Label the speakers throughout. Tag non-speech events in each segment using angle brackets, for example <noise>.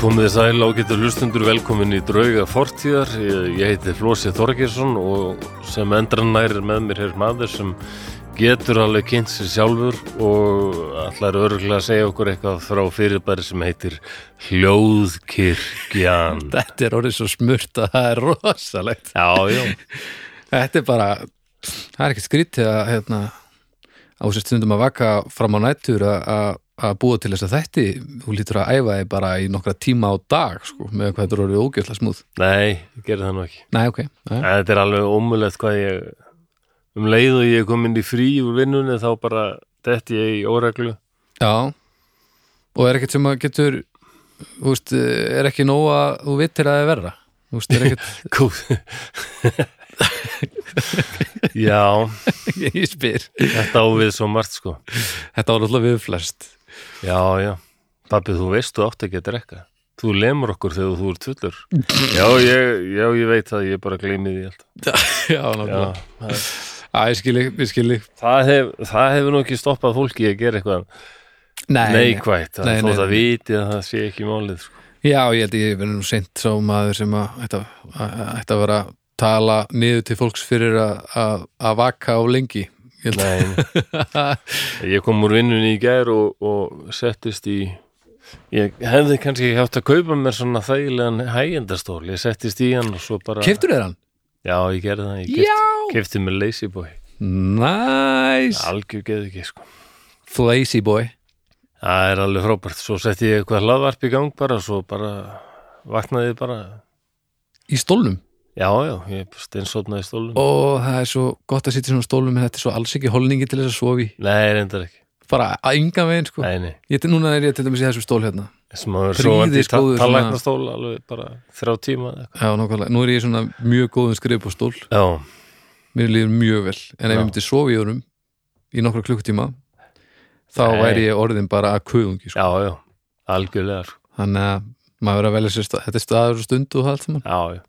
Speaker 1: Komið þið sæl ágættur hlustundur, velkomin í Drauga Fortíðar. Ég ég heiti Flósi Þorgjesson og sem endranær er með mér hér maður sem getur alveg kynnt sér sjálfur og allar örgulega að segja okkur eitthvað frá fyrirbæri sem heitir Hljóðkirkjan.
Speaker 2: Þetta er orðið svo smurt að það er rosalegt.
Speaker 1: Já, já.
Speaker 2: Þetta er bara, það er ekkert skrítið að hérna, á sér stundum að vaka fram á nættur að- að að búa til þess að þetta, þú lítur að æfa þig bara í nokkra tíma á dag, sko, með hvað þetta er orðið ógjörslega smúð.
Speaker 1: Nei, ég gerði það nú ekki.
Speaker 2: Nei, ok.
Speaker 1: En
Speaker 2: Nei.
Speaker 1: Þetta er alveg ómulegt hvað ég, um leið og ég kom inn í frí úr vinnunni þá bara detti ég í óreglu.
Speaker 2: Já, og er ekkert sem að getur, þú veist, er ekki nóg að þú vittir að það er verra. Þú veist, er ekkert,
Speaker 1: Góð. Já,
Speaker 2: <laughs> ég spyr.
Speaker 1: þetta á við svo margt sko.
Speaker 2: Þetta var alltaf við flest.
Speaker 1: Já, já. Pappi, þú veist, þú átt ekki að drekka. Þú lemur okkur þegar þú ert fullur. Já, ég, já, ég veit það, ég bara gleymi því alltaf.
Speaker 2: Já,
Speaker 1: Já,
Speaker 2: náttúrulega. Æ, ég skil ég, ég skil ég.
Speaker 1: það, hef, það hefur nú ekki stoppað fólki að gera eitthvað neikvætt, nei,
Speaker 2: Nei,
Speaker 1: þó
Speaker 2: nei.
Speaker 1: það viti að það sé ekki málið. Sko.
Speaker 2: Já, ég held ég verið nú seint sá maður sem að ætti að- að- ætti að vera að tala niður til fólks fyrir að- að að vaka á lengi Ég held
Speaker 1: Nei, nei.
Speaker 2: að
Speaker 1: Ég kom úr vinnunni í gær og, og settist í... Ég hefði kannski ekki hægt að kaupa mér svona þægilegan hægjendastól. Ég settist í hann og svo bara...
Speaker 2: Keftur þér hann?
Speaker 1: Já, ég gerði það. Ég kefti,
Speaker 2: Já!
Speaker 1: kefti mér Lazy Boy.
Speaker 2: Næs!
Speaker 1: Algjör geði ekki, sko.
Speaker 2: Flazy boy
Speaker 1: Það er alveg frábært, svo setti ég eitthvað hlaðvarp í gang bara, svo bara vaknaði ég bara,
Speaker 2: Í stólnum
Speaker 1: já, já, ég steinsotnaði í stólum.
Speaker 2: Og það er svo gott að sitja í svona stólnum en þetta er svo alls ekki holningi til þess að sofi
Speaker 1: Nei, reyndar ekki,
Speaker 2: Bara að ynga veginn sko
Speaker 1: nei, nei,
Speaker 2: Ég, Núna er ég til dæmis í þessum stól hérna
Speaker 1: sem að vera
Speaker 2: Prýðis
Speaker 1: sofandi í ta-
Speaker 2: góður svona-
Speaker 1: talæknastól alveg bara þrjá tíma. eða eitthvað.
Speaker 2: Já, nákvæmlega Nú er ég í svona mjög góðum skrif á stól
Speaker 1: Já,
Speaker 2: Mér líður mjög vel En ef
Speaker 1: Já.
Speaker 2: ég myndi sofi í honum í nokkra klukkutíma þá
Speaker 1: Nei.
Speaker 2: væri ég orðin bara að kuðungi sko.
Speaker 1: já, já, algjörlega, sko.
Speaker 2: þannig að maður verður að velja sér stað, þetta er staður og stund og það allt saman
Speaker 1: já, já,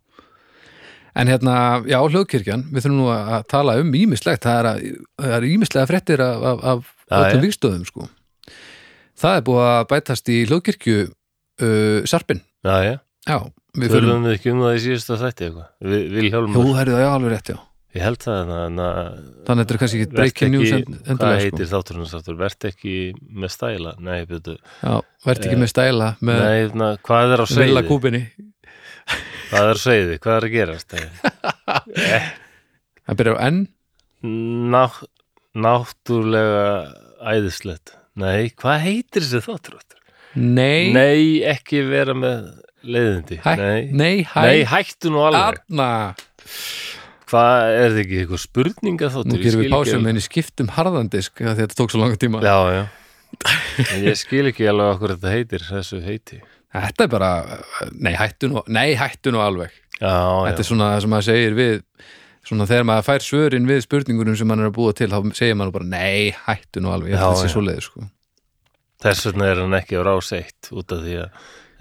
Speaker 2: en hérna, já, hljóðkirkjan, við þurfum nú að að tala um ímislegt, það er, að, það er ímislega fréttir af, af, af
Speaker 1: Já,
Speaker 2: öllum
Speaker 1: já.
Speaker 2: vikstöðum sko. það er búið að bætast í hljóðkirkju uh, sarpin,
Speaker 1: já, já,
Speaker 2: já við fyrir,
Speaker 1: þurfum við ekki um það í síðasta þætti eitthvað, Vi,
Speaker 2: jú,
Speaker 1: Vilhjálmur,
Speaker 2: herrið, já, alveg rétt, já
Speaker 1: ég held það, en að,
Speaker 2: þannig að þetta er kannski ekki
Speaker 1: verð
Speaker 2: breaking news
Speaker 1: ekki,
Speaker 2: en-
Speaker 1: hvað
Speaker 2: endilega, sko.
Speaker 1: heitir þátturinn sáttur, verð ekki með stæla, nei, betur,
Speaker 2: sko. já, verð ekki með stæla með
Speaker 1: Eh, nei, na, hvað er á
Speaker 2: reyla
Speaker 1: segið?
Speaker 2: kúpinni
Speaker 1: Hvað er segði? Hvað er að gerast?
Speaker 2: það byrjar á N,
Speaker 1: Ná, náttúrulega æðislegt. Nei, hvað heitir þessi þáttur áttur?
Speaker 2: nei,
Speaker 1: Nei, ekki vera með leiðindi.
Speaker 2: hæ,
Speaker 1: Nei.
Speaker 2: nei, hæ
Speaker 1: Nei, hættu nú alveg.
Speaker 2: Arna,
Speaker 1: Hvað er þetta ekki eitthvað spurninga þáttur?
Speaker 2: nú gerum við pásum en ég skiptum harðandisk af því að þetta tók svo langa tíma
Speaker 1: Já, já. En ég skil ekki alveg okkur þetta heitir, þessu heiti.
Speaker 2: Þetta er bara, nei hættu nú, nei hættu nú alveg
Speaker 1: Já,
Speaker 2: Þetta
Speaker 1: já.
Speaker 2: er svona það sem maður segir við svona þegar maður fær svörin við spurningunum sem maður er að búa til, þá segir maður bara nei hættu nú alveg, ég held
Speaker 1: Já,
Speaker 2: að þetta
Speaker 1: já.
Speaker 2: sé svo leiðis sko.
Speaker 1: Þess vegna er hann ekki á rás eitt út af því að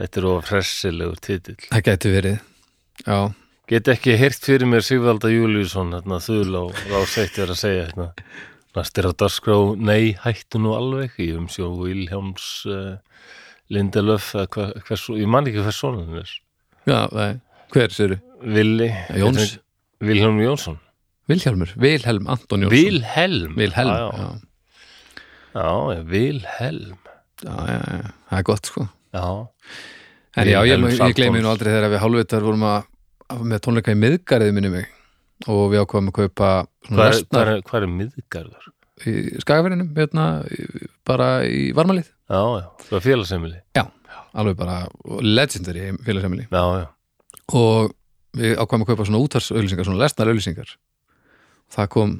Speaker 1: þetta er of hressilegur titill.
Speaker 2: Það gæti verið Já,
Speaker 1: Get ekki heyrt fyrir mér Sigvalda Júliusson hérna þul á ráseitt er að segja hérna. Næst er á dagskrá, nei, hættu nú alveg í umsjó Vilhjáms uh, Lindelöf, eða hver, hvers, ég man ekki hvers sonur hann er.
Speaker 2: já, nei, hver séru?
Speaker 1: Vili,
Speaker 2: Jóns,
Speaker 1: Vilhjálm Jónsson.
Speaker 2: Vilhjálmur, Vilhelm Anton Jónsson
Speaker 1: Vilhelm.
Speaker 2: Vilhelm,
Speaker 1: Ah,
Speaker 2: já.
Speaker 1: Já, já, já, Vilhelm.
Speaker 2: Já, já, já, það er gott sko
Speaker 1: Já,
Speaker 2: En já, ég,
Speaker 1: Vilhelm
Speaker 2: ég, ég gleymi
Speaker 1: Saltons.
Speaker 2: nú aldrei þegar við hálfvitar vorum að, að með tónleika í miðgarðið minni mig og við ákvaðum að kaupa
Speaker 1: hvað er,
Speaker 2: versnar-
Speaker 1: hvað er, hvað er miðgarður?
Speaker 2: í skagaferinum hérna, í- bara í varmalið
Speaker 1: Já, já, það er félagsheimili.
Speaker 2: alveg bara legendary félagsheimili
Speaker 1: Já, já,
Speaker 2: og við ákvæmum að kaupa svona útarsauðlýsingar svona lesnar auðlýsingar það kom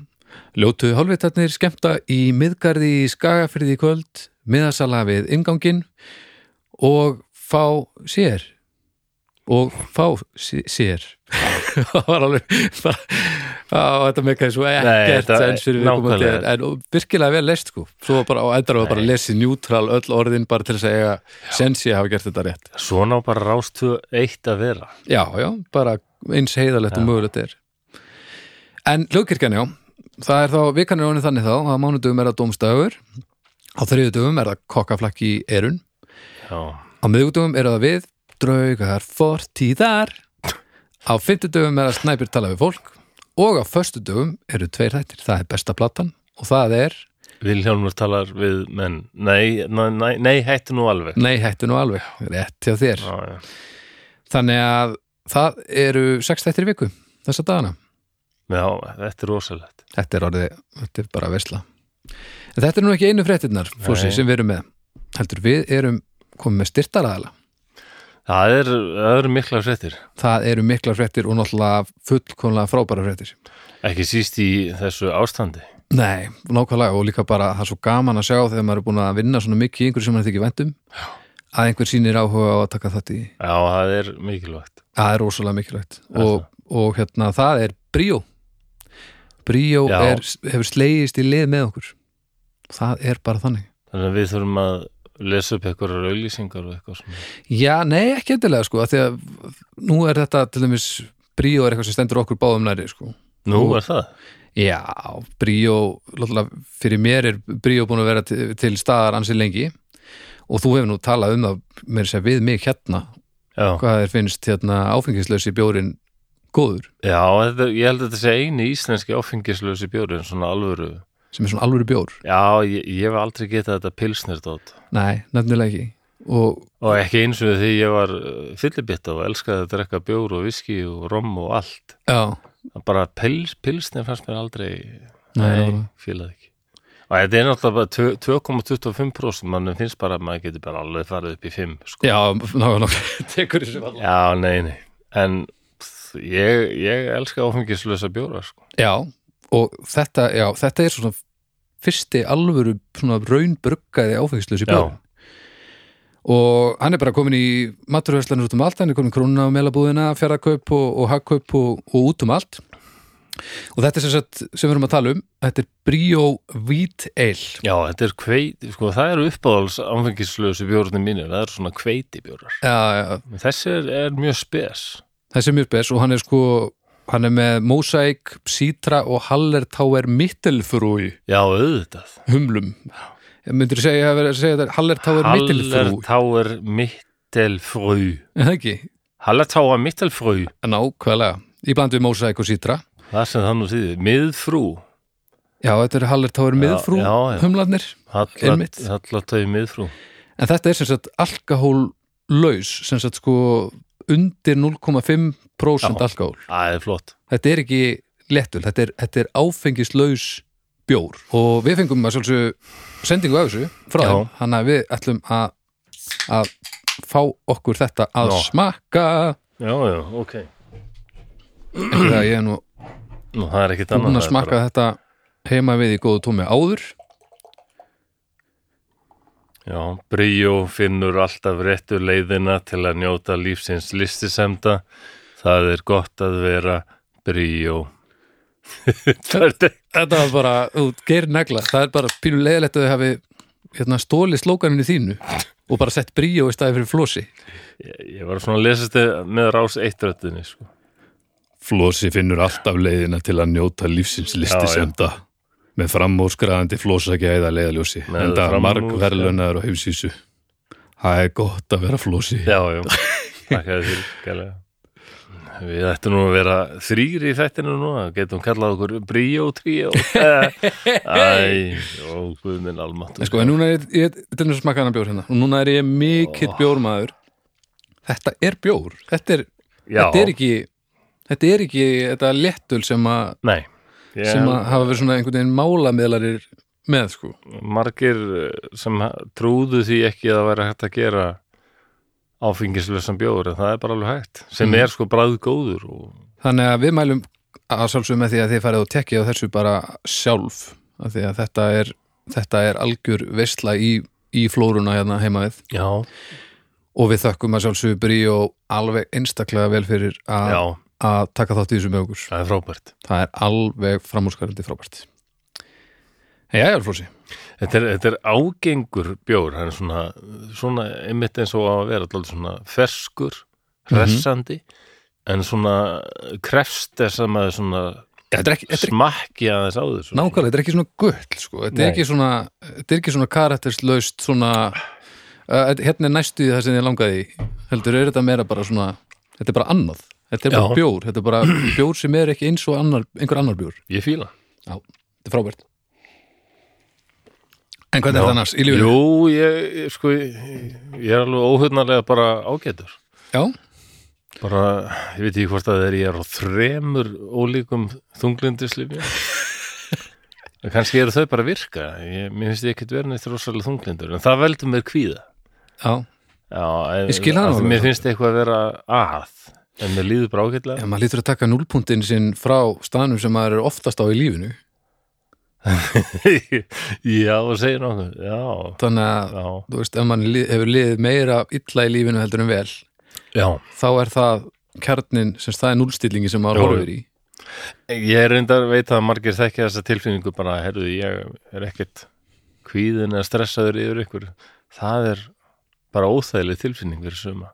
Speaker 2: ljótu hálfvitarnir skemmta í miðgarði í skagafyrði í kvöld miðasala við ingangin og fá sér og fá sé- sér <laughs> það var alveg bara, á, þetta mekaði svo ekkert
Speaker 1: þetta er
Speaker 2: sens fyrir viðkomandi en,
Speaker 1: nákvæmlega.
Speaker 2: en og virkilega vel lest sko svo bara á endar var bara lesið njútrál öll orðin bara til þess að eiga sens ég hafa gert þetta rétt
Speaker 1: svona á bara rástu eitt að vera.
Speaker 2: Já, já, bara eins heiðalegt og
Speaker 1: Já.
Speaker 2: mögulegt er En hlugkirkjan, já Það er þá, vikan er honum þannig þá að mánudöfum er það dómstafur á þriðudöfum er það kokkaflakki í erun
Speaker 1: Já,
Speaker 2: á miðgudöfum er það við draugar fortíðar á fimmtudöfum er að snæpir tala við fólk og á föstudöfum eru tveir þættir það er besta platan og það er
Speaker 1: Vilhjálmur talar við menn Nei, nei, nei, nei hættu nú alveg
Speaker 2: nei hættu nú alveg, rétt hjá þér
Speaker 1: Já, já.
Speaker 2: þannig að það eru sex þættir í viku þessa dagana
Speaker 1: já, þetta er rosalegt
Speaker 2: þetta er orðið, þetta er bara vesla en þetta er nú ekki einu fréttinnar flósi,
Speaker 1: Nei.
Speaker 2: sem við erum með heldur við erum komið með styrtaraðala
Speaker 1: Það er, það er mikla fréttir
Speaker 2: það eru miklar fréttir og náttúrulega fullkomlega frábæra fréttir
Speaker 1: Ekki síst í þessu ástandi
Speaker 2: Nei, nákvæmlega og líka bara það er svo gaman að sjá þegar maður er búin að vinna svona mikið í einhverju sem maður þykir væntum að einhver sýnir áhuga á að taka þetta í
Speaker 1: Já, það er mikilvægt
Speaker 2: það er rosalega mikilvægt
Speaker 1: Er
Speaker 2: og, og hérna það er bríó bríó
Speaker 1: Já.
Speaker 2: er, hefur slegist í lið með okkur það er bara þannig
Speaker 1: Þannig að við þurfum að lesa upp eitthvað auðlýsingar og eitthvað svona
Speaker 2: Já, nei, ekki endilega sko af því að nú er þetta til dæmis bríó er eitthvað sem stendur okkur báðum næri sko
Speaker 1: Nú
Speaker 2: Og-
Speaker 1: er það?
Speaker 2: Já, bríó, lóttulega fyrir mér er bríó búin að vera til, til staðar ansi lengi og þú hefur nú talað um það mér sér við mig hérna
Speaker 1: Já,
Speaker 2: hvað þér finnst hérna áfengislösi bjórin góður
Speaker 1: já þetta, ég held að þetta sé eini íslenski áfengislösi bjóri en svona alvöru
Speaker 2: sem er svona alvöru bjór
Speaker 1: Já, ég, ég hef aldrei getað þetta pilsnirdótt
Speaker 2: Nei, nefnilega ekki og
Speaker 1: og ekki eins og því ég var uh, fyllibitt og elskaði að drekka bjór og viski og rom og allt
Speaker 2: já,
Speaker 1: Það bara pils, pilsnir fannst mér aldrei
Speaker 2: Nei,
Speaker 1: fílaði ekki og þetta er náttúrulega bara tvö- 2,25% mannum finnst bara að maður getur bara alveg farið upp í 5 sko.
Speaker 2: já, nákvæmlega tekur þessu vallar
Speaker 1: já, nei, nei en pff, ég, ég elska áfengislösa bjóra sko.
Speaker 2: Já, og þetta, já, þetta er svona fyrsti alvöru svona raunbruggaði áfengislösi
Speaker 1: Já.
Speaker 2: bjór og hann er bara komin í maturverslanir út um allt, hann er komin í krónuna og melabúðina, fjaraðkaup og, og hagkaup og, og út um allt og þetta er sem sagt sem við erum að tala um þetta er Brio Wheat Ale
Speaker 1: já, þetta er kveit sko, það eru uppáðals áfengislösu bjórnir mínir það eru svona kveiti bjórar
Speaker 2: já, já,
Speaker 1: þessi er, er mjög spes
Speaker 2: þessi er mjög spes og hann er sko hann er með Mosaic, Citra og Hallertauer Mittelfrúi
Speaker 1: já, auðvitað
Speaker 2: humlum myndir segja, segja þetta Hallertauer Mittelfrúi
Speaker 1: Hallertáer Mittelfrú
Speaker 2: Er það ekki?
Speaker 1: Hallertáer Mittelfrú
Speaker 2: Nákvæmlega, í bland við Mósaik og Sýtra
Speaker 1: það sem það nú þýðir, miðfrú
Speaker 2: Já, þetta eru Hallertáður miðfrú
Speaker 1: já, já.
Speaker 2: humlarnir, Einmitt.
Speaker 1: Hallertáer Miðfrú
Speaker 2: en þetta er sem sagt alkohól laus, sem sagt sko undir 0,5%
Speaker 1: Já.
Speaker 2: alkohól.
Speaker 1: Það er flott
Speaker 2: Þetta er ekki lettul, þetta er, þetta er áfengislaus bjór og við fengum að sjálfsög sendingu af þessu frá
Speaker 1: Já.
Speaker 2: þeim, hann að við ætlum að, að fá okkur þetta að
Speaker 1: Já.
Speaker 2: smakka
Speaker 1: Já, já, ok
Speaker 2: ekki það að ég er nú
Speaker 1: Nú, það er ekkit annað
Speaker 2: búin
Speaker 1: það
Speaker 2: að
Speaker 1: er
Speaker 2: smakka
Speaker 1: bara-
Speaker 2: þetta heima við í góðu tómi áður
Speaker 1: Já, Bríó finnur alltaf réttu leiðina til að njóta lífsins listisemda Það er gott að vera Bríó <laughs> Það er þetta
Speaker 2: Þetta var bara, þú gerir negla Það er bara pínu leiðilegt að þau hafi hérna, stólið slókaninu þínu og bara sett bríó í staði fyrir flósi
Speaker 1: Ég- Ég var svona að lesast þetta með rás eittröttinni sko.
Speaker 2: Flósi finnur alltaf leiðina til að njóta lífsins
Speaker 1: listisemda.
Speaker 2: með framúrskraðandi flósagæða leiðaljósi
Speaker 1: Með enda framúrs- margverðlaunaður
Speaker 2: á heimsísu Það er gott að vera flósi
Speaker 1: Já, já, þakkaði fyrir kærlega. Við ættum nú að vera þrýri í þættinu núna, getum kallað okkur Bríó Tríó <laughs> Æ, ó, guð minn almatt
Speaker 2: En sko, en núna er ég, þetta er nú smakka hana bjór hérna og núna er ég mikill
Speaker 1: Oh.
Speaker 2: bjórmaður Þetta er bjór Þetta er,
Speaker 1: Já,
Speaker 2: þetta er ekki Þetta er ekki þetta léttul sem að
Speaker 1: nei Ég
Speaker 2: sem að hafa verið svona einhvern veginn málamiðlarir með sko
Speaker 1: margir eh, sem ha- trúðu því ekki að það væri hægt að gera áfengislösan bjóður en það er bara alveg hægt sem
Speaker 2: Mm.
Speaker 1: er sko bræðgóður og...
Speaker 2: þannig að við mælum að sjálfsögum með því að þið farið og tekja á þessu bara sjálf af því að þetta er, þetta er algjör veistla í, í flóruna hérna heima við
Speaker 1: Já,
Speaker 2: og við þökkum að sjálfsögum bríó alveg einstaklega vel fyrir að
Speaker 1: já,
Speaker 2: að taka þátt í þessu með okkur
Speaker 1: það er frábært
Speaker 2: það er alveg framúrskarandi frábært Jæja, Flósi
Speaker 1: Þetta er, þetta er ágengur bjór hann er svona, svona einmitt eins og á að vera alltaf svona ferskur
Speaker 2: Mhm.
Speaker 1: hressandi en svona krefst þess að maður svona
Speaker 2: Þetta er ekki, þetta er
Speaker 1: smakki aðeins á þessu
Speaker 2: nákvæmlega, þetta er ekki svona gull sko. þetta, er
Speaker 1: Nei.
Speaker 2: ekki svona, eh, þetta er ekki svona karakterslaust svona uh, hérna er næstu í það sem ég langaði í. heldur er þetta meira bara svona þetta er bara annað, þetta er bara
Speaker 1: Já.
Speaker 2: bjór þetta er bara <clears throat> bjór sem er ekki eins og annar, einhver annar bjór
Speaker 1: Ég fíla
Speaker 2: já, þetta er frábært en hvað er þetta annars í lífinu?
Speaker 1: Jú, ég, ég- sko, ég, ég er alveg óhugnarlega bara ágætur
Speaker 2: já,
Speaker 1: Bara, ég veit ekki hvort að það er ég er á þremur ólíkum <laughs> þunglindislifja Kannski eru þau bara að virka ég, Mér finnst ég ekkert verið neitt rosalega þunglindur En það veldur mér kvíða
Speaker 2: já,
Speaker 1: Já, en,
Speaker 2: Ég skil það
Speaker 1: af því
Speaker 2: alveg.
Speaker 1: Mér finnst eitthvað að vera að En mér líður bara ágætlega
Speaker 2: ef maður lítur að taka núlpuntin sinn frá staðnum sem maður er oftast á í lífinu
Speaker 1: <laughs> Já, og segir nokkuð Já,
Speaker 2: þannig að,
Speaker 1: já,
Speaker 2: þú veist, ef maður lið- hefur liðið meira illa í lífinu heldur en vel
Speaker 1: já
Speaker 2: þá er það kjarnin sem það er núlstillingi sem maður
Speaker 1: Jú,
Speaker 2: horfir í
Speaker 1: Ég er reyndar veit að margir þekkja þessa tilfinningu bara, herruðu, ég er ekkert kvíðin eða stressaður yfir ykkur. Það er bara óþægileg tilfinning fyrir suma.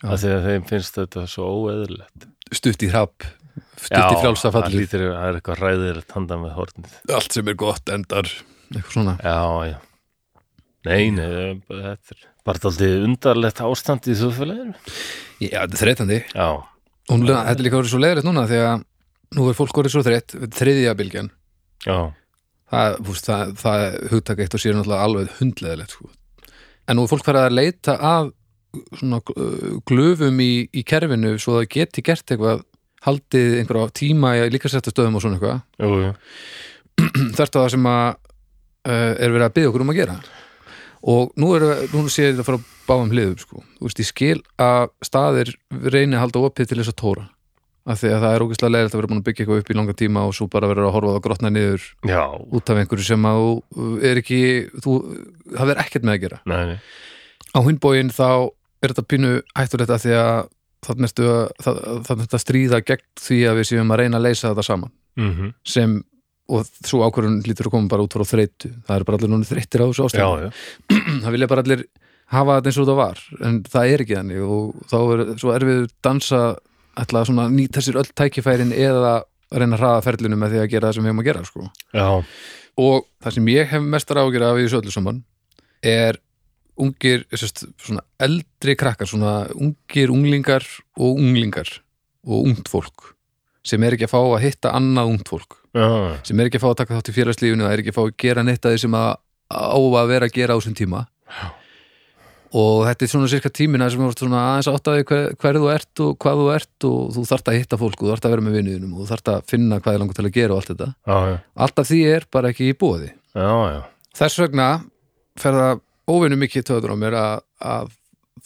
Speaker 2: Já.
Speaker 1: Af því að þeim finnst þetta svo óeðlilegt.
Speaker 2: stutt í hrapp, stutt í frjálsa
Speaker 1: það
Speaker 2: fallið
Speaker 1: lítur, það er eitthvað ræðir að tanda með hornið.
Speaker 2: allt sem er gott endar eitthvað svona
Speaker 1: Já, já. Nei, nei, þetta er bara alltaf undarlegt ástand í þjóðfélaginu.
Speaker 2: Já, þetta er þreytandi
Speaker 1: Já,
Speaker 2: og núna, þetta er líka orðið svo leiðilegt núna því að nú er fólk orðið svo þreytt þetta er þriðja bylgjan
Speaker 1: já,
Speaker 2: það, þú veist, það, það hugtak eitt og sér náttúrulega alveg hundleðilegt sko. en nú er fólk farið að leita að svona uh, glöfum í, í kerfinu svo það geti gert eitthvað haldið einhverja tíma í líkasetta stöðum og svona eitthvað
Speaker 1: jú, jú.
Speaker 2: þetta var sem að uh, er verið að byggja okkur um að gera og nú er nú sé ég þetta frá báðum hliðum sko. þú veist, ég skil að staðir reyni að halda opið til þess að tóra af því að það er ógeðslega leiðilegt að vera búin að byggja eitthvað upp í langa tíma og svo bara vera að horfa á það grotna niður
Speaker 1: Já,
Speaker 2: út af einhverju sem að þú eh, er ekki þú, það er ekkert með að gera
Speaker 1: nei, nei.
Speaker 2: á hinbóin þá er þetta pínu hættulegt að því að það mertu að það, það mertu að stríða gegn því að við séum að reyna að leysa þetta saman
Speaker 1: Mm
Speaker 2: sem, og svo ákvörðun lítur að koma bara út frá þreytu, það er bara allir núna þreyttir á þessu
Speaker 1: Já,
Speaker 2: ástæðu,
Speaker 1: já,
Speaker 2: <clears throat> það vilja bara allir hafa þetta eins og það var, en það er ekki þannig og þá er svo erfið dansa ætla að svona nýta sér öll tækifærin eða reyna að hraða ferlinu með því að gera það sem við erum að gera sko
Speaker 1: já,
Speaker 2: og það sem ég hef mestar ágjur af í þessu öllu saman er ungir, sérst, svona eldri krakkar, svona ungir unglingar og unglingar og ungt fólk sem er ekki að fá að hitta annað ungt fólk,
Speaker 1: já,
Speaker 2: sem er ekki að fá að taka þátt í félagslífinu, það er ekki að fá að gera neitt að því sem að á að vera að gera á þessum tíma
Speaker 1: Já.
Speaker 2: og þetta er svona cirka tímina sem þú ert svona aðeins áttaði hver, hver þú ert og hvað þú ert og þú þarft að hitta fólk og þú þarft að vera með vinnuðinum og þú þarft að finna hvað er langar til að gera og allt þetta
Speaker 1: já, já,
Speaker 2: allt af því er bara ekki í bóði
Speaker 1: já, já.
Speaker 2: Þess vegna fer það óvinni mikið töður á mér að, að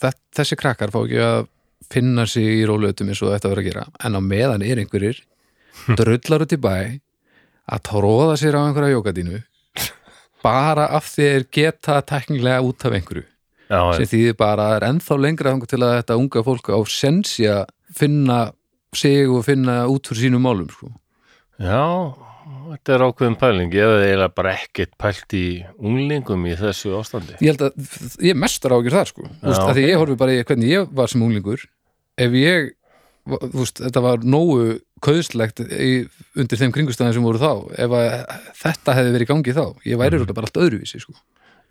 Speaker 2: þe- þessi krakkar fá ekki að finna sig í róluðutum eins og þetta verður að gera en á meðan er einhverjir drullar út í bæ að tróða sér á einhverja jókadínu bara af því þeir geta teknilega út af einhverju
Speaker 1: já, já.
Speaker 2: sem þýðir bara að það er ennþá lengra þangað til að þetta unga fólk á sensi að finna sig og finna út úr sínum málum sko.
Speaker 1: Já, þetta er ákveðin pæling. Ég hefði eiginlega bara ekkert pælt í unglingum í þessu ástandi.
Speaker 2: ég held að ég er mestar ágjur þar sko þú veist,
Speaker 1: Já,
Speaker 2: að því ég horfi bara í hvernig ég var sem unglingur ef ég, var- þú veist, þetta var nógu kauðslegt í, undir þeim kringustæðin sem voru þá ef að þetta hefði verið í gangi þá ég
Speaker 1: Mhm.
Speaker 2: væri mm. bara allt öðruvísi sko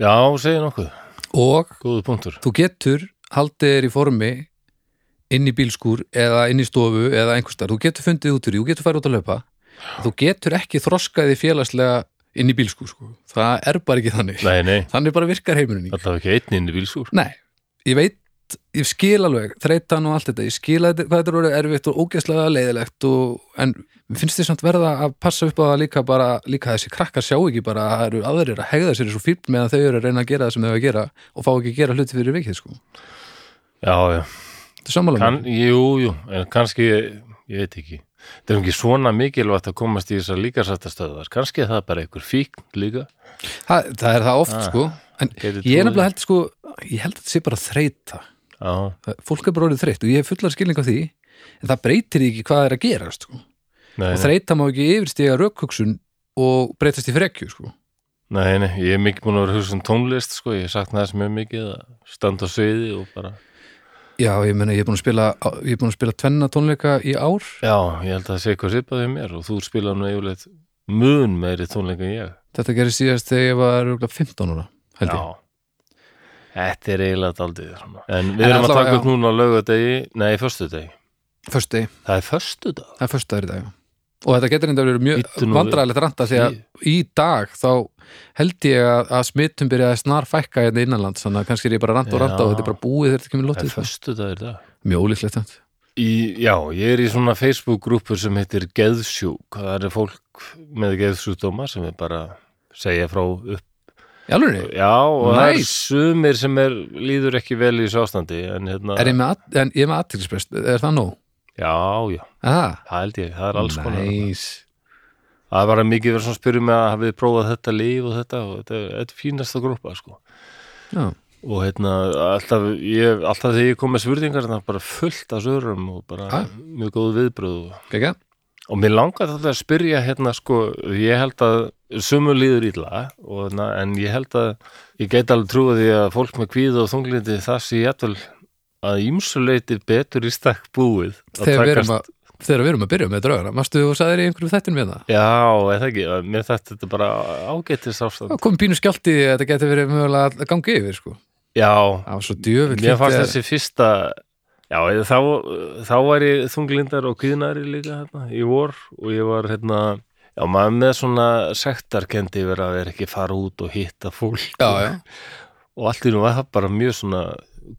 Speaker 1: Já, segir nokkuð.
Speaker 2: og
Speaker 1: Góðu punktur.
Speaker 2: þú getur haldið þér í formi inn í bílskúr eða inn í stofu eða einhverstaðar, þú getur fundið út úr því, þú getur farið út að löpa þú getur ekki þroskaði félagslega inn í bílskúr sko, það er bara ekki þannig
Speaker 1: Nei, nei,
Speaker 2: þannig bara virkar heimurinn ekki
Speaker 1: þetta var ekki einn inn í bílsúr.
Speaker 2: Nei, ég veit ég skil alveg, þreytan og allt þetta ég skil að þetta- hvað þetta eru erfitt og ógeðslega leiðilegt og, en mér finnst þið samt verða að passa upp á það líka bara líka þessi krakkar sjá ekki bara að það eru aðrir að hegða sér svo fínt meðan þau eru að reyna að gera það sem þau eru að gera og fá ekki að gera hluti fyrir vikið sko.
Speaker 1: Já, já.
Speaker 2: Þetta er sammála
Speaker 1: Kann,
Speaker 2: mér
Speaker 1: jú, jú, en kannski, ég veit ekki. Þetta er ekki svona mikilvægt að komast í þessar líkasættastöðar. Kannski er það bara einhver fíkn líka.
Speaker 2: það, það er það oft
Speaker 1: Ah,
Speaker 2: sko en
Speaker 1: gæti
Speaker 2: ég er
Speaker 1: trúað því.
Speaker 2: nefnilega held sko ég held að þetta sé bara þreyta
Speaker 1: Já,
Speaker 2: Það- fólk er bara orðið þreytt og ég hef fullar skilning á því en það breytir því ekki hvað er að gera sko.
Speaker 1: nei,
Speaker 2: og
Speaker 1: nei,
Speaker 2: þreyta má ekki yfirstiga rökhugsun og breytast í frekju sko.
Speaker 1: nei, nei, ég er mikið búin að vera að hugsa um tónlist, sko. Ég sakna þess mjög mikið að standa á sviði og bara...
Speaker 2: Já, ég meina, ég er búin að spila ég er búin að spila tvenna tónleika í ár
Speaker 1: Já, ég held að það sé eitthvað sipað hjá mér og þú spila nú yfirleitt mun meiri tónleika en ég.
Speaker 2: þetta gerir síðast þegar ég var örugglega 15 ára, held ég
Speaker 1: Já, Þetta er eiginlega daldið svona. En við
Speaker 2: En
Speaker 1: erum að
Speaker 2: allavega,
Speaker 1: taka upp
Speaker 2: já.
Speaker 1: núna lögadegi, nei, föstudegi.
Speaker 2: Föstu,
Speaker 1: Það er föstudag.
Speaker 2: það er föstudagur í dag já. og þetta getur enda verið mjög
Speaker 1: Bíddu nú við.
Speaker 2: vandræðilegt ranta því að í dag þá held ég að, að smittum byrjaði snar fækka hérna innanlands þannig að kannski er ég bara að ranta og
Speaker 1: Já.
Speaker 2: ranta og þetta er bara búið þegar þetta kemur
Speaker 1: Það er
Speaker 2: lótið
Speaker 1: föstudag í dag.
Speaker 2: mjög ólíklegt þetta
Speaker 1: Í, já, ég er í svona Facebook-grúpu sem heitir Geðsjúk. Það er fólk með geðsjúkdóma sem er bara segja frá upp.
Speaker 2: í alveg
Speaker 1: Já, og það er
Speaker 2: Nice.
Speaker 1: sumir sem er, líður ekki vel í þessu ástandi. En hérna,
Speaker 2: er ég með, at- en ég er með aðtilsprest, er það nóg?
Speaker 1: já, já,
Speaker 2: Aha,
Speaker 1: það held ég, það er alls konar.
Speaker 2: nice.
Speaker 1: Það var mikið verið svona að spyrja mig að hafið þið prófað þetta líf og þetta og þetta, þetta er fínasta grúpa, sko.
Speaker 2: Já,
Speaker 1: og hérna alltaf, ég, alltaf þegar ég kom með svurðingar bara fullt af svörum og bara
Speaker 2: Ha?
Speaker 1: mjög góð viðbröð og,
Speaker 2: gegga
Speaker 1: og mér langar þetta að spyrja hérna sko, ég held að sumu líður ítla og, hérna, en ég held að ég get alveg trúið því að fólk með kvíða og þunglindi það sé jætvel að ýmsuleiti betur í stakk búið að
Speaker 2: þegar við erum
Speaker 1: takast-
Speaker 2: að þegar við erum að byrja með draugana, mástu þú sagðir í einhverjum hérna? þettin með það?
Speaker 1: Já, eða ekki, mér þetta þetta bara ágættis ástand
Speaker 2: Það kom pínu skjálti að þetta geti verið mögulega að gangi yfir sko.
Speaker 1: Já,
Speaker 2: Það var svo djöfull
Speaker 1: Mér fannst
Speaker 2: lítið-
Speaker 1: þessi fyrsta Já, eða þá, þá var ég þunglindar og kvíðnari líka hérna, í vor og ég var hérna Já, maður með svona sektarkendi verið að vera ekki fara út og hitta fólk
Speaker 2: Já,
Speaker 1: og,
Speaker 2: já,
Speaker 1: og allt í nú var það bara mjög svona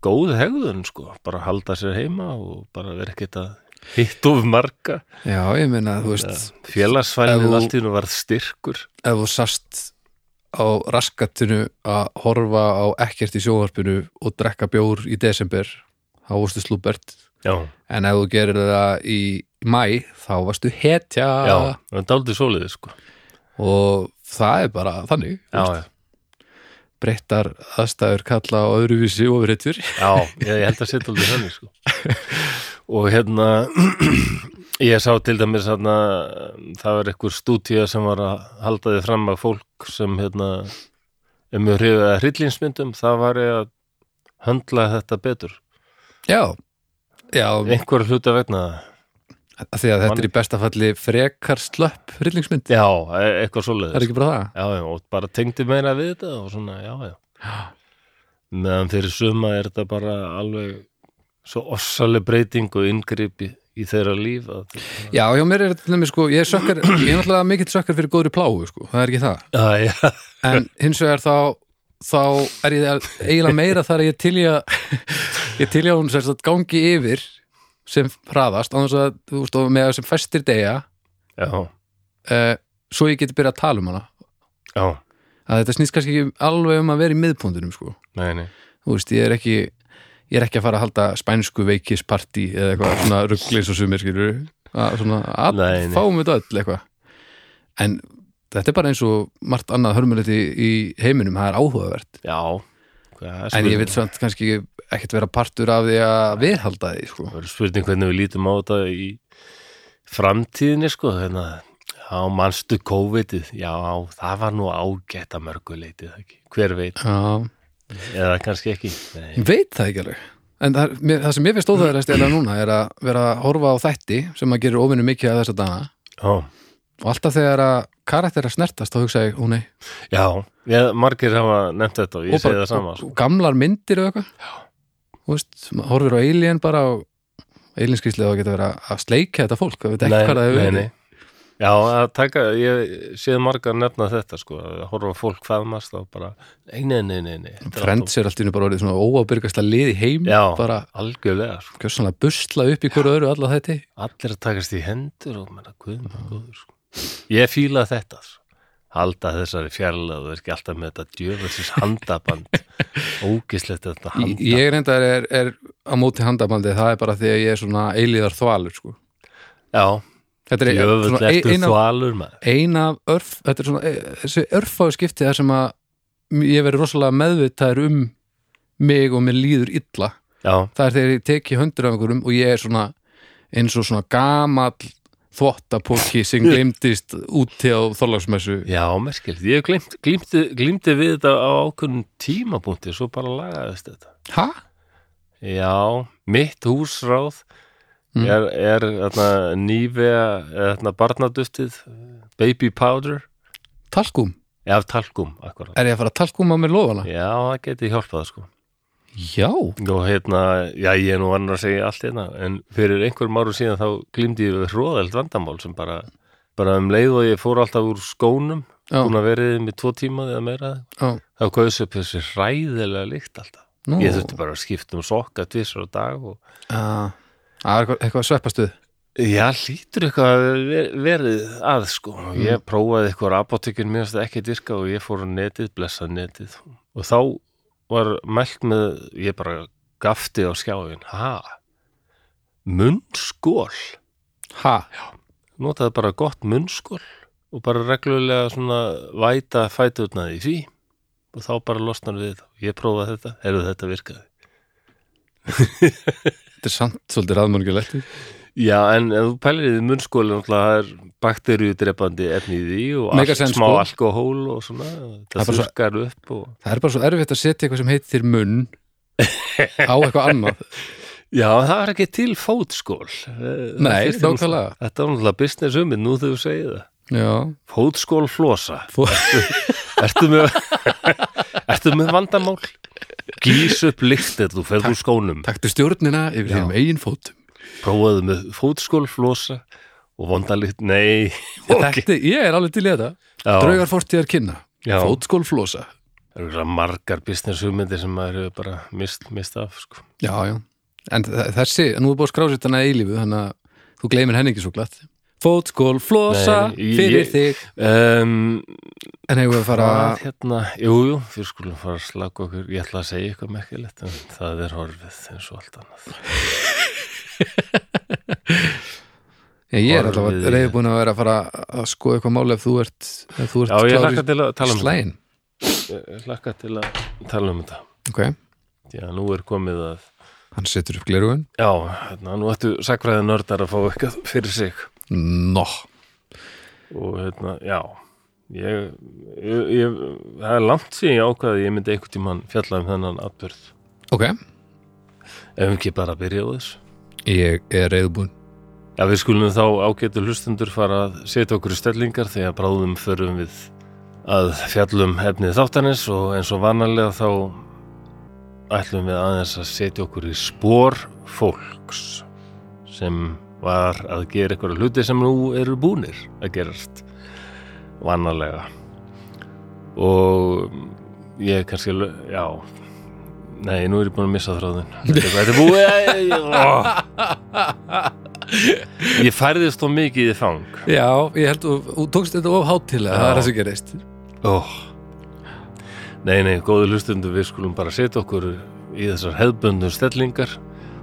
Speaker 1: góð hegðun, sko, bara halda sér heima og bara vera ekkert að hitta of marga
Speaker 2: já, ég meina þú veist, Ef
Speaker 1: félagsfælið
Speaker 2: þú-
Speaker 1: allt í nú varð styrkur
Speaker 2: ef þú sast á raskatinu að horfa á ekkert í sjóvarpinu og drekka bjór í desember þá varstu slúbert
Speaker 1: Já,
Speaker 2: en ef þú gerir það í mæ þá varstu hetja
Speaker 1: já, það er daldið svoleiðið, sko
Speaker 2: og það er bara þannig
Speaker 1: Já, já,
Speaker 2: breyttar aðstæður kalla á öðruvísi ofurhetjur
Speaker 1: Já, ég, ég held að setja aldrei þannig sko. og hérna <clears throat> ég sá til dæmis hérna, það var einhver stúdía sem var að halda því fram að fólk sem hérna um við hrifið að hryllinsmyndum það var ég að höndla þetta betur
Speaker 2: já, já
Speaker 1: einhver hluta vegna
Speaker 2: af því að þetta er í besta falli frekar slöpp hryllingsmynd,
Speaker 1: já, e- eitthvað
Speaker 2: það er
Speaker 1: svoleiðis
Speaker 2: ekki bara það
Speaker 1: já, já, og bara tengdi meira við þetta og svona, já, já meðan fyrir suma er þetta bara alveg svo ossaleg breyting og inngripi í þeirra líf að
Speaker 2: Já, hjá mér er þetta nefnir sko, ég er sökkar ég er náttúrulega mikill sökkar fyrir góðri pláu sko, það er ekki það,
Speaker 1: Já, já,
Speaker 2: en hins vegar þá þá er ég að- eiginlega meira þar að ég til ég ég til ég að hún sem sagt gangi yfir sem hraðast, annars að þú veist, og með sem festir degja
Speaker 1: já,
Speaker 2: uh, svo ég geti byrjað að tala um hana
Speaker 1: já,
Speaker 2: að þetta snýst kannski ekki alveg um að vera í miðpóndunum sko,
Speaker 1: nei, nei
Speaker 2: þú veist, ég er ekki ég er ekki að fara að halda spænsku veikispartí eða eitthvað svona rugglis og sumir skilur að svona að
Speaker 1: Nei, nei.
Speaker 2: fáum þetta öll eitthvað en þetta er bara eins og margt annað hörmuliti í heiminum, það er áhugavert
Speaker 1: Já, hvað er
Speaker 2: en ég vil
Speaker 1: spurning?
Speaker 2: svona kannski ekkert vera partur af því að viðhalda því sko.
Speaker 1: Það er spurning hvernig við lítum á þetta í framtíðinni, sko, hérna Já, manstu COVID-ið, já, það var nú ágætt að mörgu leiti, það ekki Hver veit,
Speaker 2: Já,
Speaker 1: eða kannski ekki Nei,
Speaker 2: ég veit það ekki alveg en það, er, mér, það sem mér finnst óþægilegst eða núna er að vera að horfa á þætti sem að gerir ofinu mikið að þessa dana
Speaker 1: já,
Speaker 2: og alltaf þegar að karakter er að snertast þá hugsa ég, ó nei
Speaker 1: já, ég, margir hafa nefnt þetta og
Speaker 2: Og
Speaker 1: ég segi
Speaker 2: bara-
Speaker 1: það sama,
Speaker 2: og-
Speaker 1: sko
Speaker 2: og gamlar myndir og eitthvað þú veist, maður horfir á Alien bara og Alien skrýslega að geta verið að sleika þetta fólk, það veit ekki hvað það hefur verið
Speaker 1: Já, að taka, ég séð margar nefna þetta, sko, að horfa á fólk faðmast og bara, nei, nei, nei, nei, nei þetta er
Speaker 2: Friends er alltaf bara orðið svona óábyrgasta lið í heim
Speaker 1: Já.
Speaker 2: bara
Speaker 1: allt of- Algjörlega, sko
Speaker 2: kjössanlega busla upp í hverju öru alla þetta
Speaker 1: allir að takast í hendur og menna, guð, minn góður sko. ég fíla þetta sko. halda þessari fjarlæð og er ekki alltaf með þetta djöfelsins
Speaker 2: <laughs>
Speaker 1: handaband ógislegt þetta
Speaker 2: Ég-
Speaker 1: handaband
Speaker 2: ég reyndar er, er á móti handabandi það er bara því að ég er svona eilíðar þvalur sko.
Speaker 1: já,
Speaker 2: þetta er
Speaker 1: djöfell
Speaker 2: svona e- ein-
Speaker 1: ertu
Speaker 2: ein af-
Speaker 1: þvalur maður
Speaker 2: ein af örf þetta er svona, e- þessi örfáðu skipti þar sem að ég verið rosalega meðvitaður um mig og mér líður illa
Speaker 1: já,
Speaker 2: það er þegar ég teki höndur af einhverjum og ég er svona eins og svona gamall þvottapóki sem glemdist úti á þorlagsmessu
Speaker 1: já, merkilegt ég glimt, glimti, glimti við þetta á ákveðnum tímapunkti svo bara lagaðist þetta
Speaker 2: ha?
Speaker 1: já, mitt húsráð
Speaker 2: Mm.
Speaker 1: er, er þarna, nývega þarna, barnaduftið baby powder
Speaker 2: Talkum?
Speaker 1: eða talkum, akkurat
Speaker 2: Er ég að fara að talkum á mér lofana?
Speaker 1: Já, það geti hjálpað sko
Speaker 2: Já,
Speaker 1: og hérna, já ég er nú annar að segja allt hérna, en fyrir einhverjum áru síðan þá glýmdi ég við hróðeld vandamál sem bara, bara um leið og ég fór alltaf úr skónum,
Speaker 2: Já.
Speaker 1: búin að verið með tvo tíma eða meira,
Speaker 2: já,
Speaker 1: þá kaus upp þessi hræðilega líkt alltaf
Speaker 2: nú
Speaker 1: ég þurfti bara að skipta um sokka tvisar á dag og
Speaker 2: Já, það er Ah. eitthvað, eitthvað sveppastuð
Speaker 1: já, hlýtur eitthvað að ver- verið að sko, og ég prófaði eitthvað rapotekin mér að ekki virka og ég fór á netið, blessað netið og þá var mælt með ég bara gafti á skjáin ha, munnskól
Speaker 2: Ha,
Speaker 1: notaði bara gott munnskól og bara reglulega svona væta fæturnaði í því og þá bara losnar við þetta, ég prófaði þetta heyrðu þetta virkaði
Speaker 2: þetta er samt svolítið raðmörgulegt
Speaker 1: Já, en ef þú pælir í því munnskóli náttúrulega það er bakteríudrepandi efni í því og
Speaker 2: Make
Speaker 1: allt,
Speaker 2: sense,
Speaker 1: smá
Speaker 2: sko.
Speaker 1: alkohól og svona,
Speaker 2: Það er
Speaker 1: það
Speaker 2: bara svo-
Speaker 1: þurkar upp og...
Speaker 2: Það er bara svo erfitt að setja eitthvað sem heitir munn á eitthvað annað
Speaker 1: Já, það er ekki til fótskól Eh, það
Speaker 2: Nei,
Speaker 1: þyrfti nú-
Speaker 2: nákvæmlega.
Speaker 1: Þetta er náttúrulega business ummið, nú þegar þú segir það
Speaker 2: <laughs> Já,
Speaker 1: Fótskól flosa
Speaker 2: Fó-
Speaker 1: Ertu með, <laughs> ertu með vandamál? Gís upp lykt eða þú ferð úr skónum
Speaker 2: taktu stjórnina yfir
Speaker 1: Já.
Speaker 2: þeim eigin fótum
Speaker 1: prófaðu með fótskól flosa og vondalykt, nei ok.
Speaker 2: Þetta, ég er alveg til í þetta
Speaker 1: Já.
Speaker 2: Draugar fortíðar kynna,
Speaker 1: Já.
Speaker 2: fótskólflosa
Speaker 1: Það eru örugglega margar business hugmyndir sem maður hefur bara mist, mist af, sko.
Speaker 2: Já, já, en þe- þessi nú er búið að skrásitt hana í lífu þannig að þú gleymir henni ekki svo glatt Fótskólflosa
Speaker 1: Nei, ég-
Speaker 2: fyrir
Speaker 1: ég-
Speaker 2: þig
Speaker 1: Um,
Speaker 2: En hefur við að fara
Speaker 1: hvað hérna, jú, jú, við skulum fara að slaka okkur, ég ætla að segja eitthvað mekkilegt, en það er horfið eins og allt annað.
Speaker 2: Ég, ég er alltaf
Speaker 1: Orðið í-
Speaker 2: reyðbúin að vera að fara að skoða eitthvað máli ef þú ert, ef þú ert
Speaker 1: Já, ég
Speaker 2: klár í
Speaker 1: hlakka til að tala um þetta.
Speaker 2: slaginn.
Speaker 1: Ég hlakka til að tala um þetta.
Speaker 2: Ok,
Speaker 1: Já, nú er komið að,
Speaker 2: hann setur upp glerugun.
Speaker 1: já, hérna, nú ættu sakfræði nördar að fá eitthvað fyrir sig.
Speaker 2: Nó,
Speaker 1: Og hérna, já, ég, ég, ég það er langt síðan ég ákvaði að ég myndi einhvern tímann fjalla um þennan atbyrð.
Speaker 2: ok,
Speaker 1: Ef ekki bara að byrja á þessu.
Speaker 2: ég er reyðbúin.
Speaker 1: Já, við skulum þá ágætu hlustundur fara að setja okkur í stellingar þegar bráðum förum við að fjallum efnið þáttanis og eins og vanalega þá ætlum við aðeins að setja okkur í spór fólks sem var að gera eitthvað hluti sem nú eru búnir að gerast vanalega og ég kannski, alveg- já nei, nú er ég búin að missa þráðin þetta er búið Æ, ég- ó. Ég færðist þó mikið í þang
Speaker 2: Já, ég held að þú tókst þetta of hátilega,
Speaker 1: Já.
Speaker 2: það er það sem gerist.
Speaker 1: oh. Nei, nei, góðu hlustundu við skulum bara setja okkur í þessar hefðböndu stellingar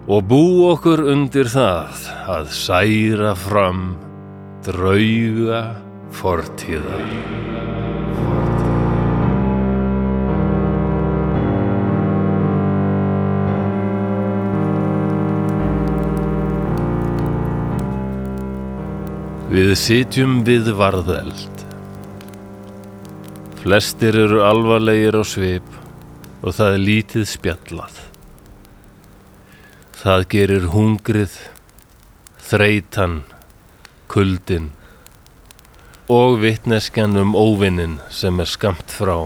Speaker 1: og bú okkur undir það að særa fram drauga fortíðar Við sitjum við varðeld Flestir eru alvarlegir á svip og það er lítið spjallað. Það gerir hungrið, þreytan, kuldin og vitneskjan um óvinnin sem er skamt frá.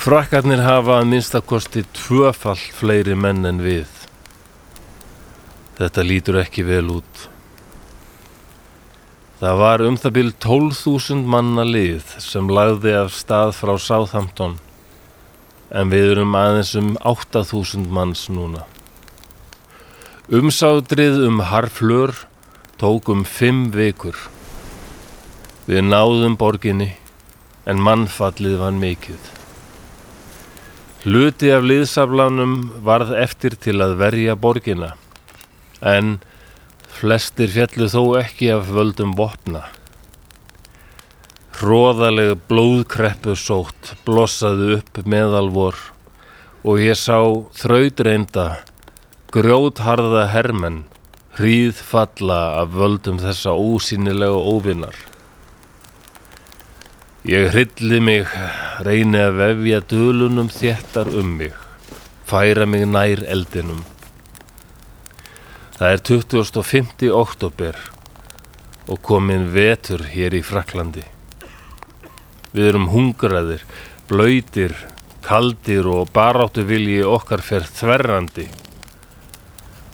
Speaker 1: Frakkarnir hafa að minnstakosti tvöfall fleiri menn en við. Þetta lítur ekki vel út. Það var um það byrjum 12.000 manna lið sem lagði af stað frá Southampton en við erum aðeins um 8.000 manns núna. Umsátrið um harflur tók um 5 vikur. Við náðum borginni en mannfallið var mikið. Hluti af liðsaflanum varð eftir til að verja borgina en Flestir fjallu þó ekki af völdum vopna. Hróðalega blóðkreppu sótt blossaði upp meðalvor og ég sá þrautreynda, grjótharða hermenn hríð falla af völdum þessa ósýnilega óvinnar. Ég hrylli mig, reyni að vefja dölunum þéttar um mig, færa mig nær eldinum. Það er 25. oktober og komin vetur hér í Fraklandi. Við erum hungraðir, blöytir, kaldir og baráttu vilji okkar fer þverrandi.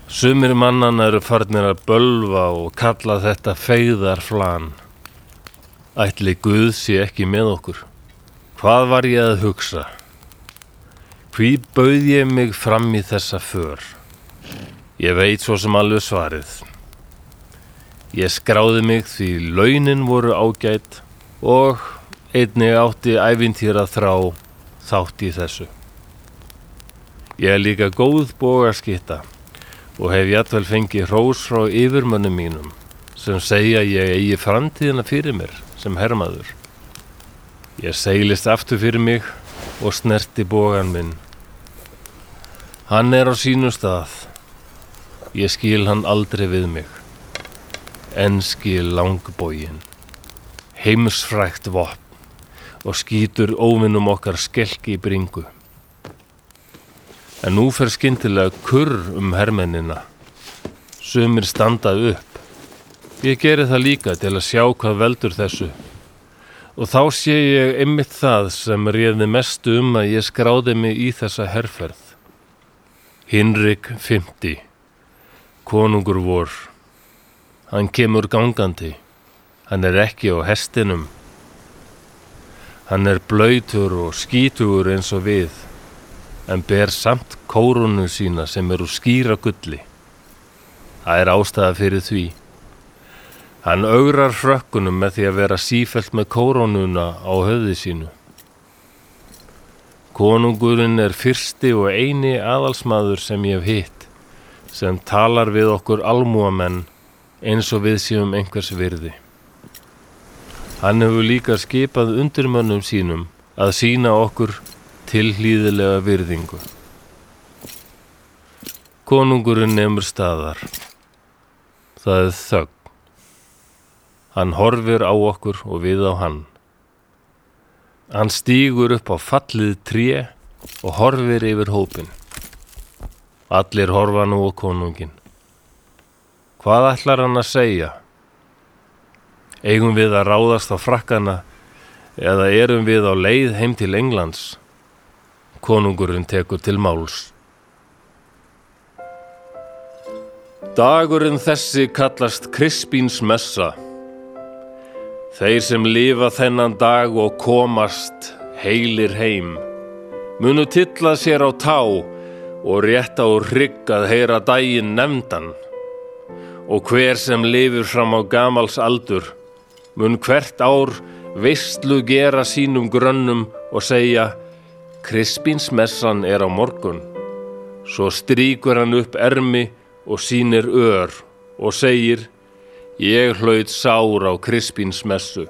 Speaker 1: Sumir mannana eru farnir að bölva og kalla þetta feyðarflan. Ætli Guð sé ekki með okkur. Hvað var ég að hugsa? Hví bauð ég mig fram í þessa för? Ég veit svo sem alveg svarið. Ég skráði mig því launin voru ágætt og einnig átti æfintýra þrá þátt í þessu. Ég er líka góð bógarskitta og hef jættvel fengið hrós frá yfirmönnum mínum sem segja ég eigi framtíðina fyrir mér sem hermaður. Ég seilist aftur fyrir mig og snerti bógan minn. Hann er á sínu stað. Ég skil hann aldrei við mig. En skil langbógin. Heimsfrækt vopn og skýtur óvinnum okkar skelki í bringu. En nú fer skyndilega kurr um hermennina. Sumir standa upp. Ég geri það líka til að sjá hvað veldur þessu. Og þá sé ég einmitt það sem réði mest um að ég skráði mig í þessa herferð. Hinrik 50. Konungur vor. Hann kemur gangandi. Hann er ekki á hestinum. Hann er blöytur og skítugur eins og við, en ber samt kórunu sína sem eru skýra gulli. Það er ástæða fyrir því. Hann augrar frökkunum með því að vera sífelt með kórununa á höfði sínu. Konungurinn er fyrsti og eini aðalsmaður sem ég hef hitt, sem talar við okkur almúamenn eins og við séum einhvers virði. Hann hefur líka skipað undirmönnum sínum að sína okkur tilhlýðilega virðingu. Konungurinn nefnur staðar. Það er þögn. Hann horfir á okkur og við á hann. Hann stígur upp á fallið tré og horfir yfir hópin. Allir horfa nú á konungin. Hvað ætlar hann að segja? Eigum við að ráðast á frakkana eða erum við á leið heim til Englands? Konungurinn tekur til máls. Dagurinn þessi kallast Krispíns messa. Þeir sem lifa þennan dag og komast heilir heim munu tilla sér á tá og rétta úr hrygg að heyra daginn nefndan og hver sem lifir fram á gamals aldur mun hvert ár veistlu gera sínum grönnum og segja Krispinsmessan er á morgun. Svo stríkur hann upp ermi og sýnir ör og segir Ég hlaut sár á Krispinsmessu.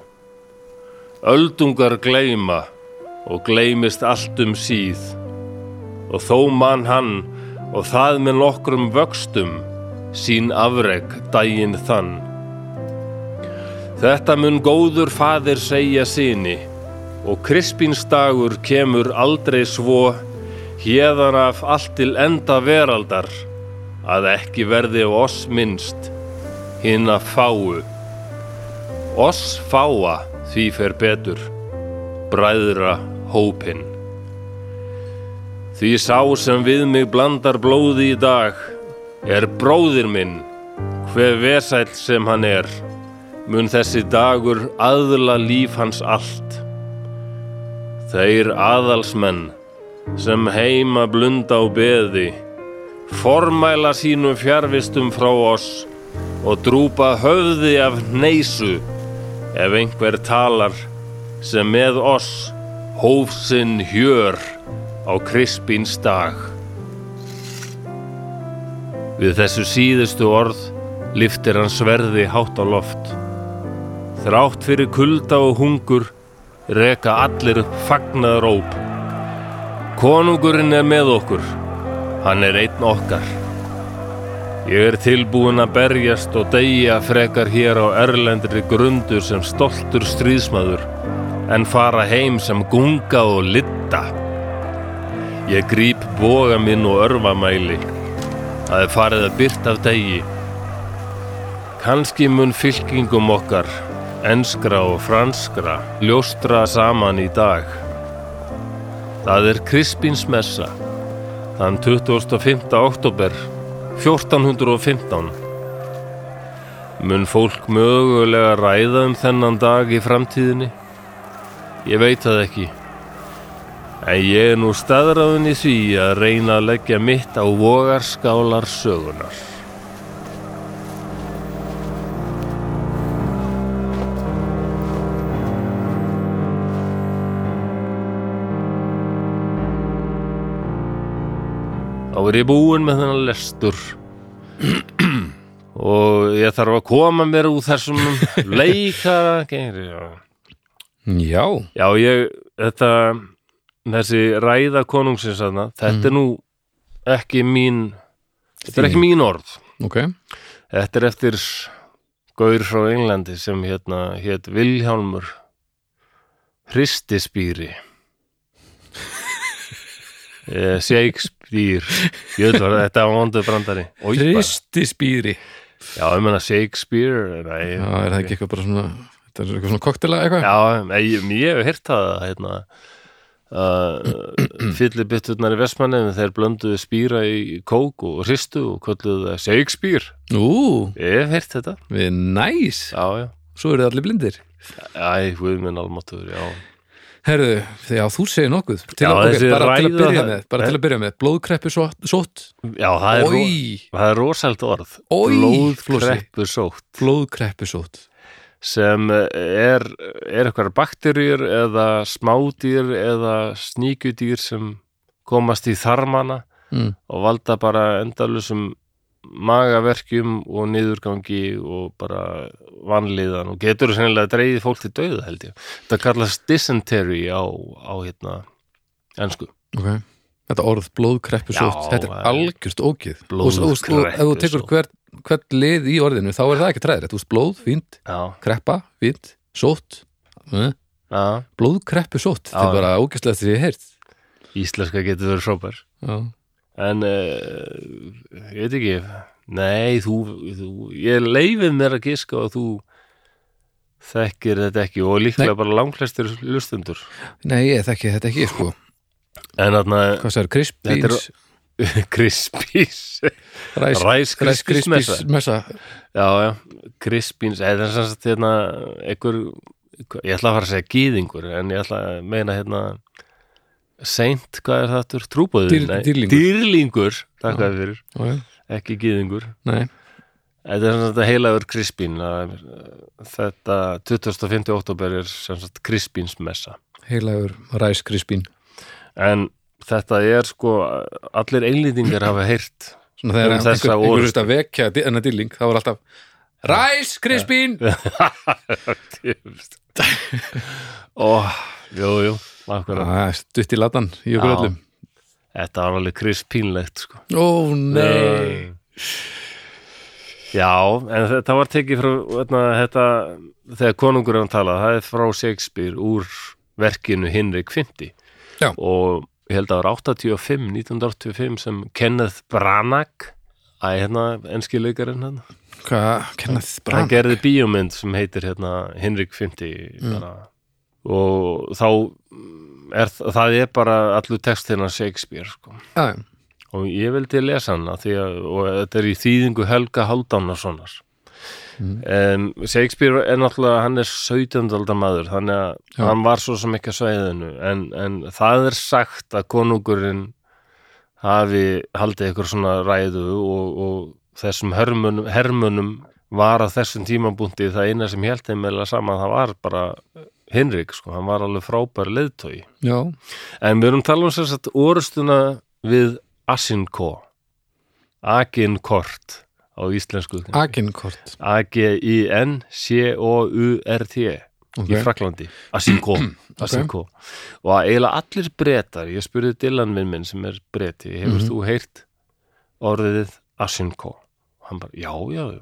Speaker 1: Öldungar gleyma og gleymist allt um síð og þó mann hann og það með nokkrum vöxtum sín afreg daginn þann. Þetta mun góður faðir segja sinni og Krispinsdagur kemur aldrei svo hérðan af allt til enda veraldar að ekki verði á oss minnst hinn að fáu. Oss fáa því fer betur, bræðra hópin. Því sá sem við mig blandar blóði í dag er bróðir minn, hver vesæll sem hann er mun þessi dagur aðla líf hans allt. Þeir aðalsmenn sem heima blunda á beði, formæla sínum fjarvistum frá oss og drúpa höfði af neysu ef einhver talar sem með oss hófsinn hjör á Krispins dag. Við þessu síðustu orð liftir hann sverði hátt á loft. Þrátt fyrir kulda og hungur reka allir upp fagnað róp. Konungurinn er með okkur. Hann er einn okkar. Ég er tilbúin að berjast og deyja frekar hér á erlendri grundu sem stoltur stríðsmaður en fara heim sem gunga og litta. Ég gríp boga minn og örvamæli. Það er farið að byrta af degi. Kanski mun fylkingum okkar, enskra og franskra, ljóstra saman í dag. Það er Krispins messa. Þann 25. oktober 1415 mun fólk mögulega ræða um þennan dag í framtíðinni? Ég veit það ekki. En ég er nú staðráðin í því að reyna að leggja mitt á vogarskálar sögunar. Þá er ég búinn með þennan lestur og ég þarf að koma mér úr þessum leikara gengri.
Speaker 2: Já,
Speaker 1: Já, ég, þetta, þessi ræða konungsins aðna,
Speaker 2: Mm.
Speaker 1: þetta er nú ekki mín, þetta er ekki mín orð.
Speaker 2: ok
Speaker 1: Þetta er eftir gaur frá Englandi sem hérna, hétt Vilhjálmur
Speaker 2: <laughs>
Speaker 1: Hristispýri. Eh, Shakespeare Ég veit var þetta var vondur brandari Oj, bara.
Speaker 2: Kristispýri
Speaker 1: Já, ég meina Shakespeare nei,
Speaker 2: Já, er það ekki eitthvað bara svona Þetta er eitthvað svona koktela eitthvað
Speaker 1: Já, nei, ég, ég hef heyrt það hérna, að fyllibitturnar í Vestmanninu þeir blönduðu spýra í kók og hristu og kölluðu það Shakespeare
Speaker 2: Ú,
Speaker 1: Ég hef heyrt þetta
Speaker 2: við næs
Speaker 1: Já, já,
Speaker 2: Svo eru þið allir blindir
Speaker 1: æ, guð minn almatur Já,
Speaker 2: Herðu, því að þú segir nokkuð til
Speaker 1: Já,
Speaker 2: að, ok,
Speaker 1: þessi
Speaker 2: bara, til að
Speaker 1: ræða-
Speaker 2: byrja með, bara til að byrja með Blóðkreppu sótt, sótt.
Speaker 1: já það, er ro,
Speaker 2: Oj,
Speaker 1: það er rosalt orð
Speaker 2: Oj,
Speaker 1: Blóðkreppu sótt
Speaker 2: blóðkreppu sótt
Speaker 1: sem er, er eitthvað bakterjur eða smádýr eða sníkudýr sem komast í þarmana
Speaker 2: mm.
Speaker 1: og valda bara endalusum magaverkjum og niðurgangi og bara vanlíðan og getur sennilega dreigið fólk til dauða held ég. Þetta kallast dysentery á, á hérna ennsku.
Speaker 2: Ok, þetta orð blóðkreppu sótt
Speaker 1: Já,
Speaker 2: Þetta
Speaker 1: það
Speaker 2: er
Speaker 1: er-
Speaker 2: algjörst ógið Og, og, og, og ef þú tekur
Speaker 1: Blóðkreppu
Speaker 2: hvert, hvert lið í orðinu þá er það ekki træðrætt, þú veist blóð, fínt
Speaker 1: Já,
Speaker 2: kreppa, fínt, sótt eh,
Speaker 1: já,
Speaker 2: blóðkreppu sótt,
Speaker 1: Já,
Speaker 2: þetta er bara ógæslega því ég heyrt
Speaker 1: íslenska getur verið frábær.
Speaker 2: Já,
Speaker 1: En uh, ég veit ekki, nei, þú, þú ég leifið mér að giska og þú þekkir þetta ekki og líklega bara langflestir lustundur.
Speaker 2: nei, ég þekki þetta ekki sko,
Speaker 1: En þarna <laughs>
Speaker 2: hvað sér, krispins
Speaker 1: Krispís
Speaker 2: ræs,
Speaker 1: Ræs
Speaker 2: ræs
Speaker 1: Krispís messa.
Speaker 2: krispins messa
Speaker 1: Já, já, Krispins eða þess að hérna einhver, ég ætla að fara að segja gýðingur en ég ætla að meina hérna Seint, hvað er það aftur? Trúbóður?
Speaker 2: Dýr- dýrlingur.
Speaker 1: Dýrlingur, takk að fyrir,
Speaker 2: Já, já,
Speaker 1: ekki gýðingur
Speaker 2: nei,
Speaker 1: Þetta er sem sagt heilagur Krispín að þetta 25. oktober er sem sagt Krispíns messa
Speaker 2: heilagur ræs krispin
Speaker 1: en þetta er sko allir einlýtingar hafa heyrt
Speaker 2: svona þegar
Speaker 1: Um
Speaker 2: einhver,
Speaker 1: þessa
Speaker 2: einhver,
Speaker 1: orð.
Speaker 2: einhver veist að vekja di- enna dilling, þá var alltaf ræs krispin
Speaker 1: Djöfust Ó, jú, jú, akkurat
Speaker 2: "Ah, stutt í latan í okkur
Speaker 1: Já.
Speaker 2: öllum
Speaker 1: Þetta var alveg krispínlegt sko
Speaker 2: ó nei,
Speaker 1: Já, en þetta var tekið frá veitna, þetta, þegar konungur er að tala það er frá Shakespeare úr verkinu Hinrik 50
Speaker 2: Já.
Speaker 1: og ég held að það var 85 1985 sem Kenneth Branagh Æ, hérna, enski leikarinn hérna, hann
Speaker 2: hvað, kennað
Speaker 1: hann
Speaker 2: brann
Speaker 1: gerði bíómynd sem heitir hérna Hinrik 50
Speaker 2: Mm.
Speaker 1: bara, og þá er, það er bara allur textina Shakespeare sko.
Speaker 2: Ah, Já, já.
Speaker 1: og ég vildi lesa hann af því að, og þetta er í þýðingu Helga Haldánasonar mm. Shakespeare er náttúrulega hann er 17. aldar maður þannig að
Speaker 2: Já.
Speaker 1: hann var svo sem ekki að svæðinu en, en það er sagt að konungurinn hafi haldið ykkur svona ræðu og, og þessum hermunum, hermunum var að þessum tímabúndi það eina sem held þeim meðlega saman það var bara Hinrik sko, hann var alveg frábær leiðtói
Speaker 2: já,
Speaker 1: En við erum að tala um sér satt orustuna við Asinko Aginkort á íslensku
Speaker 2: aginkort
Speaker 1: A-G-I-N-C-O-U-R-T í
Speaker 2: okay.
Speaker 1: Fraklandi Asinko, Asinko. og að eiginlega allir bretar ég spurði Dylan minn minn sem er breti hefur
Speaker 2: Mhm.
Speaker 1: þú heyrt orðið Asinko og hann bara, já, já,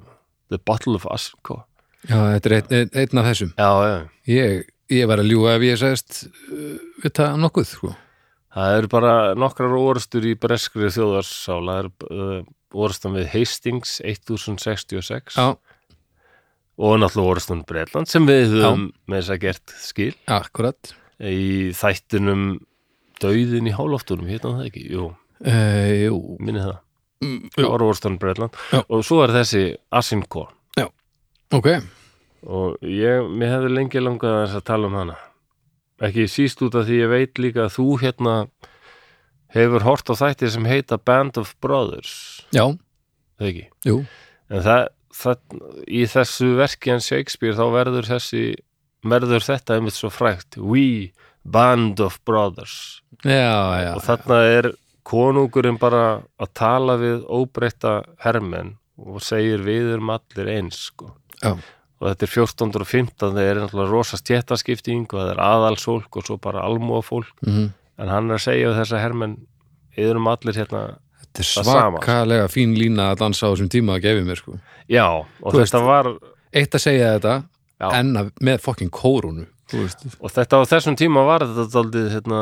Speaker 1: the bottle of Asinko
Speaker 2: Já, þetta er einn, einn, einn af þessum.
Speaker 1: já, já,
Speaker 2: Ég, ég var að ljúga ef ég sagðist uh, við það nokkuð, sko.
Speaker 1: Það eru bara nokkrar orustur í breskri þjóðarsál. Það eru uh, orustan við Hastings 1066
Speaker 2: Já,
Speaker 1: og náttúrulega orustan Bretland sem við höfum með þess að gert skil
Speaker 2: akkurat.
Speaker 1: í þættinum Dauðin í hálóftunum, hérna það ekki Jú,
Speaker 2: Eh, jú,
Speaker 1: minni það
Speaker 2: jú,
Speaker 1: Orvorstan Bretland
Speaker 2: Já.
Speaker 1: og svo er þessi Asinko
Speaker 2: ok
Speaker 1: og ég, mér hefði lengi langað aðeins að tala um hana ekki síst út af því ég veit líka að þú hérna hefur hort á þætti sem heita Band of Brothers
Speaker 2: Já,
Speaker 1: það ekki
Speaker 2: jú,
Speaker 1: en það, það, í þessu verki en Shakespeare þá verður þessi verður þetta einmitt svo frægt We Band of Brothers
Speaker 2: já, já
Speaker 1: og þarna er konungurinn bara að tala við óbreytta hermenn og segir við erum allir eins sko.
Speaker 2: Já.
Speaker 1: og þetta er 1415 það er náttúrulega rosa stjættaskipting og það er aðalsólk og svo bara almúafólk
Speaker 2: Mhm.
Speaker 1: en hann er að segja við þessa hermenn við erum allir hérna
Speaker 2: Þetta er
Speaker 1: það sama.
Speaker 2: svakalega fín lína að dansa á þessum tíma að gefi mér sko
Speaker 1: já og
Speaker 2: Þú
Speaker 1: þetta var
Speaker 2: Eitt að segja þetta,
Speaker 1: Já.
Speaker 2: en að, með fokkin kórunu Þú veist,
Speaker 1: og þetta á þessum tíma var þetta daldið hérna,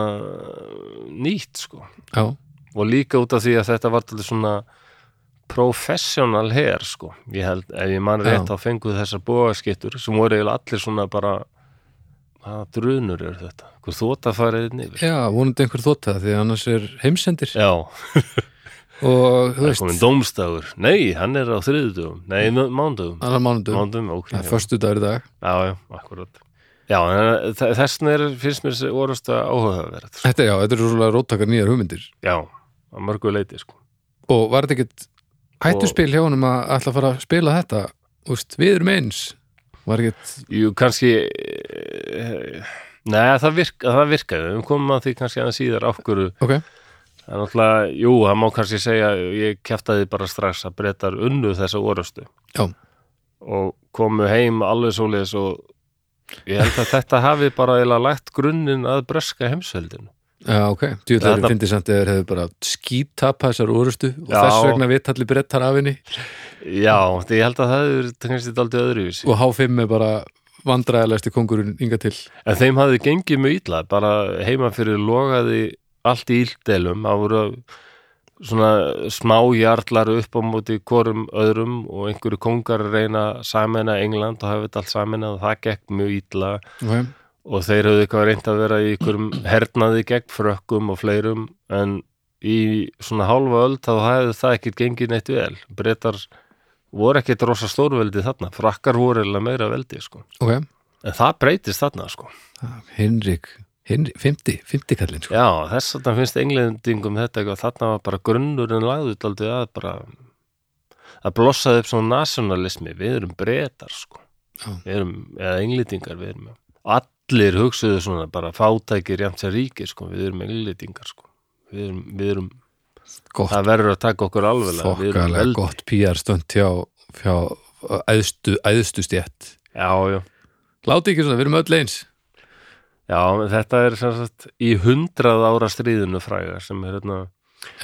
Speaker 1: nýtt sko
Speaker 2: já,
Speaker 1: og líka út af því að þetta var til svona professional her sko, ég held, ef ég man rétt
Speaker 2: Já.
Speaker 1: þá fenguð þessar bógaskittur sem voru eiginlega allir svona bara hvaða drunur eru þetta, hver þóta farið yfir,
Speaker 2: já, vonandi einhver þóta því að annars er heimsendir
Speaker 1: já,
Speaker 2: og, þú
Speaker 1: það er
Speaker 2: veist,
Speaker 1: komin dómstagur nei, hann er á þriðudugum, nei, mándugum
Speaker 2: annar mánudum
Speaker 1: mándugum, ok,
Speaker 2: Það er
Speaker 1: já,
Speaker 2: förstu dagur í dag
Speaker 1: já, já, akkurat já, en eh, þe- þessna er, finnst mér þessi orðasta áhugaverð, sko.
Speaker 2: Þetta, já, þetta eru svolítið róttakar nýjar hugmyndir
Speaker 1: já, að mörgu leiti sko,
Speaker 2: og var þetta ekkert hættuspil hjá honum að ætla að fara að spila þetta Úst, við erum eins var ekkert,
Speaker 1: Jú, kannski eh, Nei, það, virk, það virkaði Við komum að því kannski aðeins síðar af hverju
Speaker 2: ok,
Speaker 1: Það er náttúrulega, jú, það má kannski segja Ég keftaði bara strax að breytar unnu þessa orustu
Speaker 2: Já.
Speaker 1: Og komu heim alveg svoleiðis og ég held að þetta hafi bara eiginlega lagt grunnin að breska heimsveldinu
Speaker 2: já, ok djúðlega
Speaker 1: Þetta-
Speaker 2: þetta... fyndi samt eða þeir hefðu bara skítapa þessar orustu og
Speaker 1: Já.
Speaker 2: þess vegna við talli brettar af henni
Speaker 1: Já, því ég held að það er kannski daldið öðruvísi
Speaker 2: og H5 er bara vandræðalæsti kongurinn ynga til
Speaker 1: En þeim hafði gengið mjög illa, bara heima fyrir logaði allt í íldelum, það voru svona smájarlar upp á móti hvorum öðrum og einhverju kongar að reyna að sameina England og hafa þetta allt sameina og það gekk mjög illa
Speaker 2: okay.
Speaker 1: og þeir höfðu eitthvað reynd að vera í einhverjum hernaði gegn frökkum og fleirum en í svona hálfa öld þá hafði það ekkit gengið neitt vel. Bretar voru ekkit rosa stórveldi þarna, frakkar voru eða meira veldi sko.
Speaker 2: ok,
Speaker 1: En það breytist þarna sko.
Speaker 2: Henrik Henrik, 50, 50 kallinn sko.
Speaker 1: Já, þess að það finnst englendingum þetta eitthvað, þarna var bara grunnurinn lagður daldið að bara að blossaði upp svona nationalismi við erum breytar sko
Speaker 2: Já.
Speaker 1: við erum, eða englendingar við erum allir hugsuðu svona bara fátækir jæmt sér ríkir sko, við erum englendingar sko, við erum, við erum
Speaker 2: gott,
Speaker 1: það verður að taka okkur alveg við erum
Speaker 2: þokkalega
Speaker 1: veldi,
Speaker 2: gott PR stönd hjá, hjá æðstu, æðstu stjætt
Speaker 1: já, já
Speaker 2: láti ekki svona, við erum öll eins
Speaker 1: Já, en þetta er sem sagt í hundrað ára stríðinu fræga sem er hérna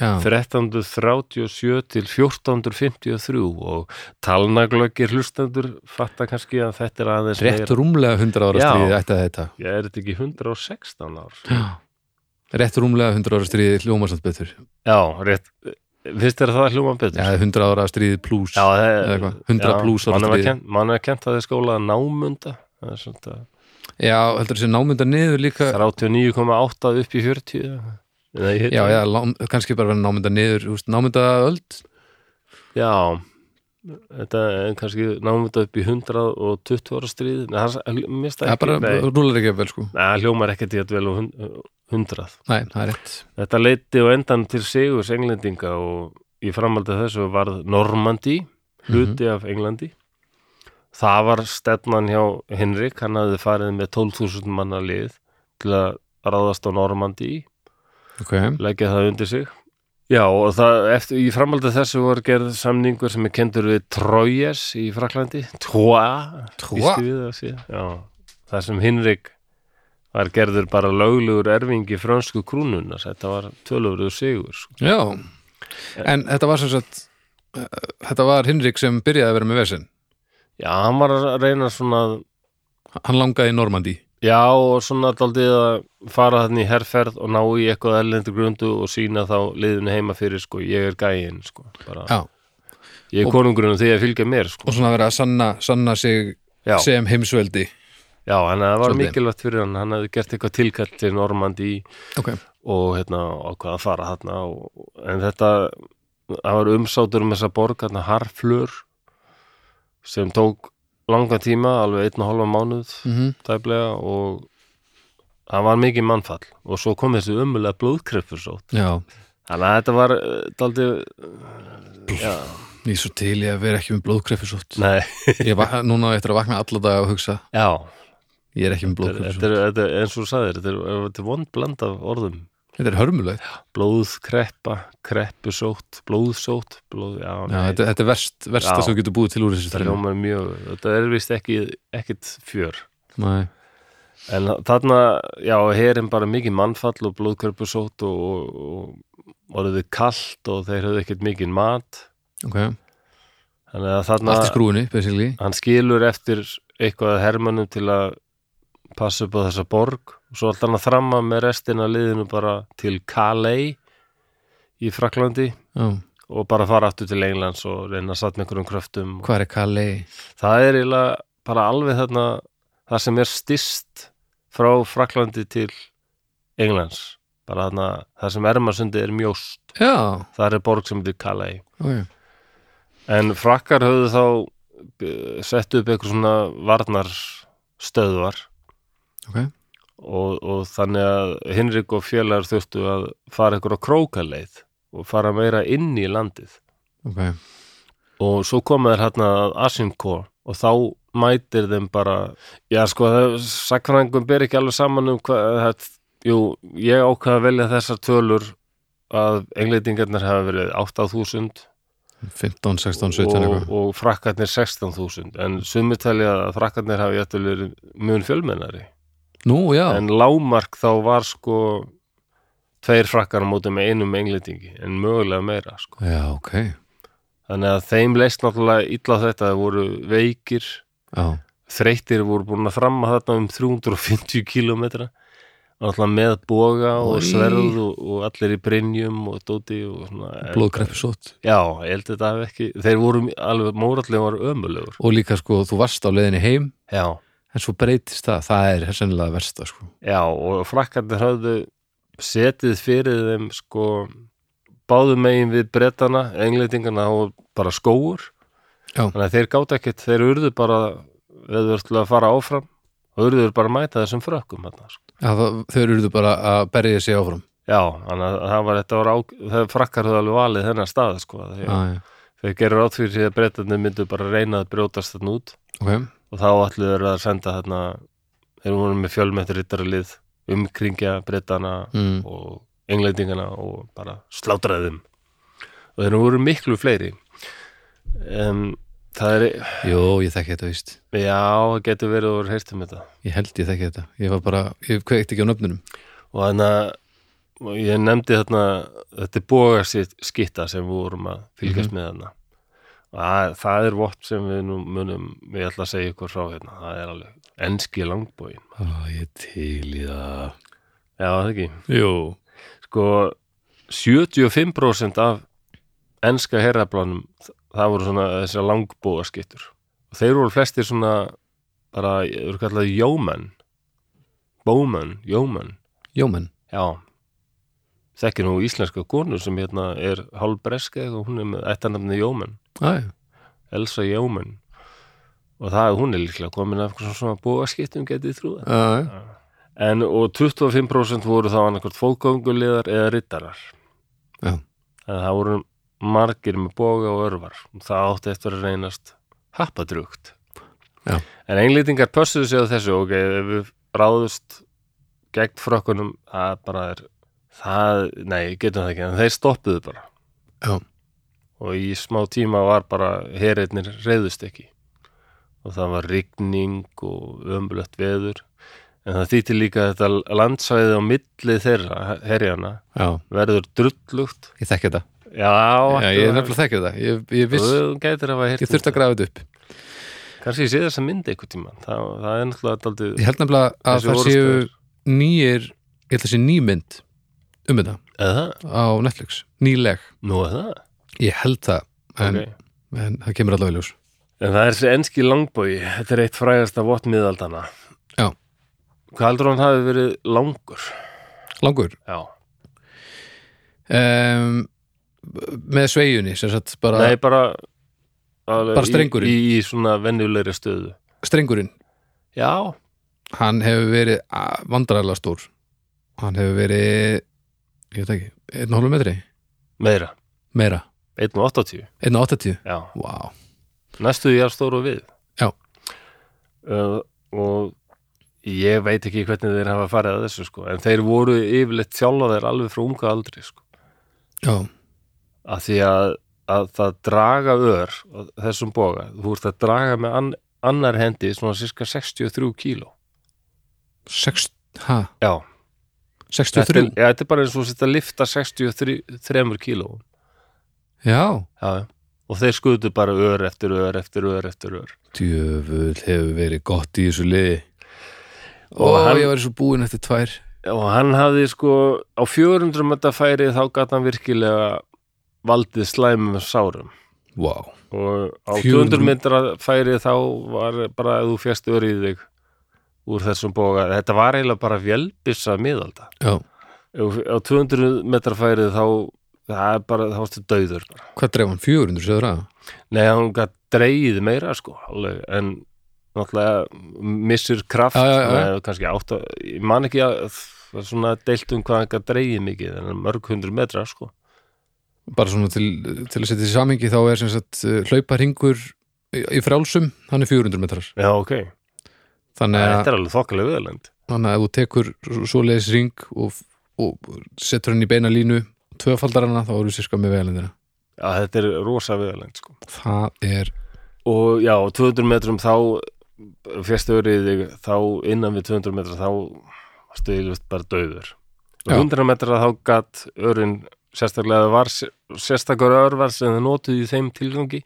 Speaker 2: já,
Speaker 1: 1337 til 1453 og talnaglöggir hlustendur fatta kannski að þetta er aðeins
Speaker 2: rétt rúmlega 100 ára
Speaker 1: Já.
Speaker 2: stríði ætti að þetta
Speaker 1: Já, er þetta ekki 116 ár?
Speaker 2: Rétt rúmlega 100 ára stríði hljómar samt betur.
Speaker 1: Já, rétt Fyrst er það hljóma betur?
Speaker 2: Já, 100 ára stríði pluss.
Speaker 1: já það
Speaker 2: eða
Speaker 1: er
Speaker 2: eitthvað, 100 plús ára stríði.
Speaker 1: Man er kent að þið skóla námunda það er svona
Speaker 2: Já, heldur þessi námynda niður líka,
Speaker 1: 39,8 upp í 40 Nei, ég-
Speaker 2: já, já, lám, kannski bara vera námynda niður, úst, námynda öld,
Speaker 1: Já, þetta er kannski námunda upp í 120 ára stríð Nei, það mista
Speaker 2: það
Speaker 1: ekki
Speaker 2: bara
Speaker 1: Nei,
Speaker 2: rúlar ekki vel, sko.
Speaker 1: Nei, það hljómar ekkert í að dvel á hun- 100
Speaker 2: Nei, það er rétt.
Speaker 1: Þetta leiti á endan til Sigurs englendinga og í framhaldi af þessu varð Normandi, hluti af Englandi. Það var stefnan hjá Henrik, hann hafði farið með 12.000 manna lið til að ráðast á Normandi,
Speaker 2: Ok,
Speaker 1: leggja það undir sig. Já, og það, eftir, í framhaldi af þessu var gerð samningur sem er kendur við Troyes í Fraklandi, Troa,
Speaker 2: Troyes?
Speaker 1: býstu við að sé, já, það sem Henrik var gerður bara löglegur erfingi frönsku krúnunas, þetta var tölurður sigur, sko.
Speaker 2: já, en þetta var sem sagt, eh, þetta var Hinrik sem byrjaði að vera með vesinn.
Speaker 1: Já, hann var að reyna svona að-
Speaker 2: Hann langaði í Normandi.
Speaker 1: Já, og svona daldið að fara þannig í herrferð og ná í eitthvað erlendur grundu og sína þá liðinu heima fyrir, sko, ég er gæinn, sko, bara,
Speaker 2: Já,
Speaker 1: ég er
Speaker 2: og-
Speaker 1: konungurinn og þið að fylgja mér, sko,
Speaker 2: og svona vera að sanna, sanna sig
Speaker 1: já,
Speaker 2: sem heimsveldi.
Speaker 1: Já, hann það var
Speaker 2: Svolítið.
Speaker 1: mikilvægt fyrir hann, hann hefði gert eitthvað tilkall til Normandi
Speaker 2: ok,
Speaker 1: og hérna ákvað að fara þarna og, en þetta, það var umsátur um þessa borg, hérna Harflur sem tók langan tíma, alveg einn og hálfa mánuð
Speaker 2: mm -hmm.
Speaker 1: tæplega og það var mikið mannfall og svo kom þessi ömulega blóðkreppur svo
Speaker 2: já
Speaker 1: þannig að þetta var eh, daldi já,
Speaker 2: ég er svo til ég að vera ekki með blóðkrefisótt
Speaker 1: nei,
Speaker 2: ég var <laughs> núna á eftir að vakna alla dag og hugsa
Speaker 1: já
Speaker 2: ég er ekki með
Speaker 1: þetta er-
Speaker 2: blóðkrefisótt
Speaker 1: þetta er, þetta er eins og þú sagðir, þetta er, þetta er vond bland af orðum
Speaker 2: þetta er hörmulegt,
Speaker 1: blóðkreppa, kreppusótt blóðsótt, blóð, já,
Speaker 2: já, þetta, þetta er verst, versta
Speaker 1: Já.
Speaker 2: sem þú getur búið til úr þessu
Speaker 1: þetta
Speaker 2: þrjum
Speaker 1: ljómar mjög þetta er vist ekki, ekkit fjör
Speaker 2: Nei.
Speaker 1: En þarna, já, herin bara mikið mannfall og blóðkörpusót og, og, og orðið kalt og þeir höfðu ekkert mikið mat.
Speaker 2: ok,
Speaker 1: Þannig að þarna,
Speaker 2: allt í skrúinu basically,
Speaker 1: hann skilur eftir eitthvað að hermönnum til að passa upp á þessa borg og svo alltaf hann að þramma með restina af liðinu bara til Calais í Fraklandi
Speaker 2: já,
Speaker 1: og bara fara aftur til Englands og reyna að satna einhverjum kröftum.
Speaker 2: hvað er Calais
Speaker 1: Það er eiginlega bara alveg þarna það sem er stist frá Fraklandi til Englands bara þarna, það sem Ermarsundi er mjóst,
Speaker 2: já,
Speaker 1: það er borg sem þið kalla í
Speaker 2: ok,
Speaker 1: en frakkar höfðu þá eh, sett upp eitthvað svona varnarstöðvar
Speaker 2: ok
Speaker 1: og, og þannig að Hinrik og félagar þurftu að fara eitthvað á krókaleið og fara meira inn í landið
Speaker 2: ok,
Speaker 1: og svo koma þær hérna að Asimco og þá mætir þeim bara já sko, sakfræðingum ber ekki alveg saman um hvað það, jú, ég ákvað að velja þessar tölur að englendingarnir hafa verið 8.000
Speaker 2: 15, 16, 17
Speaker 1: og,
Speaker 2: eitthvað
Speaker 1: og frakkarnir 16.000 en sumir talja að frakkarnir hafi jættu verið mun fjölmennari
Speaker 2: nú, já,
Speaker 1: en lámark þá var sko tveir frakkar á móti með einum englendingi en mögulega meira sko
Speaker 2: já, ok
Speaker 1: þannig að þeim leist náttúrulega illa á þetta það voru veikir,
Speaker 2: já,
Speaker 1: þreytir voru búin að framma þarna um 350 kilometra náttúrulega með boga og
Speaker 2: Oj.
Speaker 1: sverð og, og allir í brinjum og dóti og svona
Speaker 2: Eh,
Speaker 1: En-
Speaker 2: blóðkrefisótt
Speaker 1: já, ég held þetta hafi ekki, þeir voru alveg mórallega var ömulegur
Speaker 2: og líka sko, þú varst á leiðinni heim
Speaker 1: já,
Speaker 2: en svo breytist það, það er sennilega versta sko.
Speaker 1: já, og frakkarnir höfðu setið fyrir þeim sko báðum megin við brettana, englendingana og bara skóur
Speaker 2: Já.
Speaker 1: þannig að þeir gátt ekkert, þeir urðu bara veður til að fara áfram og urður bara að mæta þessum frökkum hérna, sko.
Speaker 2: Já, það, þau eruðu bara að berja sig áfram
Speaker 1: já, þannig að það var þetta var á, það frakkar höfðu alveg valið þennan stað sko, þeir,
Speaker 2: ah, já.
Speaker 1: þeir gerur átt fyrir því að brettarnir myndu bara reyna að brjótast þarna út
Speaker 2: ok,
Speaker 1: og þá ætluðu þeir að senda þarna þeir voru með fjölmættir rittaralið umkringja brettana
Speaker 2: mm.
Speaker 1: og englendingana og bara slátraði þeim og þeir voru miklu fleiri um, það er
Speaker 2: jú, ég þekki þetta víst
Speaker 1: já, það getur verið og heyrt um þetta
Speaker 2: ég held ég þekki þetta, ég var bara ég kveikti ekki á nöfnunum
Speaker 1: og þannig að ég nefndi þarna þetta er boga skitta sem við vorum að fylgjast með þarna og það, það er vott sem við nú munum við ætla að segja ykkur frá hérna það er alveg enski langbóin
Speaker 2: Ó, ég er til í það
Speaker 1: já, það ekki
Speaker 2: jú,
Speaker 1: sko 75% af enska herrablanum það voru svona þessar langbóa skittur og þeir voru flestir svona bara, þeir voru kallað jómenn bómenn, jómenn
Speaker 2: jómenn
Speaker 1: já þekki nú íslenska konu sem hérna er hálbreska og hún er með ættanafni jómenn,
Speaker 2: ah,
Speaker 1: Elsa jómenn og það, hún er líklega komin af svona, svona bóa skittum getið trúða
Speaker 2: ah,
Speaker 1: En og 25% voru þá annarkvort fólkgöngulegar eða rittarar.
Speaker 2: Já.
Speaker 1: En það voru margir með boga og örvar. Það átti eftir að reynast happadrugt.
Speaker 2: Já.
Speaker 1: En englýtingar pössuðu sig á þessu, ok, ef við ráðust gegn frökkunum, það bara er, það, nei, getum það ekki, en þeir stoppuðu bara.
Speaker 2: Já.
Speaker 1: Og í smá tíma var bara, herinnir reyðust ekki. Og það var rigning og ömulegt veður. En það þýtti líka að þetta landsvæði á milli þeirra, herjana,
Speaker 2: já,
Speaker 1: verður drullugt.
Speaker 2: ég þekki þetta
Speaker 1: Já,
Speaker 2: já, ég er nefnilega þekki þetta, ég, ég viss
Speaker 1: Þú gætir að hafa
Speaker 2: ég þurfti að grafa þetta upp
Speaker 1: Kanski ég sé þess að mynda eitthvað tíma. Það, það er náttúrulega daldið...
Speaker 2: ég held nefnilega að það séu nýjir, ég held að sé nýmynd um þetta
Speaker 1: Eða?
Speaker 2: á Netflix, nýleg
Speaker 1: Nú er það?
Speaker 2: ég held það, en,
Speaker 1: Ok.
Speaker 2: en það kemur allavega í ljós
Speaker 1: En það er þessi enski langbói, þetta er eitt frægasta vottmiðaldana
Speaker 2: Já.
Speaker 1: Hvað heldur hann hafi verið langur?
Speaker 2: langur
Speaker 1: Já.
Speaker 2: um, með sveigjunni sem sagt bara
Speaker 1: Nei, bara alveg
Speaker 2: Bara strengurinn?
Speaker 1: Í, í, í svona venjulegri stöðu
Speaker 2: strengurinn,
Speaker 1: Já,
Speaker 2: hann hefur verið vandrarlega stór hann hefur verið ég veit ekki, 1,5 metri
Speaker 1: meira
Speaker 2: meira,
Speaker 1: 1.80,
Speaker 2: 1,80
Speaker 1: já
Speaker 2: wow.
Speaker 1: Næstu ég er stóru við
Speaker 2: Já.
Speaker 1: uh, Og ég veit ekki hvernig þeir hafa farið að þessu sko En þeir voru yfirleitt þjálfaðir alveg frá unga aldri sko
Speaker 2: já,
Speaker 1: Af því að, að það draga ör á þessum boga Þú ert að draga með an, annar hendi svona sirka 63 kíló
Speaker 2: Sext, ha,
Speaker 1: Já, þetta er,
Speaker 2: 63
Speaker 1: ja, þetta er bara eins og þú sitt að lifta 63 kíló
Speaker 2: já,
Speaker 1: Já, já. og þeir skutu bara ör eftir ör eftir ör eftir ör
Speaker 2: djöfull hefur verið gott í þessu liði og
Speaker 1: Og hann-
Speaker 2: ég var svo búinn eftir tvær
Speaker 1: og hann hafði sko á 400 metra færi þá gat hann virkilega valdið slæmum sárum
Speaker 2: wow.
Speaker 1: og á
Speaker 2: 400
Speaker 1: 200 metra færi þá var bara að þú fjast ör í þig úr þessum boga þetta var eiginlega bara vélbissa miðalda
Speaker 2: já.
Speaker 1: Ef- á 200 metra færi þá það er bara, þá varstu döður bara.
Speaker 2: hvað dreif hann, 400 söður að
Speaker 1: nei, hann gat dreigið meira sko alveg, en náttúrulega missir kraft
Speaker 2: Já, já, já.
Speaker 1: þannig að kannski átta, ég man ekki að það er svona deilt um hvað hann gat dreigið mikið en mörg hundru metra sko
Speaker 2: bara svona til, til að setja þessi samingi þá er sem sagt eh, hlauparingur í í frjálsum, hann er 400 metrar
Speaker 1: Já, ok,
Speaker 2: þannig að,
Speaker 1: þetta er alveg þokkalega viðalend
Speaker 2: þannig að ef þú tekur svo- svoleiðis ring og, og setur hann í beina línu tvöfaldar hana þá eru sérska með vegalendina
Speaker 1: Já, þetta er rosa viðalend sko
Speaker 2: það er,
Speaker 1: og já, á 200 metrum þá fyrstu örið þig þá innan við 200 metra þá varstu yfirleitt bara döður
Speaker 2: Já.
Speaker 1: 100 metra þá gat örin sérstaklega var sérstakar örvar sem þið notuðu í þeim tilgangi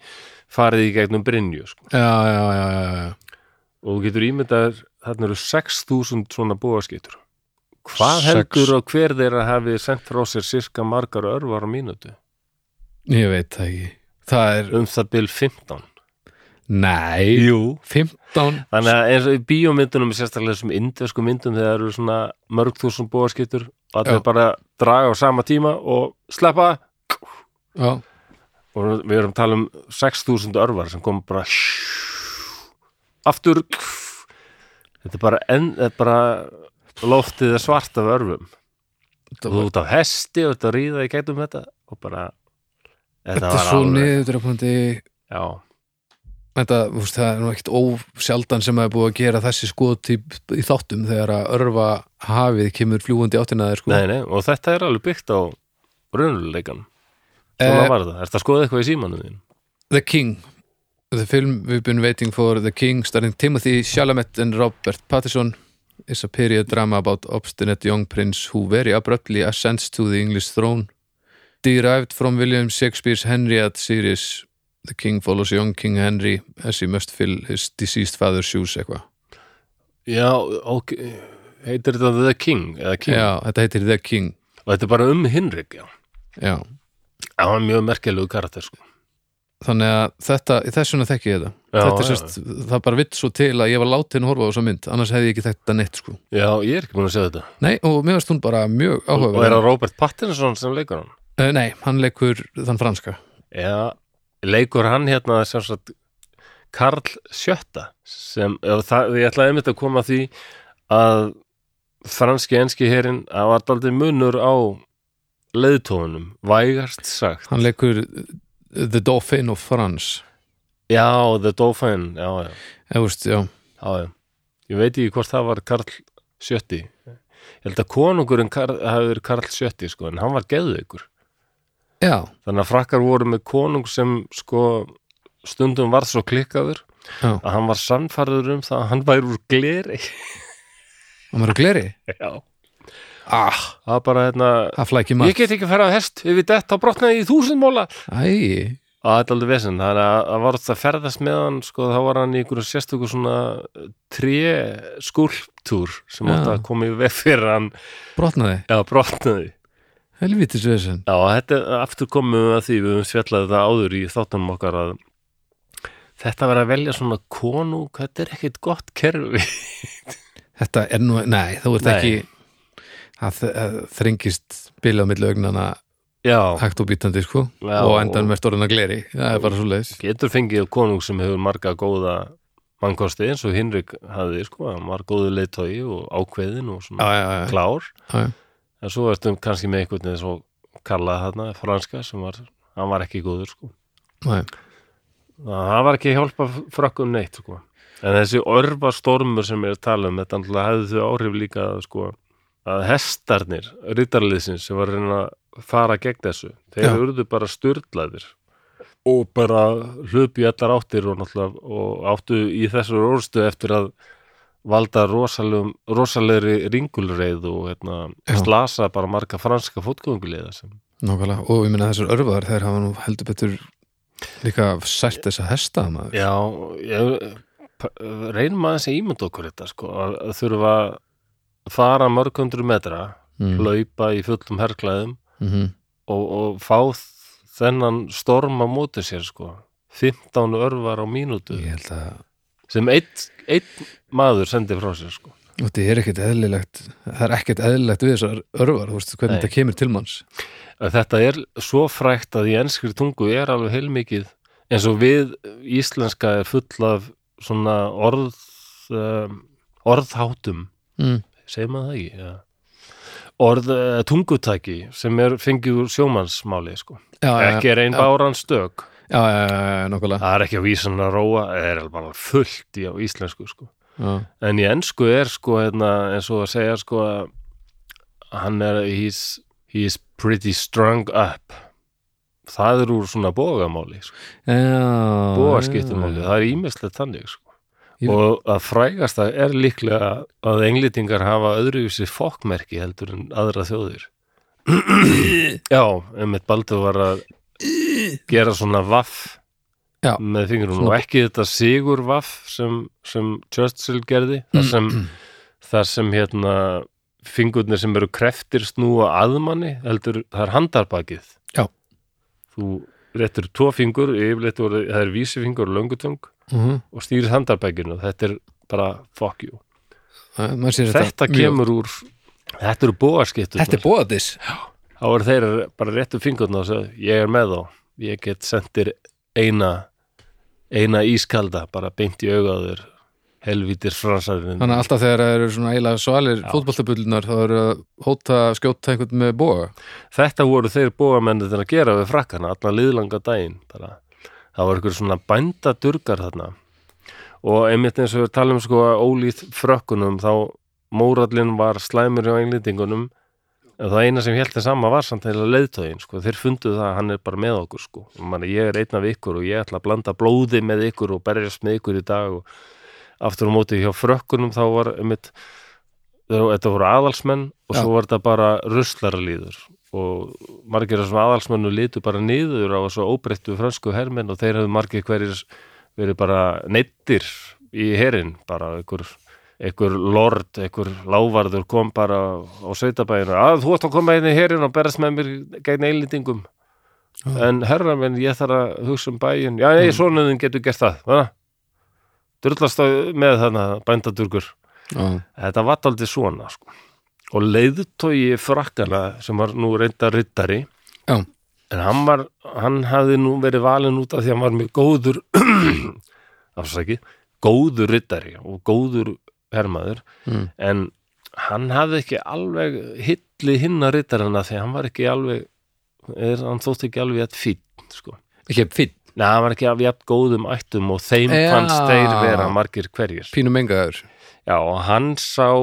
Speaker 1: farið í gegnum Brynju sko.
Speaker 2: já, já, já, já, já.
Speaker 1: og þú getur ímyndaður þarna eru 6.000 svona búaskýtur hvað
Speaker 2: Sex.
Speaker 1: heldur og hver þeirra hafi sendt frá sér sirka margar örvar á mínútu
Speaker 2: ég veit það ekki það er,
Speaker 1: um það bil 15
Speaker 2: nei
Speaker 1: Jú.
Speaker 2: 15,
Speaker 1: Þannig að eins og í bíómyndunum sérstaklega þessum indversku myndum þegar það eru svona mörg þúsund bóðaskiptur og allir
Speaker 2: Já.
Speaker 1: bara draga á sama tíma og sleppa
Speaker 2: já,
Speaker 1: og við erum að tala um 6000 örvar sem kom bara aftur þetta er bara, enn, þetta er bara loftið er svart af örvum
Speaker 2: þetta
Speaker 1: og þú ert á hesti og þetta ríða í gætum þetta og bara þetta,
Speaker 2: Þetta er
Speaker 1: var
Speaker 2: svo
Speaker 1: alveg
Speaker 2: niðurdrepandi
Speaker 1: já,
Speaker 2: Þetta, þú veist, það er nú ekkit ósjaldan sem að er búið að gera þessi skot í, í þáttum þegar að örfa hafið kemur fljúandi áttina þeir sko
Speaker 1: nei, nei, og þetta er alveg byggt á raunleikan svona
Speaker 2: Eh,
Speaker 1: var það, ertu að skoða eitthvað í símanum þín?
Speaker 2: The King The film we've been waiting for The King starring Timothy Chalamet and Robert Pattinson is a period drama about obstinate young prince who very abruptly ascends to the English throne derived from William Shakespeare's Henriette series The King follows young King Henry as he must fill his deceased father's shoes eitthvað
Speaker 1: Já, ok, heitir þetta The King eða King,
Speaker 2: Já, þetta heitir The King
Speaker 1: og þetta er bara um Hinrik, já
Speaker 2: Já,
Speaker 1: Já, hann er mjög merkjulegu karakter, sko
Speaker 2: þannig að þetta, þessuna þekki ég þetta
Speaker 1: Já,
Speaker 2: þetta er
Speaker 1: já.
Speaker 2: sérst, það bara vitt svo til að ég var látin að horfa á þessa mynd, annars hefði ég ekki þekkt þetta neitt sko.
Speaker 1: Já, ég er ekki búin að segja þetta
Speaker 2: Nei, og mér varst hún bara mjög áhugaverð
Speaker 1: Og er það Robert Pattinson sem leikur hann?
Speaker 2: Uh, nei, hann leikur þann franska
Speaker 1: Já, leikur hann hérna sem sagt Karl Sjötta sem, eða það, ég ætlaði einmitt að koma að því að franski enski herin, að var daldið munur á leiðtóðunum vægast sagt
Speaker 2: Hann leikur uh, The Dauphin of France
Speaker 1: Já, The Dauphin, já, já
Speaker 2: Eða, þú veist, já,
Speaker 1: Já, já. Ég veit ekki hvort það var Karl Sjötti. Ég held að konungurinn Karl, hafi verið Karl Sjötti, sko, en hann var geðveikur.
Speaker 2: já,
Speaker 1: Þannig að frakkar voru með konung sem, sko, stundum var svo klikkaður
Speaker 2: já
Speaker 1: að hann var sannfærður um það að hann væri úr gleri. <laughs>
Speaker 2: Hann var á gleri
Speaker 1: Já.
Speaker 2: Ah,
Speaker 1: Það var bara, hérna,
Speaker 2: það flækir
Speaker 1: ég
Speaker 2: maður
Speaker 1: get ekki að fara að hest, ef ég dett, þá brotnaði ég í þúsund móla.
Speaker 2: Æ,
Speaker 1: Það er aldrei vesinn, þannig að það var þetta ferðast með hann, sko, þá var hann í einhverju sérstöku svona tré skúlptúr sem
Speaker 2: Já.
Speaker 1: átti að koma í veg fyrir að hann,
Speaker 2: brotnaði,
Speaker 1: já, brotnaði.
Speaker 2: helvitis vesen
Speaker 1: Já, þetta er aftur komum við að því við höfum svellað þetta áður í þáttunum okkar að þetta verið að velja svona konung, þetta er ekkit gott kerfi
Speaker 2: Þetta er nú, nei, þú ert
Speaker 1: Nei.
Speaker 2: ekki það það þrengist bilað milli augnana
Speaker 1: Já,
Speaker 2: hægt og bítandi sko
Speaker 1: Já,
Speaker 2: og endan
Speaker 1: og-
Speaker 2: verðst orðin að gleri, það er bara svo leiðis
Speaker 1: getur fengið konung sem hefur marga góða mannkosti eins og Hinrik hafði sko, hann var góðu leitói og ákveðin og
Speaker 2: Já,
Speaker 1: svona
Speaker 2: já, já, já,
Speaker 1: klár
Speaker 2: já,
Speaker 1: en svo ertum kannski með einhvern veginn svo kallað þarna, franska sem var hann var ekki góður sko
Speaker 2: já,
Speaker 1: það var ekki að hjálpa frökkum neitt sko. en þessi örfa stormur sem ég er að tala um, þetta alltaf hefði þau áhrif líka að, sko, að hestarnir rittarliðsins sem var að reyna að fara gegn þessu, þeir
Speaker 2: Já.
Speaker 1: urðu bara styrlaðir og bara hlupu í allar áttir og, náttúrulega- og áttu í þessu orðstu eftir að valda rosalegum, rosalegri ringulreið og hérna,
Speaker 2: Já.
Speaker 1: slasa bara marga franska fótgönguleiða sem
Speaker 2: nákvæmlega og ég minna þessar örfaðar, þær hafa nú heldur betur líka sælt þessa hesta maður,
Speaker 1: Já, ég, p- reynum aðeins að ímynda okkur þetta sko, að að þurfa að fara mörg hundru metra,
Speaker 2: mm,
Speaker 1: hlaupa í fullum herklæðum
Speaker 2: mm,
Speaker 1: og, og fá þ- þennan storma móti sér sko, 15 örvar á mínútu
Speaker 2: ég held að
Speaker 1: sem einn einn maður sendi frá sér sko.
Speaker 2: og þetta er ekkert eðlilegt það er ekkert eðlilegt við þessar örfaðar þú veist hvernig
Speaker 1: Nei.
Speaker 2: þetta kemur til manns
Speaker 1: Að Þetta er svo frækt að í enskri tungu er alveg heilmikið eins og við íslenska er full af svona orð, um, orðhátum
Speaker 2: mm,
Speaker 1: segir maður það ekki ja. orð uh, tungutæki sem er fengið úr sjómannsmáli sko.
Speaker 2: já, já, já,
Speaker 1: ekki er einn
Speaker 2: já.
Speaker 1: báran stök
Speaker 2: já, já, já, já, nákvæmlega
Speaker 1: það er ekki á vísan að róa það er alveg bara fullt í á íslensku sko.
Speaker 2: já,
Speaker 1: en í ennsku er sko hérna, eins og að segja sko að hann er he's, he's pretty strung up það er úr svona bógamáli sko.
Speaker 2: já
Speaker 1: bógaskiptumáli, það er ímestlegt þannig sko.
Speaker 2: Ég-
Speaker 1: og að frægast það er líklega að englitingar hafa öðruvísi fokkmerki heldur en aðra þjóðir já, um eitt baldur var að gera svona vaff
Speaker 2: Já.
Speaker 1: með fingrunum
Speaker 2: Svona-
Speaker 1: og ekki þetta sigur vaff sem, sem Churchill gerði
Speaker 2: Mm.
Speaker 1: þar sem, þar sem hérna fingurnir sem eru kreftir snúa aðmanni, heldur það er handarbakið
Speaker 2: Já.
Speaker 1: þú réttur tvo fingur, yfirleitt voru, það er vísifingur og löngutöng
Speaker 2: <clears throat> Mhm.
Speaker 1: og stýrir handarbækinu þetta er bara fuck you
Speaker 2: Já, maður sér
Speaker 1: þetta,
Speaker 2: mjög-
Speaker 1: kemur úr þetta eru bóaskiptur
Speaker 2: Þetta er bóðis
Speaker 1: þá eru þeir bara réttu fingurna og segja ég er með þá, ég get sendir eina eina ískalda, bara beint í augaður helvítir fransarinn
Speaker 2: Þannig að alltaf þegar það eru svona eiginlega svalir
Speaker 1: Já.
Speaker 2: fótballtabullunar þá eru að hóta að skjóta einhvern með bóga
Speaker 1: þetta voru þeir bóamennir að gera við frakkana allan liðlanga daginn bara. það var einhver svona bændadurgar þarna og einmitt eins og við talum sko að ólíð frökkunum þá mórallinn var slæmur hjá englendingunum en það eina sem held þeir sama var samt heila leiðtögin sko, þeir funduð það að hann er bara með okkur sko, Man, ég er einn af ykkur og ég ætla að blanda blóði með ykkur og berjast með ykkur í dag og aftur á móti hjá frökkunum þá var einmitt þeir- þetta voru aðalsmenn og
Speaker 2: Já.
Speaker 1: svo var þetta bara ruslaralíður og margir af þessum aðalsmennu litu bara niður á þessu óbreyttu fransku hermenn og þeir hefðu margir hverjir verið bara neittir í herin, bara einhver, einhver lord, einhver lávarður kom bara á sveitabæðinu að þú ætti að koma inn í herin og berast með mér gegn eilendingum
Speaker 2: Já. Mm.
Speaker 1: en herra minn, ég þarf að hugsa um bæin já, nei, svona þinn getur gert það hana? drullast á með þarna bændadurgur þetta var aldrei svona sko. og leiðutói frakkana sem var nú reynda rittari
Speaker 2: Já.
Speaker 1: en hann var hann hafði nú verið valinn út af því að hann var mjög góður <clears throat> afsaki, góður rittari og góður hermaður
Speaker 2: Mm.
Speaker 1: en hann hafði ekki alveg hilli hinna rittarana því að hann var ekki alveg er, hann þótti ekki alveg jætt fýtt sko.
Speaker 2: Ekki fín,
Speaker 1: Nei, hann var ekki af jætt góðum ættum og þeim
Speaker 2: Já.
Speaker 1: fannst þeir vera margir hverjir
Speaker 2: pínum engaður
Speaker 1: Já, og hann sá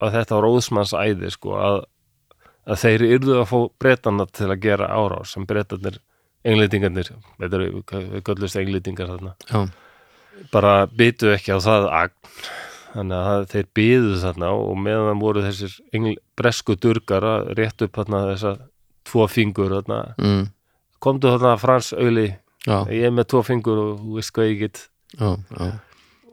Speaker 1: að þetta var óðsmanns æði sko, að, að þeir yrðu að fá breytana til að gera árás sem breytanir, englendingarnir þetta eru, við köllumst englendingar þarna
Speaker 2: Já,
Speaker 1: bara byttu ekki á það agn þannig að það- þeir byðu þarna og meðan voru þessir engl, bresku durgar að rétt upp þarna þessa tvo fingur þarna
Speaker 2: mm.
Speaker 1: komdu þarna frans auðli
Speaker 2: já,
Speaker 1: ég er með tvo fingur og þú veist hvað ég get
Speaker 2: já, já.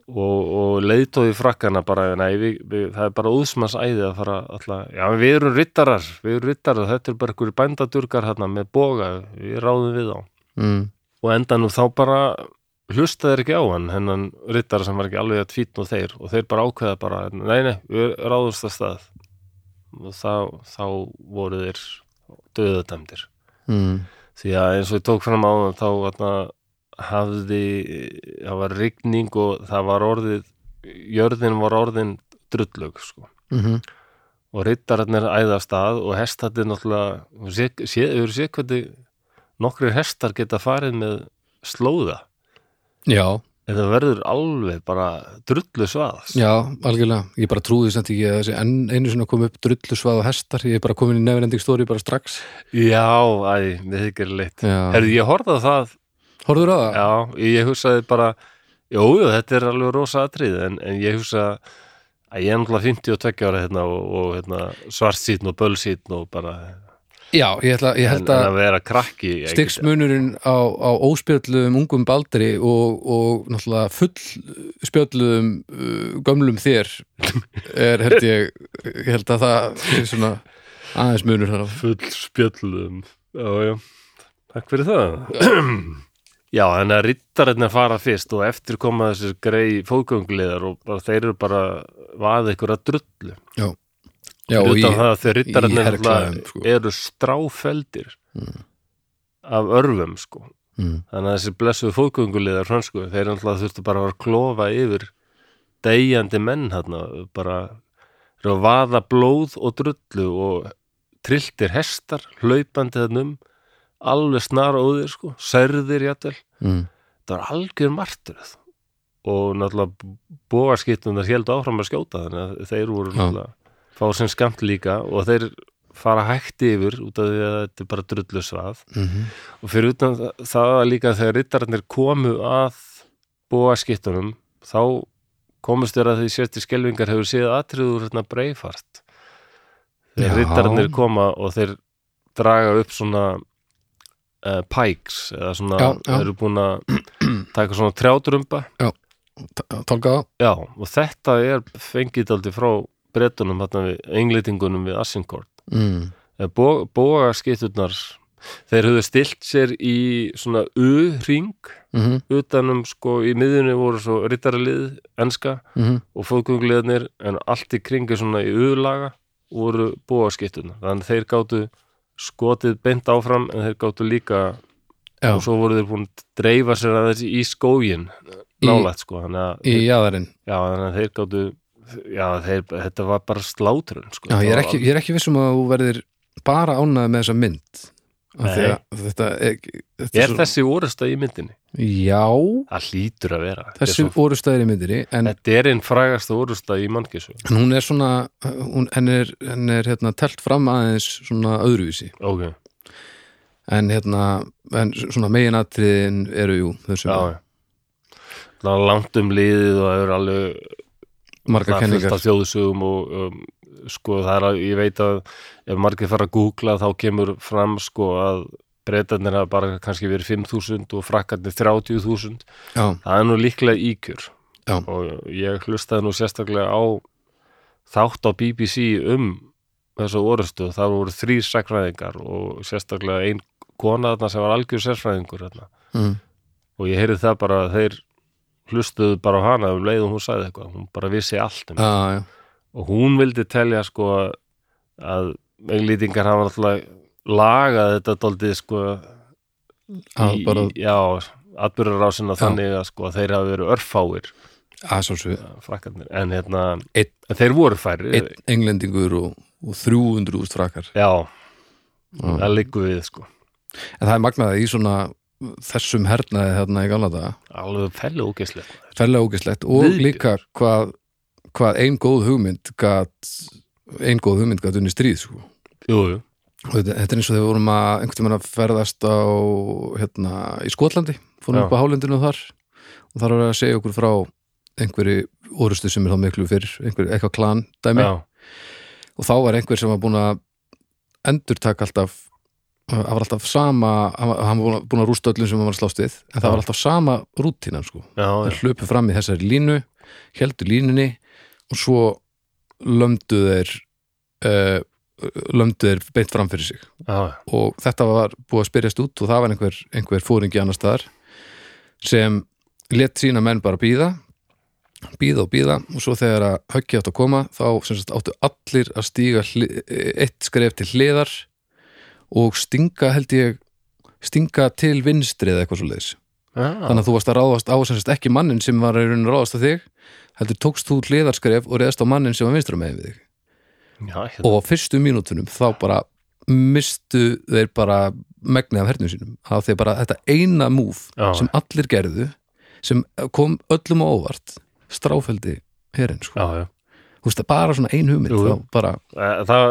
Speaker 1: og, og leiðtóði frakkana bara, nei, við, við, það er bara úðsmanns æði að fara alltaf, já, en við erum rittarar, við erum rittarar, þetta er bara einhverju bændadurgar hérna með boga, við ráðum við á
Speaker 2: Mm.
Speaker 1: og endanum þá bara hlustaðir ekki á hann hennan rittara sem var ekki alveg að tvítn og þeir og þeir bara ákveða bara, nei nei, við ráðumst að stað og þá, þá voru þeir döðadæmdir
Speaker 2: mm.
Speaker 1: því að eins og ég tók fram á það þá atna, hafði það var rigning og það var orðið jörðin var orðin drullug sko
Speaker 2: Mm
Speaker 1: og rittararnir æða af stað og hestarnir náttúrulega sé, sé, hefur sé hvernig nokkrir hestar geta farið með slóða
Speaker 2: Já,
Speaker 1: en það verður alveg bara drullu svaðs
Speaker 2: já, algjörlega Ég bara trúði samt ekki að þessi enn einu sinni kom upp drullusvað og hestar, ég er bara komin í nefnending stóri bara strax
Speaker 1: já, æ, við þykir leitt
Speaker 2: Já.
Speaker 1: herðu, ég horfði á það,
Speaker 2: Horfður á það?
Speaker 1: já, ég hugsaði bara jú, jú, þetta er alveg rosa atrið en, en ég hugsa að ég er náttúrulega 52 ára hérna og, og hérna, svart sítn og böl sítn og bara,
Speaker 2: Já, ég, ætla, ég
Speaker 1: en,
Speaker 2: held
Speaker 1: en
Speaker 2: að
Speaker 1: að vera krakki ég-
Speaker 2: Stigsmunurinn á, á óspjöldluðum ungum baldri og, og náttúrulega fullspjöldluðum uh, gömlum þér er held ég, ég held að það er svona aðeins munur þar á
Speaker 1: full spjöllum já, já, takk fyrir það já, þannig að rittarinn er fara fyrst og eftir koma þessir grei fóðgöngliðar og bara, þeir eru bara vaðið ykkur að drullu
Speaker 2: Já, og
Speaker 1: utan
Speaker 2: ég,
Speaker 1: það að þeir rittarinn
Speaker 2: í
Speaker 1: er
Speaker 2: herklæðum,
Speaker 1: náttúrulega-
Speaker 2: sko.
Speaker 1: eru stráfeldir af örfum sko
Speaker 2: mm,
Speaker 1: þannig að þessi blessuðu fóðgönguliðar fransku þeir náttúrulega þurftu bara að vera að klofa yfir deyjandi menn hérna bara eru að vaða blóð og drullu og trilltir hestar, hlaupandi þannum alveg snaróðir sko særðir jættel,
Speaker 2: mm,
Speaker 1: það var algjör martröð og náttúrulega bóaskiptunar héldu áfram að skjóta þannig að þeir voru
Speaker 2: Já.
Speaker 1: náttúrulega fá sem skamt líka og þeir fara hægt yfir út af því að þetta er bara drullu svað
Speaker 2: mm,
Speaker 1: og fyrir utan það- það að líka þegar rittararnir komu að búa skittunum þá komust þér að því sérti skelvingar hefur séð atriður hérna breifart þegar
Speaker 2: Já.
Speaker 1: rittararnir koma og þeir draga upp svona uh, pikes eða svona
Speaker 2: Já, já.
Speaker 1: eru búin að taka svona trjátrumba
Speaker 2: tólka á
Speaker 1: já og þetta er fengið aldrei frá brettunum hérna við englitingunum við Assincourt
Speaker 2: mm,
Speaker 1: bóga skittunar þeir höfðu stilt sér í svona U-ring
Speaker 2: mm -hmm,
Speaker 1: utanum sko í miðjunni voru svo rittaralið enska
Speaker 2: mm -hmm,
Speaker 1: og fóðgöngliðarnir en allt í kringu svona í U-laga voru bóga skittunar þannig að þeir gátu skotið beint áfram en þeir gátu líka
Speaker 2: Já.
Speaker 1: og svo voru þeir búin að dreifa sér aðeins í skógin
Speaker 2: Í-
Speaker 1: nálægt sko þannig að,
Speaker 2: Í jaðarinn
Speaker 1: já, þannig að þeir gátu já þeir, þetta var bara slátrun sko.
Speaker 2: Já, ég er
Speaker 1: Það var
Speaker 2: ekki, ég er ekki vissum að þú verðir bara ánað með þessa mynd Af því
Speaker 1: Nei.
Speaker 2: að Þetta er, þetta
Speaker 1: Er þessi orðasta í myndinni?
Speaker 2: Já,
Speaker 1: Það hlýtur að vera. Þetta er
Speaker 2: þessi
Speaker 1: svo-
Speaker 2: orustæðir í myndinni en
Speaker 1: Þetta er einn frægasta orðusta í mannkísu.
Speaker 2: En hún er svona, hún, henn er, henn er hérna telt fram aðeins svona öðruvísi
Speaker 1: Ok,
Speaker 2: en hérna, en svona meginatriðin eru jú þessum
Speaker 1: já, já. Það er langt um liðið og það er alveg
Speaker 2: marga
Speaker 1: það er fullt
Speaker 2: kenningar
Speaker 1: af þjóðsugum og um, sko það er að ég veit að ef margir fara að googla þá kemur fram sko að breytanir hafa bara kannski verið 5.000 og frakkarnir 30.000.
Speaker 2: já,
Speaker 1: Það er nú líklega íkjur
Speaker 2: Já.
Speaker 1: og ég hlustaði nú sérstaklega á þátt á BBC um þessa orðustu. Það voru þrýr sakfræðingar og sérstaklega ein kona þarna sem var algjör sérfræðingur þarna.
Speaker 2: mm,
Speaker 1: og ég heyrði það bara að þeir hlustuðu bara á hana um leið og hún sagði eitthvað, hún bara vissi allt um
Speaker 2: já, já,
Speaker 1: það og hún vildi telja sko að englýtingar hafa náttúrulega lagað þetta daldið sko
Speaker 2: að
Speaker 1: í,
Speaker 2: bara
Speaker 1: í- já, atbyrðarásina
Speaker 2: Já.
Speaker 1: þannig að sko að þeir hafa verið örfáir
Speaker 2: að sálsög,
Speaker 1: frakkarnir, en hérna
Speaker 2: Einn-
Speaker 1: en þeir voru færri,
Speaker 2: einn englendingur og, og 300 úr strakar
Speaker 1: já
Speaker 2: Já.
Speaker 1: það liggur við sko,
Speaker 2: en það er magnaðið í svona þessum hernaði þarna í gamla daga
Speaker 1: alveg fellu ógeðslegt
Speaker 2: ferlega ógislegt og
Speaker 1: Viðbjóður.
Speaker 2: líka hvað, hvað ein góð hugmynd gat, ein góð hugmynd gat unni stríð sko
Speaker 1: jú, jú,
Speaker 2: Og Þetta þetta er eins og þegar við vorum að einhvern tímann að ferðast á hérna, í Skotlandi, fórum
Speaker 1: Já.
Speaker 2: upp á hálendinu þar og þar voru að segja okkur frá einhverju orustu sem er þá miklu fyrr einhverju, eitthvað klan dæmi
Speaker 1: já,
Speaker 2: og þá var einhver sem var búin að endurtaka alltaf hann var alltaf sama, hann var- hann var búinn að- búinn að rústa öllum sem hann var að slást við en það
Speaker 1: Já.
Speaker 2: var alltaf sama rútínan sko
Speaker 1: já, já,
Speaker 2: þeir hlupu fram í þessari línu heldur línunni og svo lömdu þeir uh, lömdu þeir beint fram fyrir sig
Speaker 1: já,
Speaker 2: og þetta var búið að spyrjast út og það var einhver, einhver fóringi annar staðar sem let sína menn bara býða býða og býða og svo þegar að höggi átt að koma þá sem sagt, áttu allir að stíga hli- eitt skref til hliðar og stinga held ég stinga til vinstri eða eitthvað svo leiðis
Speaker 1: ah,
Speaker 2: þannig að þú varst að ráðast á sem sagt, ekki mannin sem var í rauninu ráðast á þig heldur tókst þú hliðarskref og reyðast á mannin sem var vinstra megin við þig
Speaker 1: já, hérna,
Speaker 2: og á fyrstu mínútunum þá bara mistu þeir bara megnið af hernum sínum að þeir bara þetta eina múf
Speaker 1: Já.
Speaker 2: sem allir gerðu sem kom öllum á óvart stráfeldi herinn sko.
Speaker 1: já, já.
Speaker 2: þú veist bara svona ein hugmynd
Speaker 1: Jú, jú.
Speaker 2: þá bara,
Speaker 1: Eh, Það,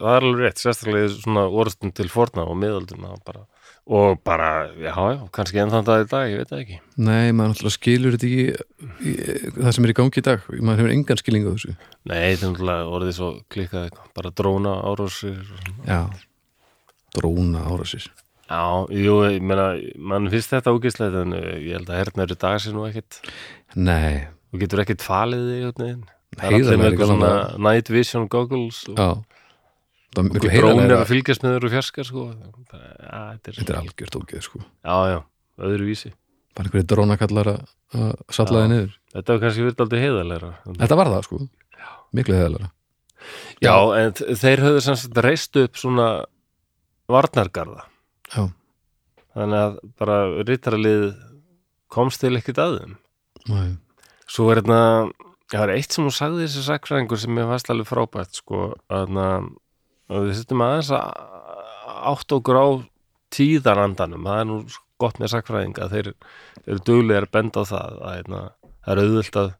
Speaker 1: það er alveg rétt, sérstaklega í svona orðstum til forna og miðalduna bara. og bara, já, já, kannski enn þann dag í dag, ég veit það ekki
Speaker 2: nei, maður náttúrulega skilur þetta ekki í, það sem er í gangi í dag maður hefur engan skilning á þessu
Speaker 1: Nei, þetta er náttúrulega orðið svo klikkað eitthvað, bara dróna árásir og svona.
Speaker 2: já, dróna árasir
Speaker 1: Já, jú, ég meina, mann finnst þetta ógislega en eh, ég held að herna eru dagar sér nú ekkit
Speaker 2: nei,
Speaker 1: og getur ekkit falið þig einhvern veginn Það er allir
Speaker 2: heiðarlega
Speaker 1: með
Speaker 2: er ekki
Speaker 1: eitthvað svona
Speaker 2: alveg-
Speaker 1: night vision goggles og
Speaker 2: já það er miklu
Speaker 1: drón er
Speaker 2: heiðarlega
Speaker 1: að fylgjast með þér úr fjarska sko. Það, ja, þetta er,
Speaker 2: þetta er algjört ógeð sko
Speaker 1: Já, já, öðruvísi
Speaker 2: bara einhverju drónakallar að- að salla
Speaker 1: Já.
Speaker 2: þið niður
Speaker 1: Þetta var kannski verið aldrei heiðarlegra
Speaker 2: Þetta var það sko Miklu heðalara
Speaker 1: Já, en þ- þeir höfðu sem sagt reist upp svona varnargarða
Speaker 2: Já.
Speaker 1: Þannig að bara rittaralið komst til ekkert að þeim Svo er þetta Það er eitt sem hún sagði þessi sakfræðingur sem ég fannst alveg frábært sko, þarna, að við setjum aðeins að átt og grá tíðarandanum, það er nú gott með sakfræðinga, þeir eru duglega að benda á það að, hérna, það er auðvöld að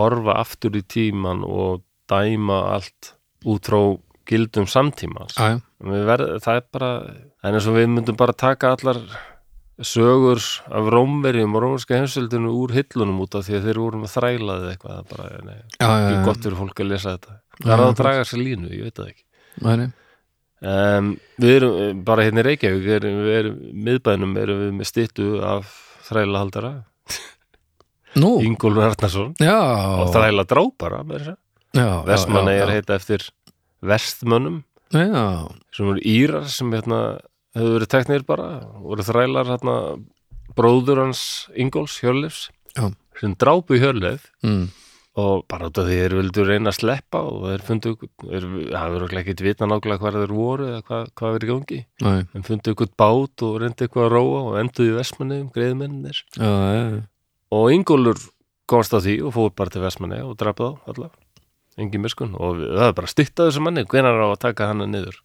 Speaker 1: horfa aftur í tíman og dæma allt út frá gildum samtímans
Speaker 2: Æja,
Speaker 1: Við verð, það er bara, það er eins og við myndum bara taka allar sögur af rómverjum og rómverska heimsveldinu úr hillunum út af því að þeir voru með þrælaði eitthvað, það er bara, nei,
Speaker 2: já, já,
Speaker 1: ekki
Speaker 2: já
Speaker 1: gott fyrir fólk að lesa þetta.
Speaker 2: Já,
Speaker 1: Það er að
Speaker 2: akkurat.
Speaker 1: draga sér línu, ég veit það ekki.
Speaker 2: Nei, nei.
Speaker 1: Um, við erum eh, bara hérna í Reykjavík, við erum, við erum miðbænum, erum við með styttu af þrælahaldara,
Speaker 2: Nú,
Speaker 1: Ingólfur Arnarsson,
Speaker 2: já
Speaker 1: og þræla drápara,
Speaker 2: já,
Speaker 1: vestmann
Speaker 2: já,
Speaker 1: er heita eftir vestmönnum,
Speaker 2: já, já,
Speaker 1: sem voru Írar sem hérna, hefur verið teknir bara voru þrælar hérna, bróður hans Ingóls Hjörleifs
Speaker 2: Já.
Speaker 1: sem drápu Hjörleif
Speaker 2: mm.
Speaker 1: og bara út af því þeir vildu reyna að sleppa og þeir fundu þeir hafa verið ekkert vita nákvæmlega hvað þeir voru eða hvað, hvað verið í gangi
Speaker 2: Nei,
Speaker 1: en fundu ykkur bát og reyndi eitthvað að róa og enduðu í Vestmanneum, greiðmennir
Speaker 2: já, já, já.
Speaker 1: og Ingólfur komst að því og fór bara til Vestmanni og drapa þá alla engin miskun og við, það er bara stýttað þessu manni hvenær á að taka hana niður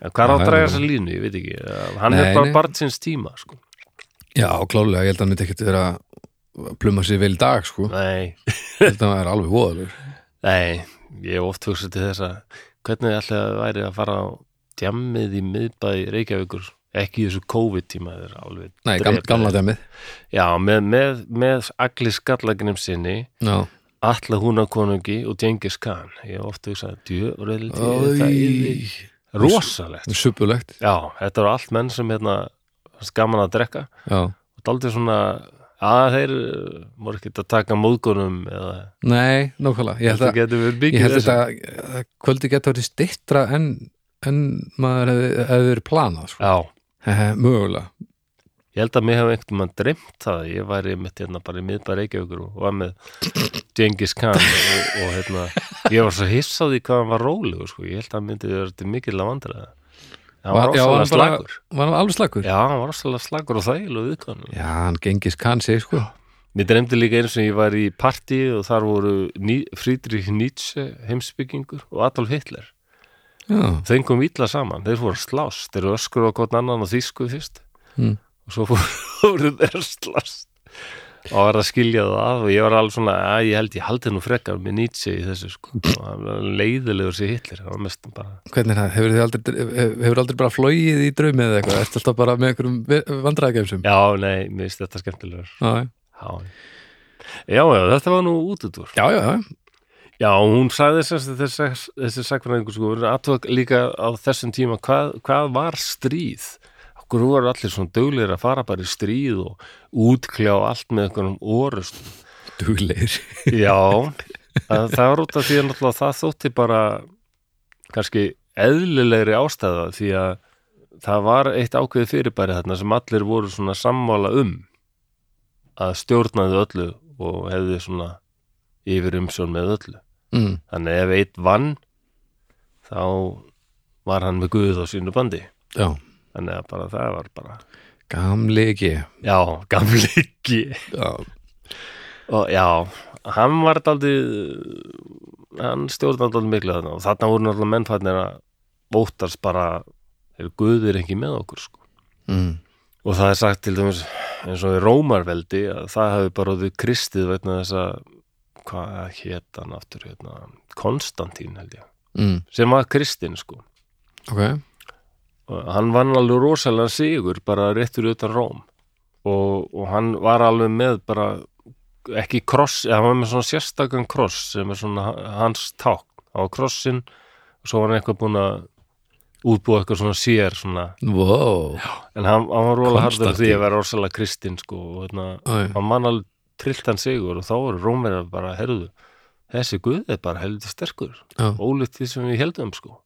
Speaker 1: en hvað er á að
Speaker 2: Já,
Speaker 1: draga
Speaker 2: já.
Speaker 1: þessa línu, ég veit ekki Eh, hann
Speaker 2: Nei,
Speaker 1: er bara
Speaker 2: nei.
Speaker 1: barn síns tíma sko.
Speaker 2: já klálega, ég held að hann myndi ekkert vera að pluma sér vel í dag
Speaker 1: <laughs>
Speaker 2: sko
Speaker 1: nei,
Speaker 2: Ég held að hann er alveg voðalur
Speaker 1: nei ég hef oft hugsað til þess að hvernig ætlaði að væri að fara á djammið í miðbæ Reykjavíkur ekki í þessu COVID-tíma þeir alveg
Speaker 2: Nei, gam,
Speaker 1: drepa
Speaker 2: gamla dæmið
Speaker 1: þeir. já, með, með, með allir skallagnum sinni
Speaker 2: Já,
Speaker 1: alla húnakonungi og Genghis Khan ég hef oft hugsað djöfröld það yfir
Speaker 2: Æ,
Speaker 1: rosalegt
Speaker 2: Suppulegt
Speaker 1: já, þetta eru allt menn sem hérna fannst gaman að drekka
Speaker 2: Já,
Speaker 1: og daldið svona að þeir uh, voru ekkert að taka móðgunum eða
Speaker 2: nei, nákvæmlega Ég held
Speaker 1: þetta
Speaker 2: að,
Speaker 1: getur verið
Speaker 2: ég
Speaker 1: byggið
Speaker 2: held að þetta- kvöldi geta verið stittra en, en maður hefði hef verið planað sko. <laughs>
Speaker 1: já,
Speaker 2: Mögulega
Speaker 1: ég held að mér hef einhvern mann dreymt það að ég væri mitt hérna bara í miðbæri Reykjavíkur og var með Genghis Khan og, og hérna ég var svo hissað í hvað hann var rólegur sko. ég held að hann myndi vera til mikil að vandra hann var
Speaker 2: Var- já, hann
Speaker 1: rosalega
Speaker 2: bara-
Speaker 1: slagur
Speaker 2: Var hann alveg slagur?
Speaker 1: já, hann var rosalega slagur og þægilega viðkvæðan
Speaker 2: Já, hann gengis kansi, sko.
Speaker 1: Mér drefndi líka eins og ég var í partí og þar voru Ní Friedrich Nietzsche heimsbyggingur og Adolf Hitler.
Speaker 2: Já,
Speaker 1: Þeim kom ítla saman, þeir voru að slást, þeir eru öskur á hvort annan og þýsku fyrst
Speaker 2: Mm.
Speaker 1: og svo fóru- <laughs> voru þeir að slást og var að skilja það að og ég var alveg svona að ég held ég haldi nú frekar með Nietzsche í þessu sko og hann var leiðilegur sér Hitler, það var mest bara
Speaker 2: hvernig er það? Hefur þið aldrei, hefur aldrei bara flóið í draumi eða eitthvað? Ertu alltaf bara með einhverjum vandræðagemsum?
Speaker 1: Já, nei, mér finnst þetta skemmtilegur
Speaker 2: Já,
Speaker 1: Já, já, já þetta var nú útudur
Speaker 2: já, já, já.
Speaker 1: Já, hún sagði þess að þessi, þessi sakfræðingur sko, við erum aðtók líka á þessum tíma hvað, hvað var stríð? Okkur voru allir svona duglegir að fara bara í stríð og útkljá allt með einhverjum orust.
Speaker 2: Dugleir.
Speaker 1: Já, að það var út af því að náttúrulega það þótti bara kannski eðlilegri ástæða því að það var eitt ákveðið fyrirbæri þarna sem allir voru svona sammála um að stjórnaði öllu og hefði svona yfir umsjón með öllu
Speaker 2: mm.
Speaker 1: þannig ef eitt vann þá var hann með guð á sínu bandi
Speaker 2: já,
Speaker 1: þannig að bara það var bara
Speaker 2: gamli ekki
Speaker 1: já, gamli ekki
Speaker 2: já,
Speaker 1: og já, hann var daldið hann stjórnaði daldið miklu þarna og þarna voru náttúrulega mennfarnir að óttast bara er guð er ekki með okkur sko
Speaker 2: mm.
Speaker 1: og það er sagt til dæmis eins og í Rómarveldi að það hafi bara orðið kristið vegna þess að hvað hétt hann aftur hérna, Konstantín held ég
Speaker 2: Mm.
Speaker 1: sem var kristinn sko
Speaker 2: ok
Speaker 1: og hann vann alveg rosalega sigur bara réttur utan Róm og, og hann var alveg með bara ekki kross, eða hann var með svona sérstakann kross sem er svona ha- hans ták á krossin og svo var hann eitthvað búin að útbúa eitthvað svona sér svona
Speaker 2: wow.
Speaker 1: En hann, hann var róla hardur á því
Speaker 2: Konstantín.
Speaker 1: að vera orsalega kristinn sko og hérna,
Speaker 2: Æ.
Speaker 1: hann mann alveg trillt hann sigur og þá voru rómverjar bara, herruðu, þessi guð er bara heldur sterkur,
Speaker 2: Já.
Speaker 1: ólíkt því sem við heldum sko.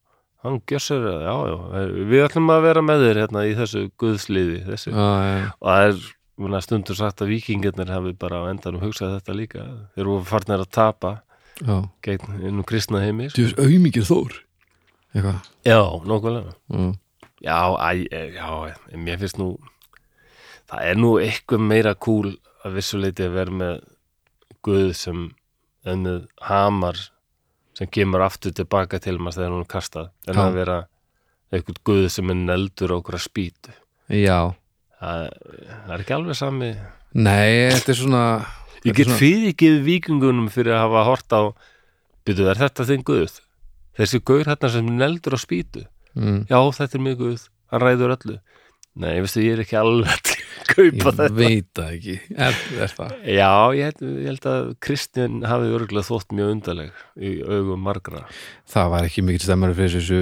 Speaker 1: Hann gjör sér að, já, já, við ætlum að vera með þér hérna í þessu guðsliði, þessu.
Speaker 2: Já, já,
Speaker 1: Og það er, muna, stundur sagt að vikingarnir hafi bara á endanum hugsað þetta líka. Þeir voru farnir að tapa
Speaker 2: já.
Speaker 1: gegn innum kristna heimi. Sko.
Speaker 2: Þú veist auðmikið þór Eitthvað
Speaker 1: Já, nokkulega.
Speaker 2: mm.
Speaker 1: Já, æ, e, já, e, mér finnst nú það er nú eitthvað meira kúl að vissuleiti að vera með guð sem ennið hamar sem kemur aftur tilbaka til maður þegar hún er kastað en
Speaker 2: Já.
Speaker 1: að vera eitthvað guð sem er neldur á okkur að spýtu
Speaker 2: Já
Speaker 1: það, það er ekki alveg sami
Speaker 2: Nei, þetta er svona þetta er
Speaker 1: Ég get
Speaker 2: svona-
Speaker 1: fyrirgið vikingunum fyrir að hafa hort á byrjuð, er þetta þinn guð? Þessi guður hérna sem er neldur á spýtu
Speaker 2: mm.
Speaker 1: já, þetta er mjög guð, hann ræður öllu nei, veistu, ég er ekki alveg til að kaupa
Speaker 2: Ég
Speaker 1: þetta
Speaker 2: veit það ekki Er, er það
Speaker 1: já, ég, held- ég held að Kristján hafi örgulega þótt mjög undarleg í augum margra
Speaker 2: það var ekki mikil stemmari fyrir þessu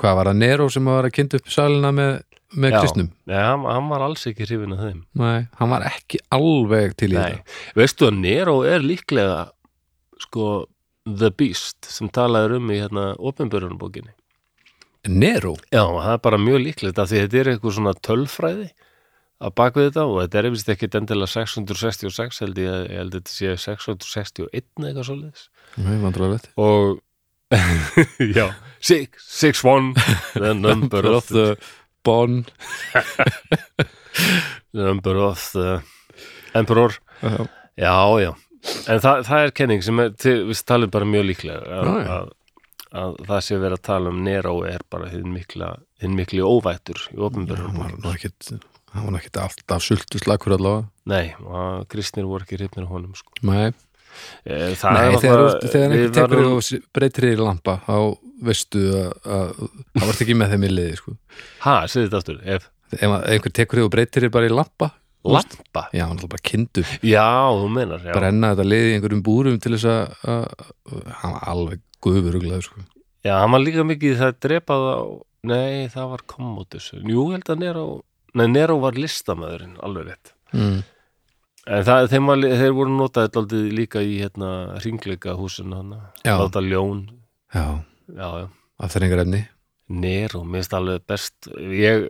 Speaker 2: hvað var að Nero sem var að kynna upp salina með, með
Speaker 1: Já.
Speaker 2: kristnum
Speaker 1: nei, hann, hann var alls ekki hrifin af þeim
Speaker 2: Nei, hann var ekki alveg til í
Speaker 1: nei, veistu að Nero er líklega sko The Beast sem talaður um í hérna opinbörunabókinni
Speaker 2: þetta Nero?
Speaker 1: Já, það er bara mjög líklegt af því þetta er eitthvað svona tölfræði að bak við þetta og þetta er efist ekkit endilega 666 held ég, ég held að þetta sé 661 eitthvað svoleiðis
Speaker 2: Nei, vandrarlegt <laughs>
Speaker 1: og já, 661 <laughs> the number of the
Speaker 2: Bon
Speaker 1: the number of the emperor,
Speaker 2: Já,
Speaker 1: já, já en það, það er kenning sem er, til, við talum bara mjög líklega
Speaker 2: Já,
Speaker 1: að,
Speaker 2: já.
Speaker 1: að, að það sé verið að tala um Nero er bara hinn mikla, hinn mikli óvættur í
Speaker 2: hann
Speaker 1: opinbjörnum
Speaker 2: var nú ekkit hann var nú ekkit alltaf sultu slakur allavega
Speaker 1: Nei, og kristnir voru ekki hrifnir af honum sko.
Speaker 2: Nei,
Speaker 1: Eh, Það
Speaker 2: Nei
Speaker 1: er
Speaker 2: þegar,
Speaker 1: náttúrulega-
Speaker 2: þú- þegar
Speaker 1: við
Speaker 2: einhver tekur
Speaker 1: verðum-
Speaker 2: varum... og breytir í lampa þá veistu að að- það varst ekki með þeim í liði sko.
Speaker 1: Ha, segðu þetta aftur ef,
Speaker 2: ef að- einhver tekur þig og breytir í bara í lampa
Speaker 1: Lampa?
Speaker 2: já, hann er bara kindu
Speaker 1: Já, þú menar já.
Speaker 2: brenna þetta liði í einhverjum búrum til þess að að- hann var alveg guðuruglaður sko.
Speaker 1: já, hann var líka mikið í það drepað á Nei, það var kommótus Jú, ég held að Nero Nei, Nero var listamæðurinn, alveg rétt
Speaker 2: mm.
Speaker 1: En það, þeim var, þeir voru notaði aldrei líka í hérna hringleika húsinu hana
Speaker 2: Já.
Speaker 1: Láta ljón
Speaker 2: já,
Speaker 1: Já, já
Speaker 2: afþrengar efni
Speaker 1: Nero, mér finnst alveg best ég,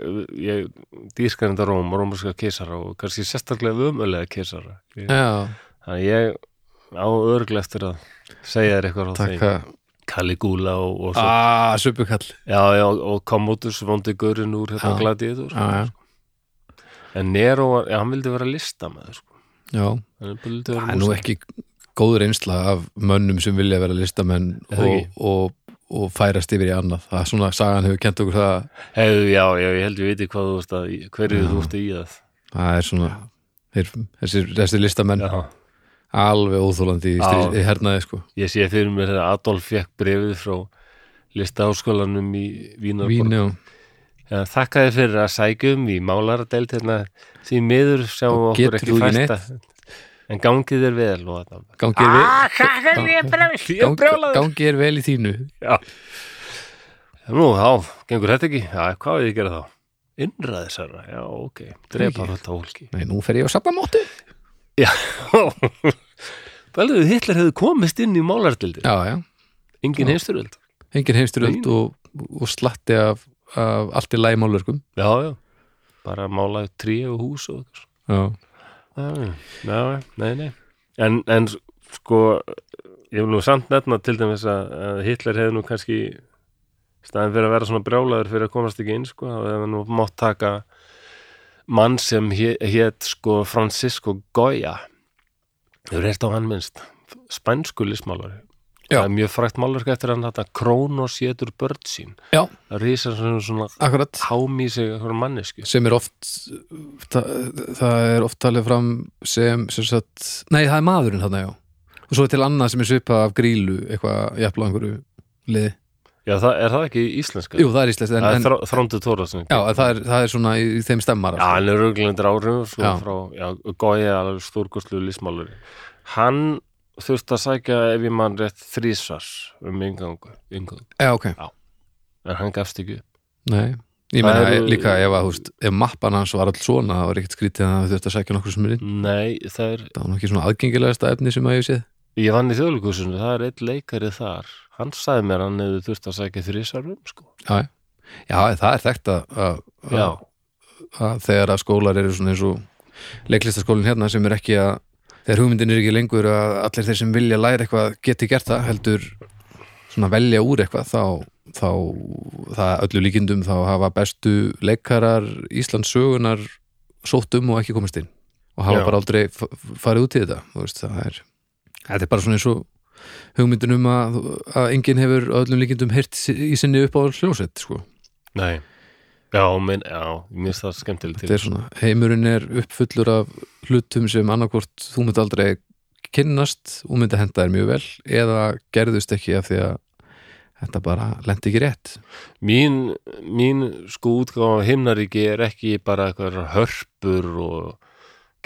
Speaker 1: ég dýrkar þetta Róm, rómarska keisara og kannski sérstaklega ömulega keisara ég,
Speaker 2: já,
Speaker 1: Þannig að ég á örglega eftir að segja þér eitthvað á þeim.
Speaker 2: takk Ah. að
Speaker 1: Caligula og, og, svo,
Speaker 2: aaa, söpukall
Speaker 1: já, já, og Commodus vondi gaurinn úr
Speaker 2: Já.
Speaker 1: hérna gladiður.
Speaker 2: já, já,
Speaker 1: En Nero, var, já, hann vildi vera listamaður. Sko.
Speaker 2: já,
Speaker 1: Hann vildi
Speaker 2: það
Speaker 1: vera
Speaker 2: er nú
Speaker 1: músík.
Speaker 2: ekki góð reynsla af mönnum sem vilja vera listamenn
Speaker 1: Er það
Speaker 2: og, og, og færast yfir í annað það er svona, sagan hefur kent okkur það
Speaker 1: Hefðu, já, já, ég held ég viti hvað þú veist að, hverju
Speaker 2: Já.
Speaker 1: þú ert í að.
Speaker 2: það er svona þeir, þessir, þessir listamenn
Speaker 1: Já,
Speaker 2: alveg óþólandi í,
Speaker 1: Já.
Speaker 2: stríð, í hernaði sko.
Speaker 1: ég sé fyrir mér að Adolf fekk brefið frá listaháskólanum í Vínarborg.
Speaker 2: Vínu,
Speaker 1: Já, þakka þér fyrir að sækjum í málaradeild hérna því miður
Speaker 2: Og
Speaker 1: sjáum okkur
Speaker 2: getur
Speaker 1: ekki
Speaker 2: þú ekki
Speaker 1: fæsta en gangið þér vel og þetta
Speaker 2: gangi er vel
Speaker 1: hvað er ég brjálað? Ah, Ég er
Speaker 2: gangi,
Speaker 1: brjálað.
Speaker 2: gangi er vel í þínu
Speaker 1: Nú, þá, gengur þetta ekki? Já, hvað er ég að gera þá? Innræðisara, já, ok. Drepa
Speaker 2: Ekki.
Speaker 1: þetta hólki.
Speaker 2: Nei, nú fer ég á safnamóttu
Speaker 1: Velðu, Hitler hefði komist inn í málardildi.
Speaker 2: Já, já,
Speaker 1: Engin
Speaker 2: Já.
Speaker 1: heimsturöld.
Speaker 2: engin heimstyrjöld
Speaker 1: Nei.
Speaker 2: og, og slatti af, af allt í lægi málverkum
Speaker 1: Já, já. Bara mála tré og hús og eitthvað.
Speaker 2: Já,
Speaker 1: Já, já, nei, nei En, en sko ég vil nú samt nefna til dæmis að, að Hitler hefði nú kannski staðin fyrir að vera svona brjálaður fyrir að komast ekki inn sko, þá hefði nú mátt taka mann sem hé- hét sko Francisco Goya hefur heilt á hann minnst spænsku listmálari
Speaker 2: Já.
Speaker 1: það er mjög frækt málverk eftir hann þetta Kronos getur börn sín
Speaker 2: Já,
Speaker 1: það rísar svona, svona
Speaker 2: akkurat
Speaker 1: hámi sig eitthvað mannesku
Speaker 2: sem er oft það, það er oft talið fram sem, sem sagt, nei það er maðurinn þarna já og svo er til annað sem er svipað af grílu eitthvað jafnlega einhverju liði
Speaker 1: Já, það, er það ekki íslenska?
Speaker 2: Jú, það er íslenskt en,
Speaker 1: það
Speaker 2: en,
Speaker 1: er þrá- Þrándur Þóraðsson
Speaker 2: já, en það, er, það er svona í, í þeim stemmar
Speaker 1: Já, hann er rauglendur áhrifur sko,
Speaker 2: Já.
Speaker 1: frá, já, góið alveg stórkostlu lísmálur. Hann þurfti að sækja ef ég mann rétt þrísvar um yngangu, yngangu.
Speaker 2: já, ok
Speaker 1: en hann gafst ekki upp.
Speaker 2: Nei, ég
Speaker 1: Það
Speaker 2: meina
Speaker 1: eru-
Speaker 2: líka ef að, þú veist, ef mappan hans var alls svona það var ekkert skrítið að þau þurft að sækja nokkur sem er inn
Speaker 1: Nei, það er,
Speaker 2: það var nú ekki svona aðgengilegasta efni sem að ég séð
Speaker 1: ég vann í þjóðleikusinu, það er einn leikari þar. Hann sagði mér að hann hefði þurfti að sækja þrísvar um, sko.
Speaker 2: Já, já það er þekkt að, að,
Speaker 1: Já,
Speaker 2: að, að þegar að skólar eru svona eins og leiklistaskólinn hérna sem er ekki að þegar hugmyndin er ekki lengur að allir þeir sem vilja læra eitthvað geti gert það heldur svona velja úr eitthvað þá, þá það öllu líkindum þá hafa bestu leikarar Íslands sögunar sótt um og ekki komist inn og hafa
Speaker 1: Já.
Speaker 2: bara aldrei f- f- farið út í þetta þú veist, það er, þetta er bara svona eins og hugmyndin um að, að enginn hefur að öllum líkindum hirt í sinni upp á hljósett sko.
Speaker 1: nei. Já, minn, já, mér finnst það skemmtileg til.
Speaker 2: þetta er svona, heimurinn er uppfullur af hlutum sem annarkvort þú myndi aldrei kynnast og myndi henda þér mjög vel eða gerðust ekki af því að þetta bara lendi ekki rétt
Speaker 1: mín, mín sko útgáfa af himnaríki er ekki bara eitthvað hörpur og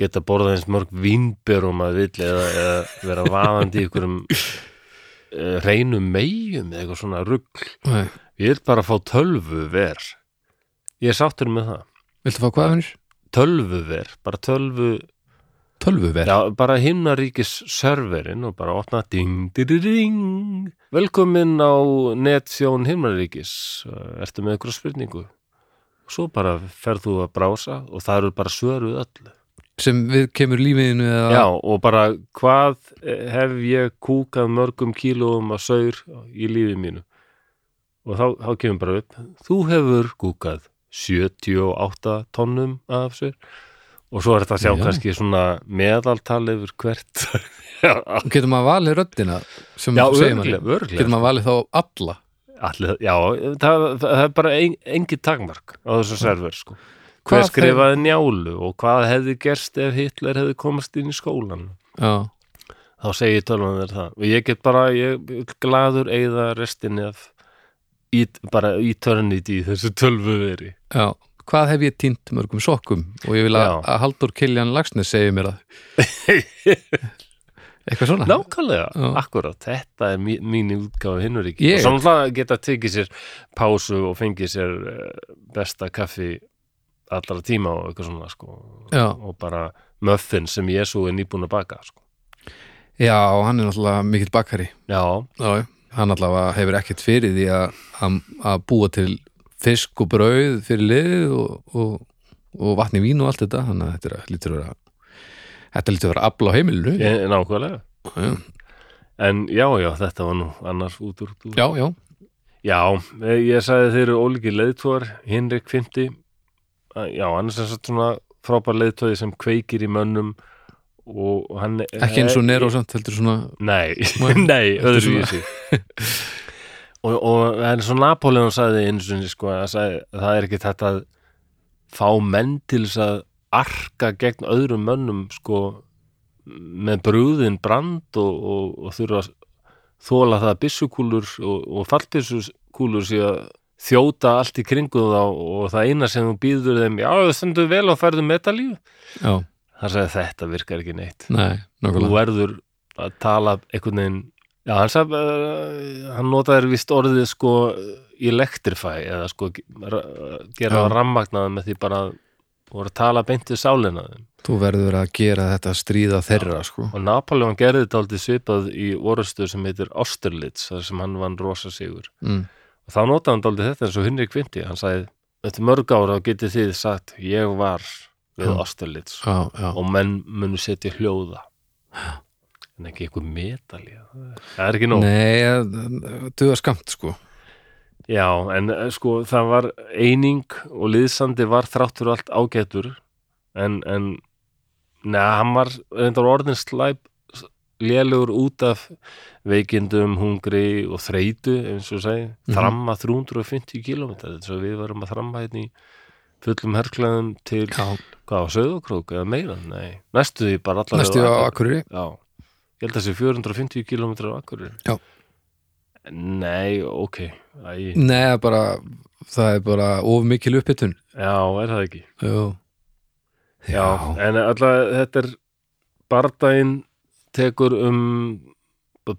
Speaker 1: geta borðað eins mörg vínber og maður vill eða, eða vera vaðandi í einhverjum eh, reynum meyjum eða eitthvað svona rugg
Speaker 2: Nei.
Speaker 1: ég vil bara fá tölvu ver ég er sáttur með það
Speaker 2: Viltu fá hvað hennir?
Speaker 1: tölvu ver, bara tölvu
Speaker 2: Tölvuver
Speaker 1: Já, bara himnaríkis serverinn og bara opna ding, ding, ding. Velkomin á netsjón himnaríkis. Eh, Ertu með ykkur spurningu? Svo bara ferð þú að brása og það eru bara svöruð öllu.
Speaker 2: sem við kemur lífiðinu eða
Speaker 1: Já, og bara hvað eh, hef ég kúkað mörgum kílóum að saur í lífi mínu? Og þá, þá kemur bara upp, þú hefur kúkað 78 tonnum af saur og svo er þetta að sjá
Speaker 2: Já.
Speaker 1: kannski svona meðaltal yfir hvert. <laughs> já,
Speaker 2: getur maður valið röddina sem
Speaker 1: já
Speaker 2: þú Mm, segir
Speaker 1: örglega,
Speaker 2: manni? getur
Speaker 1: örglega.
Speaker 2: maður valið þá alla
Speaker 1: Allir, já, það, það er bara ein, engin takmark á þessu server sko. Hver
Speaker 2: Hvað þeim-
Speaker 1: skrifaði njálu og hvað hefði gerst ef Hitler hefði komast inn í skólan?
Speaker 2: já,
Speaker 1: þá segi tölvan þér það og ég get bara, ég ég gladur eigða restinni af í, bara eternity í þessu tölvu veri
Speaker 2: já hvað hef ég týnt mörgum sokkum og ég vil að,
Speaker 1: Já.
Speaker 2: að Haldur Kiljan Lagsnes segi mér
Speaker 1: <laughs>
Speaker 2: það eitthvað svona
Speaker 1: nákvæmlega,
Speaker 2: Já.
Speaker 1: akkurat, þetta er mí- mín útgáfa hinnur ekki
Speaker 2: Ég-
Speaker 1: og svona það geta tekið sér pásu og fengið sér eh, besta kaffi allra tíma og eitthvað svona sko.
Speaker 2: Já.
Speaker 1: og bara muffin sem ég svo er nýbúin að baka sko.
Speaker 2: já, hann er náttúrulega mikill bakari
Speaker 1: já,
Speaker 2: Já, já. hann allavega hefur ekkert fyrir því að, að, að búa til fisk og brauð fyrir liðið og, og, og vatni vín og allt þetta þannig að þetta er að- lítur að vera þetta lítur að vera afla á heimilinu
Speaker 1: ég- Eh, nákvæmlega
Speaker 2: Já.
Speaker 1: en já, já, þetta var nú annars út úr, úr
Speaker 2: já, já,
Speaker 1: Já, eh, ég sagði þeir eru ólíki leiðtóðar, Hinrik 50 Eh, Já, hann er sem sagt svona frábær leiðtóði sem kveikir í mönnum og hann
Speaker 2: ekki eins og Nero samt heldur svona
Speaker 1: Nei,
Speaker 2: Nei,
Speaker 1: <laughs> nei,
Speaker 2: þetta er
Speaker 1: öðru vísi <laughs> og, og en svo Napoleon sagði eins og sko, hann sagði, það er ekki þetta að fá menn til þess að arka gegn öðrum mönnum sko með brúðin brand og, og, og þurfa að þóla það að byssukúlur og, og fallbyssukúlur sé að þjóta allt í kringu þá og það eina sem þú býður þeim já, þú stendur vel og færðu metalíf
Speaker 2: já,
Speaker 1: hann sagði þetta virkar ekki neitt
Speaker 2: nei,
Speaker 1: þú
Speaker 2: nákvæmlega
Speaker 1: verður að tala einhvern veginn já, hann, sab, uh, hann notaði vist orðið sko electrify eða sko ge- ra- gera
Speaker 2: Já.
Speaker 1: já. rammagnað með því bara að voru að tala beint við sálina á þeim.
Speaker 2: þú verður að gera þetta stríða þeirra sko.
Speaker 1: og Napoleon gerði þetta aldrei svipað í orustu sem heitir Austerlitz þar sem hann vann rosa sigur
Speaker 2: mm.
Speaker 1: og þá notaði hann aldrei þetta eins og Henrik Vinti hann sagði, eftir mörg ára getið þið sagt ég var við
Speaker 2: Já.
Speaker 1: Austerlitz
Speaker 2: já, já,
Speaker 1: og menn munu setja hljóða en ekki eitthvað metal í það. það er ekki nóg
Speaker 2: nei, duða skamt sko
Speaker 1: já, en eh, sko það var eining og liðsandi var þráttur allt ágætur en, en neða, hann var reyndar orðin slæp lélugur út af veikindum, hungri og þreytu eins og segi,
Speaker 2: Mhm.
Speaker 1: þramma 350 km þess að við varum að þramma hérna í fullum herklaðum til
Speaker 2: já,
Speaker 1: hvað á Söðokrók eða meira, nei, næstu því bara allar
Speaker 2: næstu á Akureyri
Speaker 1: Já, ég held að þessi 450 km á Akureyri
Speaker 2: Já.
Speaker 1: Nei, ok Æ,
Speaker 2: nei, bara, það er bara of mikil uppbytun
Speaker 1: Já, er það ekki
Speaker 2: já,
Speaker 1: En alltaf þetta er bardaginn tekur um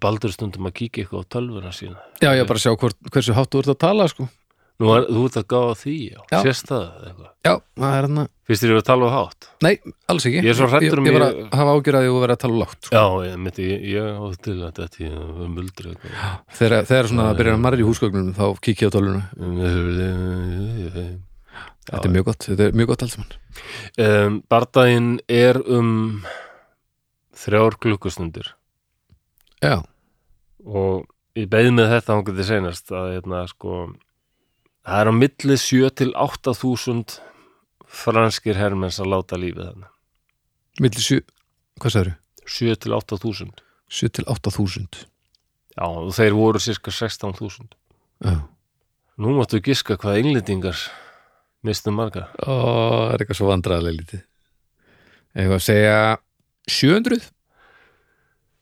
Speaker 1: baldur stundum að kíkja eitthvað á tölvuna sína
Speaker 2: já, já, bara sjá hvort, hversu hátt þú ert að tala sko
Speaker 1: Nú, er, þú ert að gáða því, já,
Speaker 2: Já.
Speaker 1: sést það eitthvað
Speaker 2: já, það er hann að
Speaker 1: Fyrst þér eru að tala á hátt
Speaker 2: Nei, alls ekki.
Speaker 1: Ég er svo hræddur um
Speaker 2: ég... Ég var
Speaker 1: ég-
Speaker 2: að hafa ágjörðið og vera að tala lágt. Sko.
Speaker 1: Já, ég myndi, ég, ég á til að þetta ég um muldri eitthvað
Speaker 2: Þegar, þegar svona
Speaker 1: Já,
Speaker 2: það byrjar
Speaker 1: já.
Speaker 2: að marri í húsgögnum þá kikið á tölvuna.
Speaker 1: um,
Speaker 2: Þetta er mjög gott, þetta er mjög gott alls mann.
Speaker 1: Bardaginn er um þrjár klukkustundir
Speaker 2: Já,
Speaker 1: og ég beði með þetta hann getið seinast að hérna sko það er á milli 7 til 8 þúsund franskir hermenns að láta lífið þannig
Speaker 2: milli sjö, hvað sagður?
Speaker 1: 7 til 8 þúsund
Speaker 2: 7 til 8 þúsund.
Speaker 1: já og þeir voru cirka 16 þúsund
Speaker 2: Já.
Speaker 1: nú máttu giska hvað englendingar mistu marga
Speaker 2: Ó, það er eitthvað svo vandræðilega lítið. Eða að segja 700?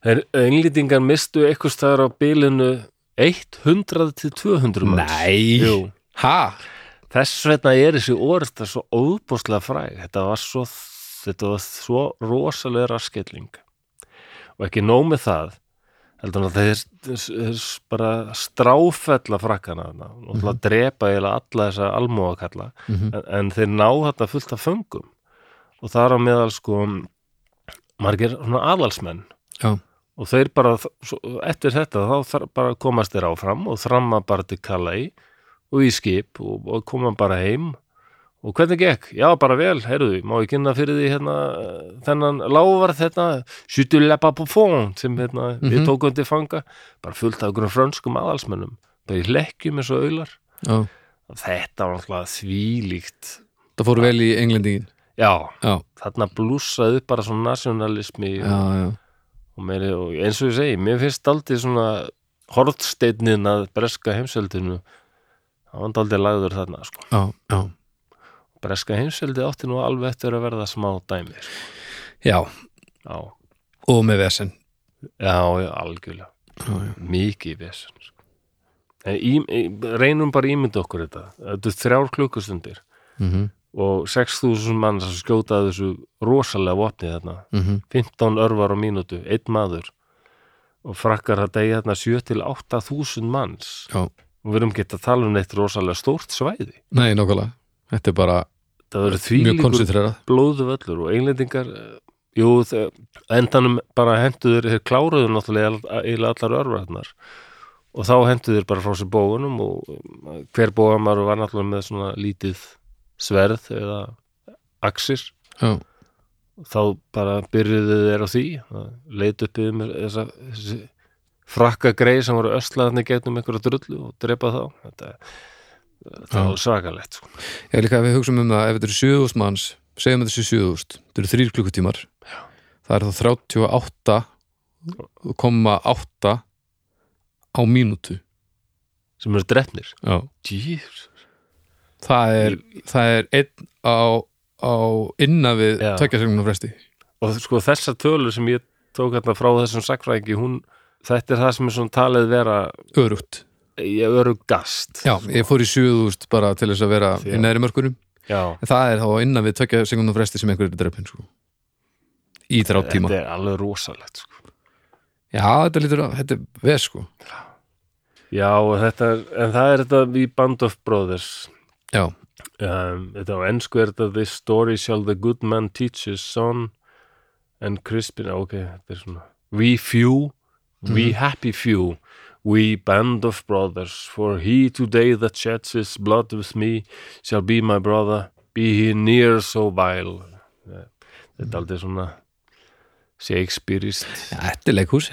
Speaker 1: þeir englendingar mistu eitthvað staðar á bilinu 100 til 200 manns.
Speaker 2: Nei.
Speaker 1: Jú.
Speaker 2: Ha?
Speaker 1: Þess vegna er þessi orð það svo óbúslega fræg. Þetta var svo, þetta var svo rosalega raskelling. Og ekki nóg með það, heldur hann að þeir, þeir bara stráfella frakkana þarna og mm -hmm. drepa eiginlega alla þessa almóakalla
Speaker 2: Mm
Speaker 1: en, en þeir ná þetta fullt af föngum og það er á meðal sko margir svona aðalsmenn
Speaker 2: Já.
Speaker 1: og þeir bara svo, eftir þetta þá þar- bara komast þeir áfram og þramma bara til Kalai og í skip og, og koma bara heim og hvernig gekk? Já, bara vel, heyrðu, má ég kynna fyrir því hérna eh, þennan hérna, lávar þetta Sjutulepa Buffon sem hérna
Speaker 2: Mhm.
Speaker 1: við tókum til fanga bara fullt af einhverjum frönskum aðalsmennum bara í hlekkjum eins og aular
Speaker 2: Já.
Speaker 1: þetta var alltaf þvílíkt
Speaker 2: Það fór vel í englendingin.
Speaker 1: já,
Speaker 2: Já,
Speaker 1: þarna blúsaði upp bara svona nasjonalismi
Speaker 2: já, já.
Speaker 1: og, meiri, og eins og ég segi, mér finnst aldrei svona hortsteinnin að breska heimsveldinu það var aldrei lagður þarna sko.
Speaker 2: Já, já.
Speaker 1: breska heimsveldi átti nú alveg eftir að verða smá dæmi sko.
Speaker 2: Já,
Speaker 1: já,
Speaker 2: og með vesen.
Speaker 1: já, já, algjörlega
Speaker 2: Já, já.
Speaker 1: mikið vesen sko. En í, í, reynum bara að ímynda okkur þetta þetta er þrjár klukkustundir
Speaker 2: Mm -hmm.
Speaker 1: og 6.000 mann sem skjótaði þessu rosalega vopni þarna 15 örvar á mínútu, einn maður og frakkar að degja þarna 7 til 8 þúsund manns
Speaker 2: Já.
Speaker 1: og við erum ekki að tala um neitt rosalega stórt svæði
Speaker 2: Nei, nokkulega. Þetta er bara
Speaker 1: það verður
Speaker 2: mjög
Speaker 1: þvílíkur
Speaker 2: koncentrerað.
Speaker 1: blóðu völlur og englendingar eh, jú, þe- á endanum bara henduður, þeir kláruðu náttúrulega all- eiginlega allar örvarnar og þá henduður bara frá sér bóunum og eh, hver bóamar var náttúrulega með svona lítið sverð eða axir
Speaker 2: Já,
Speaker 1: þá bara byrjuðu þeir á því leit upp yfir mér þessa, þessi frakka greið sem voru öslaðarni gegnum einhverja drullu og drepa þá þetta, þetta
Speaker 2: Já.
Speaker 1: var svakalegt sko.
Speaker 2: ég líka ef við hugsaum um það ef þetta eru 7000 manns, segjum þetta séu 7000 þetta eru þrýr klukkutímar Já. það er þá 38,8 á mínútu
Speaker 1: sem eru drefnir
Speaker 2: Já.
Speaker 1: Jeez.
Speaker 2: það er, það er einn á, á innan við
Speaker 1: Já.
Speaker 2: tvekja segnum fresti
Speaker 1: og sko þessa tölu sem ég tók hérna frá þessum sakfræðingi hún, þetta er það sem er svona talið vera
Speaker 2: örugt
Speaker 1: ég öru gast
Speaker 2: Já, ég fór í 7000 bara til þess að vera
Speaker 1: Já.
Speaker 2: í næri mörkunum
Speaker 1: Já.
Speaker 2: en það er þá á innan við tvekja segnum fresti sem einhverjir er drefn sko. í þrjá tíma
Speaker 1: þetta er alveg rosalegt sko.
Speaker 2: Já, þetta lítur að, þetta er veð sko
Speaker 1: Já, og þetta, er- en það er þetta í Band of Brothers
Speaker 2: Já,
Speaker 1: um, þetta á ennsku er þetta This story shall the good man teach his son and Crispin ok, þetta er svona We few, we happy few We band of brothers For he today that sheds his blood with me Shall be my brother Be he near so vile þetta er aldrei svona Shakespeareist
Speaker 2: Já, þetta er leikhús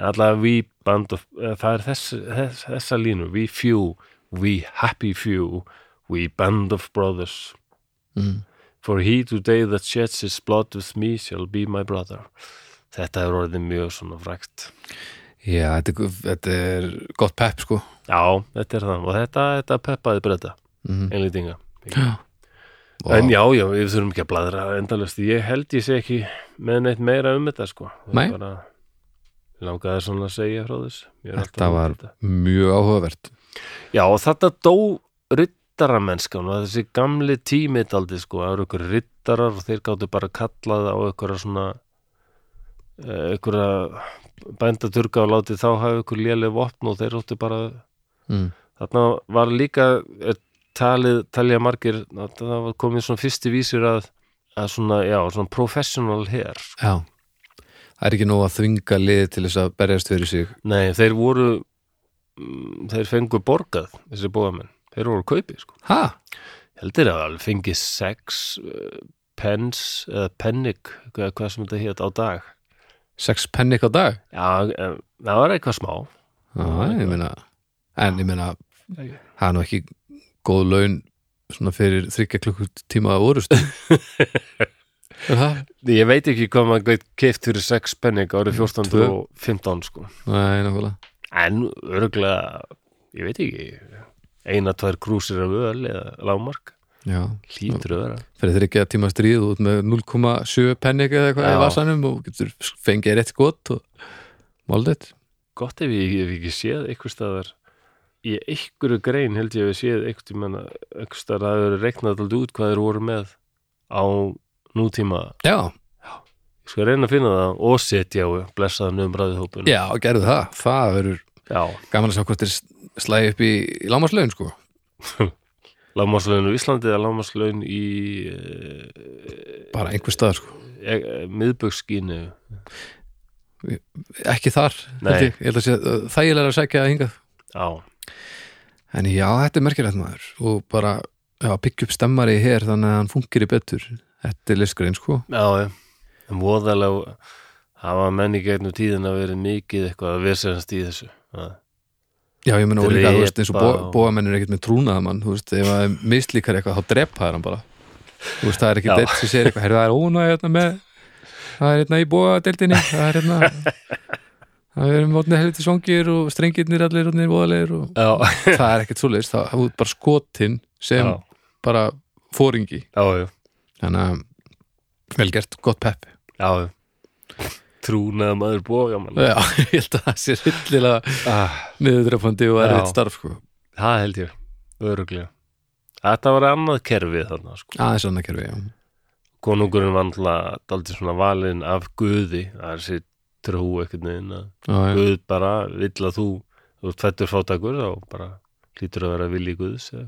Speaker 1: en allavega we band of, eh, það er þess, þess, þessa línu we few, we happy few we band of brothers
Speaker 2: mm.
Speaker 1: for he today that sheds his blood with me shall be my brother þetta er orðið mjög svona frækt
Speaker 2: Já, þetta er, þetta er gott pepp sko
Speaker 1: já, þetta er það og þetta, þetta peppaði breyta
Speaker 2: mm.
Speaker 1: einlýtinga
Speaker 2: og,
Speaker 1: en já, já, við þurfum ekki að bladra endalust ég held ég sé ekki með neitt meira um þetta sko Það er
Speaker 2: Nei.
Speaker 1: bara, langaði svona að segja frá þess Ég er alltaf
Speaker 2: Þetta
Speaker 1: að
Speaker 2: var
Speaker 1: nota þetta.
Speaker 2: mjög áhugavert
Speaker 1: Já, og þarna dó riddaramennskan og þessi gamli tímitaldi sko, það eru ykkur riddarar og þeir gáttu bara kallað á ykkur svona ykkur bændaturka og látið þá hafa ykkur léleg vopn og þeir óttu bara
Speaker 2: mm.
Speaker 1: þarna var líka er talið, talið margir það var komið svona fyrsti vísir að, að svona, já, svona professional her
Speaker 2: Já Það er ekki nóg að þvinga lið til þess að berjast fyrir sig
Speaker 1: Nei, þeir voru mm, þeir fengu borgað þessi bóðamenn, þeir voru kaupið sko
Speaker 2: Ha?
Speaker 1: heldur að alveg fengi sex uh, pens eða pennig, hvað, hvað sem þetta hétt á dag
Speaker 2: Sex pennik á dag?
Speaker 1: já, em, það var eitthvað smá
Speaker 2: Já, ég meina En ég meina,
Speaker 1: Ekki.
Speaker 2: það er nú ekki góð laun svona fyrir þryggja klukkutíma að <laughs> orust Er það?
Speaker 1: ég veit ekki hvað maður gætt keift fyrir sex pennig árið 1415 sko.
Speaker 2: Nei, nákvæmlega
Speaker 1: en örgulega ég veit ekki eina, tvær krúsir af öl eða lágmark
Speaker 2: Já,
Speaker 1: hlýtur að vera
Speaker 2: fyrir þryggja tíma stríð út með 0,7 pennik eða eitthvað í
Speaker 1: Já.
Speaker 2: vasanum og getur fengið rétt gott og máldið
Speaker 1: gott ef ég hef ekki séð eitthvað staðar í einhverju grein held ég hef séð eitthvað eitthvað staðar að það eru reiknað alltaf út hvað þeir voru með á nútíma
Speaker 2: Já,
Speaker 1: Ég skal reyna að finna það og setja á blessaðan umræðið hópun.
Speaker 2: já, gerðu það Það verður
Speaker 1: Já,
Speaker 2: gaman að sjá hvort þeir slæði upp í, í lámaslaun sko
Speaker 1: lágmarslaun á Íslandi eða lágmarslaun í uh,
Speaker 2: bara einhver stað sko
Speaker 1: e, miðbökskínu.
Speaker 2: ekki þar,
Speaker 1: Nei.
Speaker 2: held ég, ég held að sé uh, þægilega að sækja að hingað
Speaker 1: Já,
Speaker 2: En já, þetta er merkilegt maður og bara já, pick upp stemmari hér þannig að hann fungir í betur Þetta er listgrein sko
Speaker 1: já, já. En voðalega hafa menn í gegnum tíðin að vera mikið eitthvað að vesennast í þessu. Það-
Speaker 2: Já, ég meina og líka,
Speaker 1: Drepa
Speaker 2: þú veist, eins og
Speaker 1: og-
Speaker 2: bóamenn er ekkert með trúnaða mann, þú veist, ef það er mislíkar eitthvað, þá drepa þær hann bara Þú veist, það er ekki
Speaker 1: Já.
Speaker 2: deilt sem segir eitthvað, heyrðu það er ónæg hérna með, það er hérna í bóadeildinni það er hérna það er um vatni helviti svongir og strengirnir allir hérna voðalegir og
Speaker 1: <laughs> Já,
Speaker 2: það er ekkert svoleiðis, það er bara skotin sem
Speaker 1: já,
Speaker 2: bara fóringi
Speaker 1: já, já,
Speaker 2: þannig að vel gert, gott pepp
Speaker 1: já, já. Trúnaða maður bóga mann.
Speaker 2: Já, <laughs> ég held að það sé hryllilega
Speaker 1: Ah,
Speaker 2: niðurdrefandi og
Speaker 1: Já.
Speaker 2: erfitt starf sko.
Speaker 1: það held ég, öruglega. Þetta var annað kerfið þarna, sko.
Speaker 2: aðeins annað kerfi, já
Speaker 1: konungurinn var náttúrulega daldið svona valinn af guði það er sér trú ekkert neginn að
Speaker 2: Já, já.
Speaker 1: guð bara vill að þú þú fættur fátakur og bara hlýtur að vera vilji guðs eða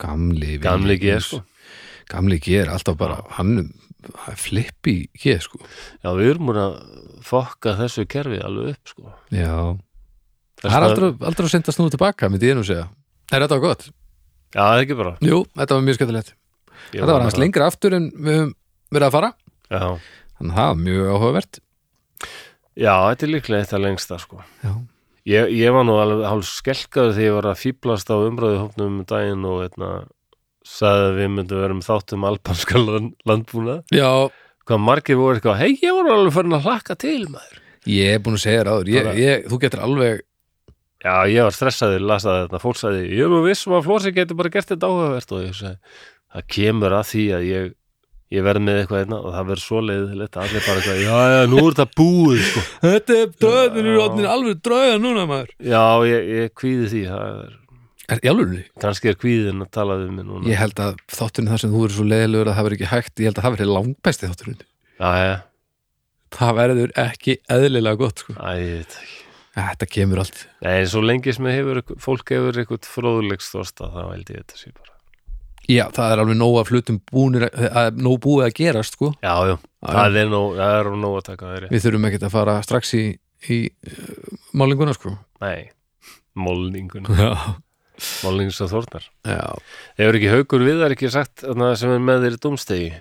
Speaker 2: Gamli
Speaker 1: gamli
Speaker 2: vinur.
Speaker 1: geð sko
Speaker 2: Gamli ger, alltaf bara hann hann er flipp í ger sko
Speaker 1: já við erum úr að fokka þessu kerfi alveg upp sko
Speaker 2: Já, það er aldrei, aldrei að senda snúðu tilbaka, myndi ég nú segja Er þetta var gott?
Speaker 1: já það er ekki bara
Speaker 2: Jú, þetta var mjög skemmtilegt
Speaker 1: Ég
Speaker 2: Þetta var hans lengra aftur en við höfum verið að fara
Speaker 1: já.
Speaker 2: Þannig að það var mjög áhugavert
Speaker 1: já þetta er líklega þetta lengsta sko
Speaker 2: Já,
Speaker 1: Ég, ég var nú alveg hálf skelkaður þegar ég var að fýblast á umræðu hópnum um daginn og hérna, sagði að við myndum vera um þáttum albanska land, landbúna
Speaker 2: já
Speaker 1: hvað margir voru eitthvað, hei, ég voru alveg farin að hlakka til maður.
Speaker 2: ég er búin að segja þér áður ég,
Speaker 1: Bara-
Speaker 2: ég, Þú getur alveg
Speaker 1: Já, ég var stressaður, lasaði þetta, fólk sagði, ég er nú vissum að Flósi getur bara gert þetta áhugavert og ég sagði, það kemur að því að ég, ég verð með eitthvað einna og það verður svo leiðilegt að allir bara eitthvað, já, já, nú er þetta búið, sko.
Speaker 2: Þetta er
Speaker 1: draugarnir eru orðnir
Speaker 2: alveg drauga núna maður
Speaker 1: Já, ég, ég kvíði því, það er,
Speaker 2: Er, í alveg
Speaker 1: kannski er kvíðin að tala við mig núna.
Speaker 2: Ég held að þátturinn þar sem þú verður svo leiðilegur að það verður ekki hægt, ég held að það verður langbæsti þátturinn.
Speaker 1: Já, já,
Speaker 2: Það verður ekki eðlilega gott, sko.
Speaker 1: æ, ég veit ekki.
Speaker 2: Þetta kemur allt.
Speaker 1: Nei, svo lengi sem hefur, ykkur- fólk hefur eitthvað fróðulegst þorsta, þá held ég þetta sé bara.
Speaker 2: Já, það er alveg nóg að flutum búnir, að, að, nóg búið að gerast, sko.
Speaker 1: Já, já, það er nóg, það er nóg að taka þeirri.
Speaker 2: Við þurfum ekkert að fara strax í, í uh, málinguna, sko.
Speaker 1: Nei, mólningun,
Speaker 2: Já.
Speaker 1: mólningun sem þórnar.
Speaker 2: Já.
Speaker 1: Hefur ekki haukur viðar ekki sagt þarna sem er með þér í domstegi?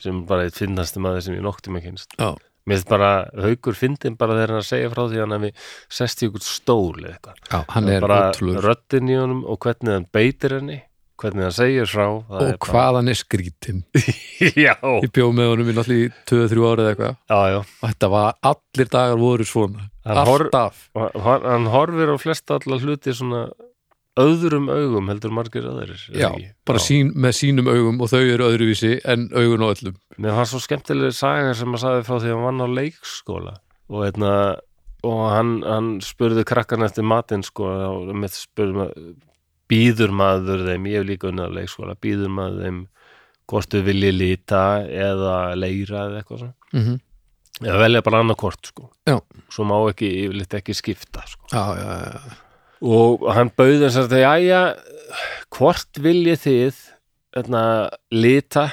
Speaker 1: sem bara eitt finnasti maður sem ég nokti með kynst
Speaker 2: Já.
Speaker 1: mér finnst bara haukur fyndin bara þegar hann er að segja frá því að hann hefði sest í ykkur stól eða eitthvað
Speaker 2: Já, hann er
Speaker 1: bara
Speaker 2: ótrúlega
Speaker 1: röddin í honum og hvernig hann beitir henni hvernig hann segir frá það er
Speaker 2: og hvaðan er skrítin
Speaker 1: bara... <laughs> já,
Speaker 2: ég bjóð með honum í náttúrulega í 2-3 ára eða eitthvað
Speaker 1: já, já
Speaker 2: og þetta var allir dagar voru svona
Speaker 1: Hann hor-
Speaker 2: alltaf
Speaker 1: Og hann hann horfir á flest alla hluti svona öðrum augum heldur margir öðrir er
Speaker 2: já,
Speaker 1: ekki?
Speaker 2: bara sín, með sínum augum og þau eru öðruvísi en augun á öllum
Speaker 1: Mér fannst svo skemmtilega saga sem að sagði frá því að hann vann á leikskóla og, einna, og hann, hann spurði krakkan eftir matinn sko og mitt spurði maður býður maður þeim, ég hef líka unnið á leikskóla býður maður þeim hvort þau vilji lita eða leira eða eitthvað svona,
Speaker 2: mm -hmm.
Speaker 1: eða velja bara annað hvort sko,
Speaker 2: Já.
Speaker 1: svo má ekki yfirleitt ekki skipta sko
Speaker 2: já, já, já,
Speaker 1: og hann bauði þess að það jæja, hvort viljið þið þarna, lita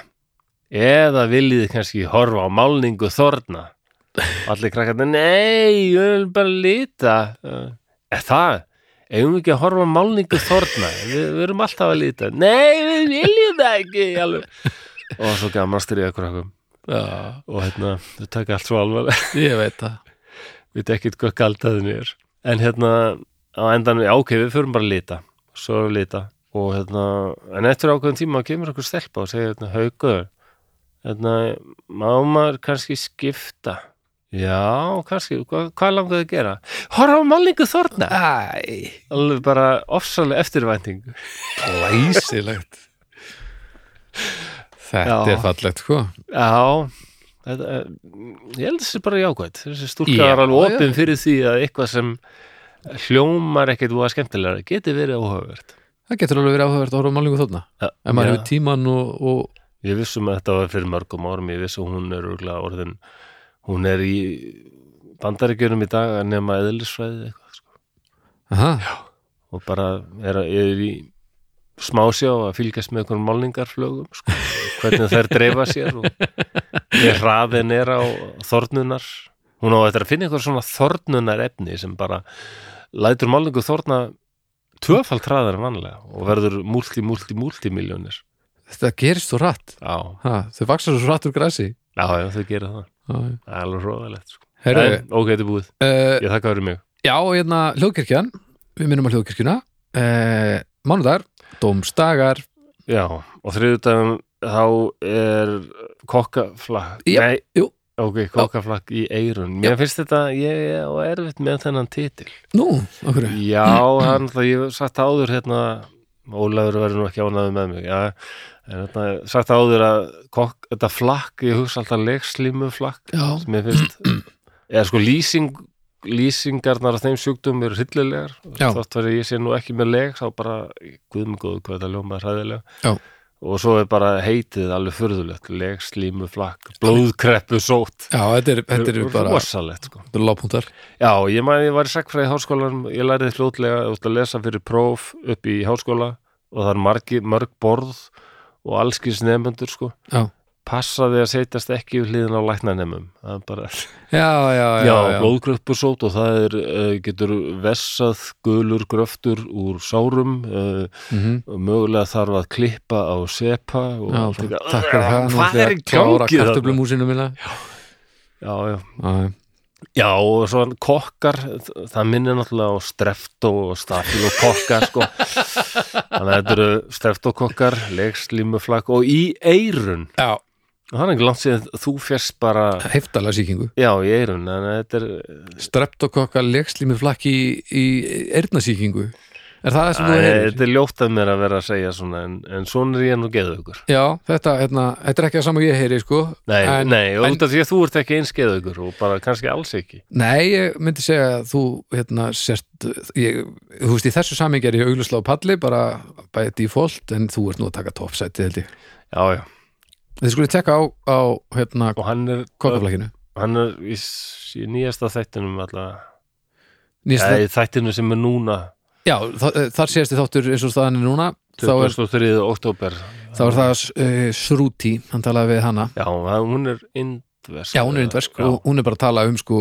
Speaker 1: eða viljið þið kannski horfa á málningu þorna Og allir krakkarnir, nei, ég vil bara lita er það eigum við ekki að horfa á málningu þorna við, við erum alltaf að lita nei, við viljum það ekki alveg. og svo gaman að styrja krakkum
Speaker 2: já.
Speaker 1: og hérna, þau taka allt svo alveg
Speaker 2: ég veit það
Speaker 1: við ekkert hvað galdaðin er en hérna á endan já, ok, við förum bara að lita svo erum við að lita og hérna, en eftir ákveðin tíma kemur okkur stelpa og segir hérna, haugur hérna, má maður kannski skipta já, kannski, hva, hvað langaðu að gera horfa á malningu þorna
Speaker 2: Æ,
Speaker 1: alveg bara ofsalega eftirvænting
Speaker 2: læsilegt Þetta
Speaker 1: Já.
Speaker 2: er fallegt, sko
Speaker 1: já þetta, eh, ég held þessi bara jákvæmt þessi stúlka
Speaker 2: Já,
Speaker 1: er alveg
Speaker 2: já.
Speaker 1: opin fyrir því að eitthvað sem hljómar ekkert voða skemmtilega geti verið áhugavert
Speaker 2: Það getur alveg verið áhugavert að horfa á málningu þarna
Speaker 1: Já,
Speaker 2: En maður
Speaker 1: já.
Speaker 2: hefur tíman og, og
Speaker 1: Ég vissum að þetta var fyrir mörgum árum, ég vissum hún er örgulega orðin, hún er í bandaríkjörnum í dag að nema eðlisfræði eitthvað sko.
Speaker 2: aha,
Speaker 1: og bara er, að- er í smásjá að fylgjast með einhverjum málningarflögum sko, hvernig þær dreifa sér og ég hraðin er á þornunar hún á þetta að finna einhver svona þornunar efni sem bara lætur málningu þorna tvöfald hraðar en vanlega og verður múlti, múlti, múlti miljónir
Speaker 2: Þetta gerist svo rætt
Speaker 1: Já,
Speaker 2: ha, Þau vaksa svo rætt úr græsi
Speaker 1: já, já, þau gera það
Speaker 2: Já.
Speaker 1: Það er alveg hróðalegt sko.
Speaker 2: Herðu,
Speaker 1: En, ok, þetta er búið.
Speaker 2: uh,
Speaker 1: Ég þakka fyrir mig.
Speaker 2: Já, hérna hljóðkirkjan Við minnum að hljóðkirkjuna uh, Mánudar, dómstagar
Speaker 1: Já, og þriðutagum þá er kokkaflakk.
Speaker 2: Já,
Speaker 1: Nei,
Speaker 2: jú.
Speaker 1: Ok, kokkaflakk í eirun. Mér finnst þetta, ég er á erfitt með þennan titil.
Speaker 2: Nú, okkur
Speaker 1: Já, hann, það, ég hef sagt áður hérna, Ólafur verður nú ekki ánaði með mig, já, en hérna, sagt áður að kokk, þetta flakk, ég hugsa alltaf leikslímuflakk,
Speaker 2: Já,
Speaker 1: sem ég finnst eða sko lýsing lýsingarnar af þeim sjúkdum eru hryllilegar
Speaker 2: Já.
Speaker 1: þátt verið ég sé nú ekki með leg þá bara guðmengóðu hvað þetta ljóma er hæðilega
Speaker 2: Já.
Speaker 1: og svo er bara heitið alveg furðulegt leg, slímu, flakk, blóðkreppu, sót
Speaker 2: já þetta er, þetta er bara
Speaker 1: rosalegt sko
Speaker 2: Lápuntar
Speaker 1: Já, ég maður ég var í sagfræði í háskólanum, ég lærið fljótlega út að lesa fyrir próf upp í háskóla og það er margi, mörg borð og allskins nefnendur sko.
Speaker 2: Já.
Speaker 1: Passaði að setjast ekki við hliðin á læknanemum. Það er bara, já,
Speaker 2: Já, já, já, já,
Speaker 1: blóðgröppusót og það er, eh, getur vessað gulur gröftur úr sárum, eh,
Speaker 2: Mhm.
Speaker 1: mögulega þarf að klippa á sepa og
Speaker 2: já
Speaker 1: allt þetta.
Speaker 2: Takk fyrir það nú
Speaker 1: Hvað
Speaker 2: ætla ég
Speaker 1: er
Speaker 2: að
Speaker 1: í
Speaker 2: klára
Speaker 1: gangi það?
Speaker 2: kartöflumúsinu mína
Speaker 1: Já, já.
Speaker 2: Já,
Speaker 1: Já, og svo hann kokkar, þ- það minnir náttúrulega á strefto og stafil og kokkar,
Speaker 2: <laughs>
Speaker 1: sko. Þannig að þetta eru streftokokkar, legslímuflakk og í eirun.
Speaker 2: já
Speaker 1: Og hann er ekki langt séð, þú fjast bara,
Speaker 2: heftalega sýkingu
Speaker 1: já, í eirun, þannig að þetta er,
Speaker 2: streptokokka legslími flakki í, í eyrnasýkingu er það það sem þú
Speaker 1: Æ,
Speaker 2: heyrir?
Speaker 1: þetta er ljótt af mér að vera að segja svona, en, en svona er ég nú geðaugur.
Speaker 2: Já, þetta, hérna, þetta er ekki það sama og ég heyri sko.
Speaker 1: Nei,
Speaker 2: En-
Speaker 1: nei, og
Speaker 2: en-
Speaker 1: út af því að þú ert ekki eins geðaugur og bara kannski alls ekki.
Speaker 2: Nei, ég myndi segja að þú hérna, sért, ég, þú veist í þessu samingi er ég auglustlega á palli bara bæði default en þú ert nú að taka topsæti held ég.
Speaker 1: Já, já,
Speaker 2: Þið skulle tekka á, á hérna,
Speaker 1: og hann er,
Speaker 2: kokkaflakkinu
Speaker 1: hann er í, s- í nýjasta þættinum allavega,
Speaker 2: Nýsta,
Speaker 1: Nei, þættinu sem er núna,
Speaker 2: Já, þa þar séðast þið þáttur eins og staðan er núna þá er,
Speaker 1: 23. oktober
Speaker 2: þá er það uh, Sruti, hann talaði við hana
Speaker 1: Já, það- hún er indversk
Speaker 2: Já, hún er indversk
Speaker 1: Já,
Speaker 2: og hún er bara að tala um sko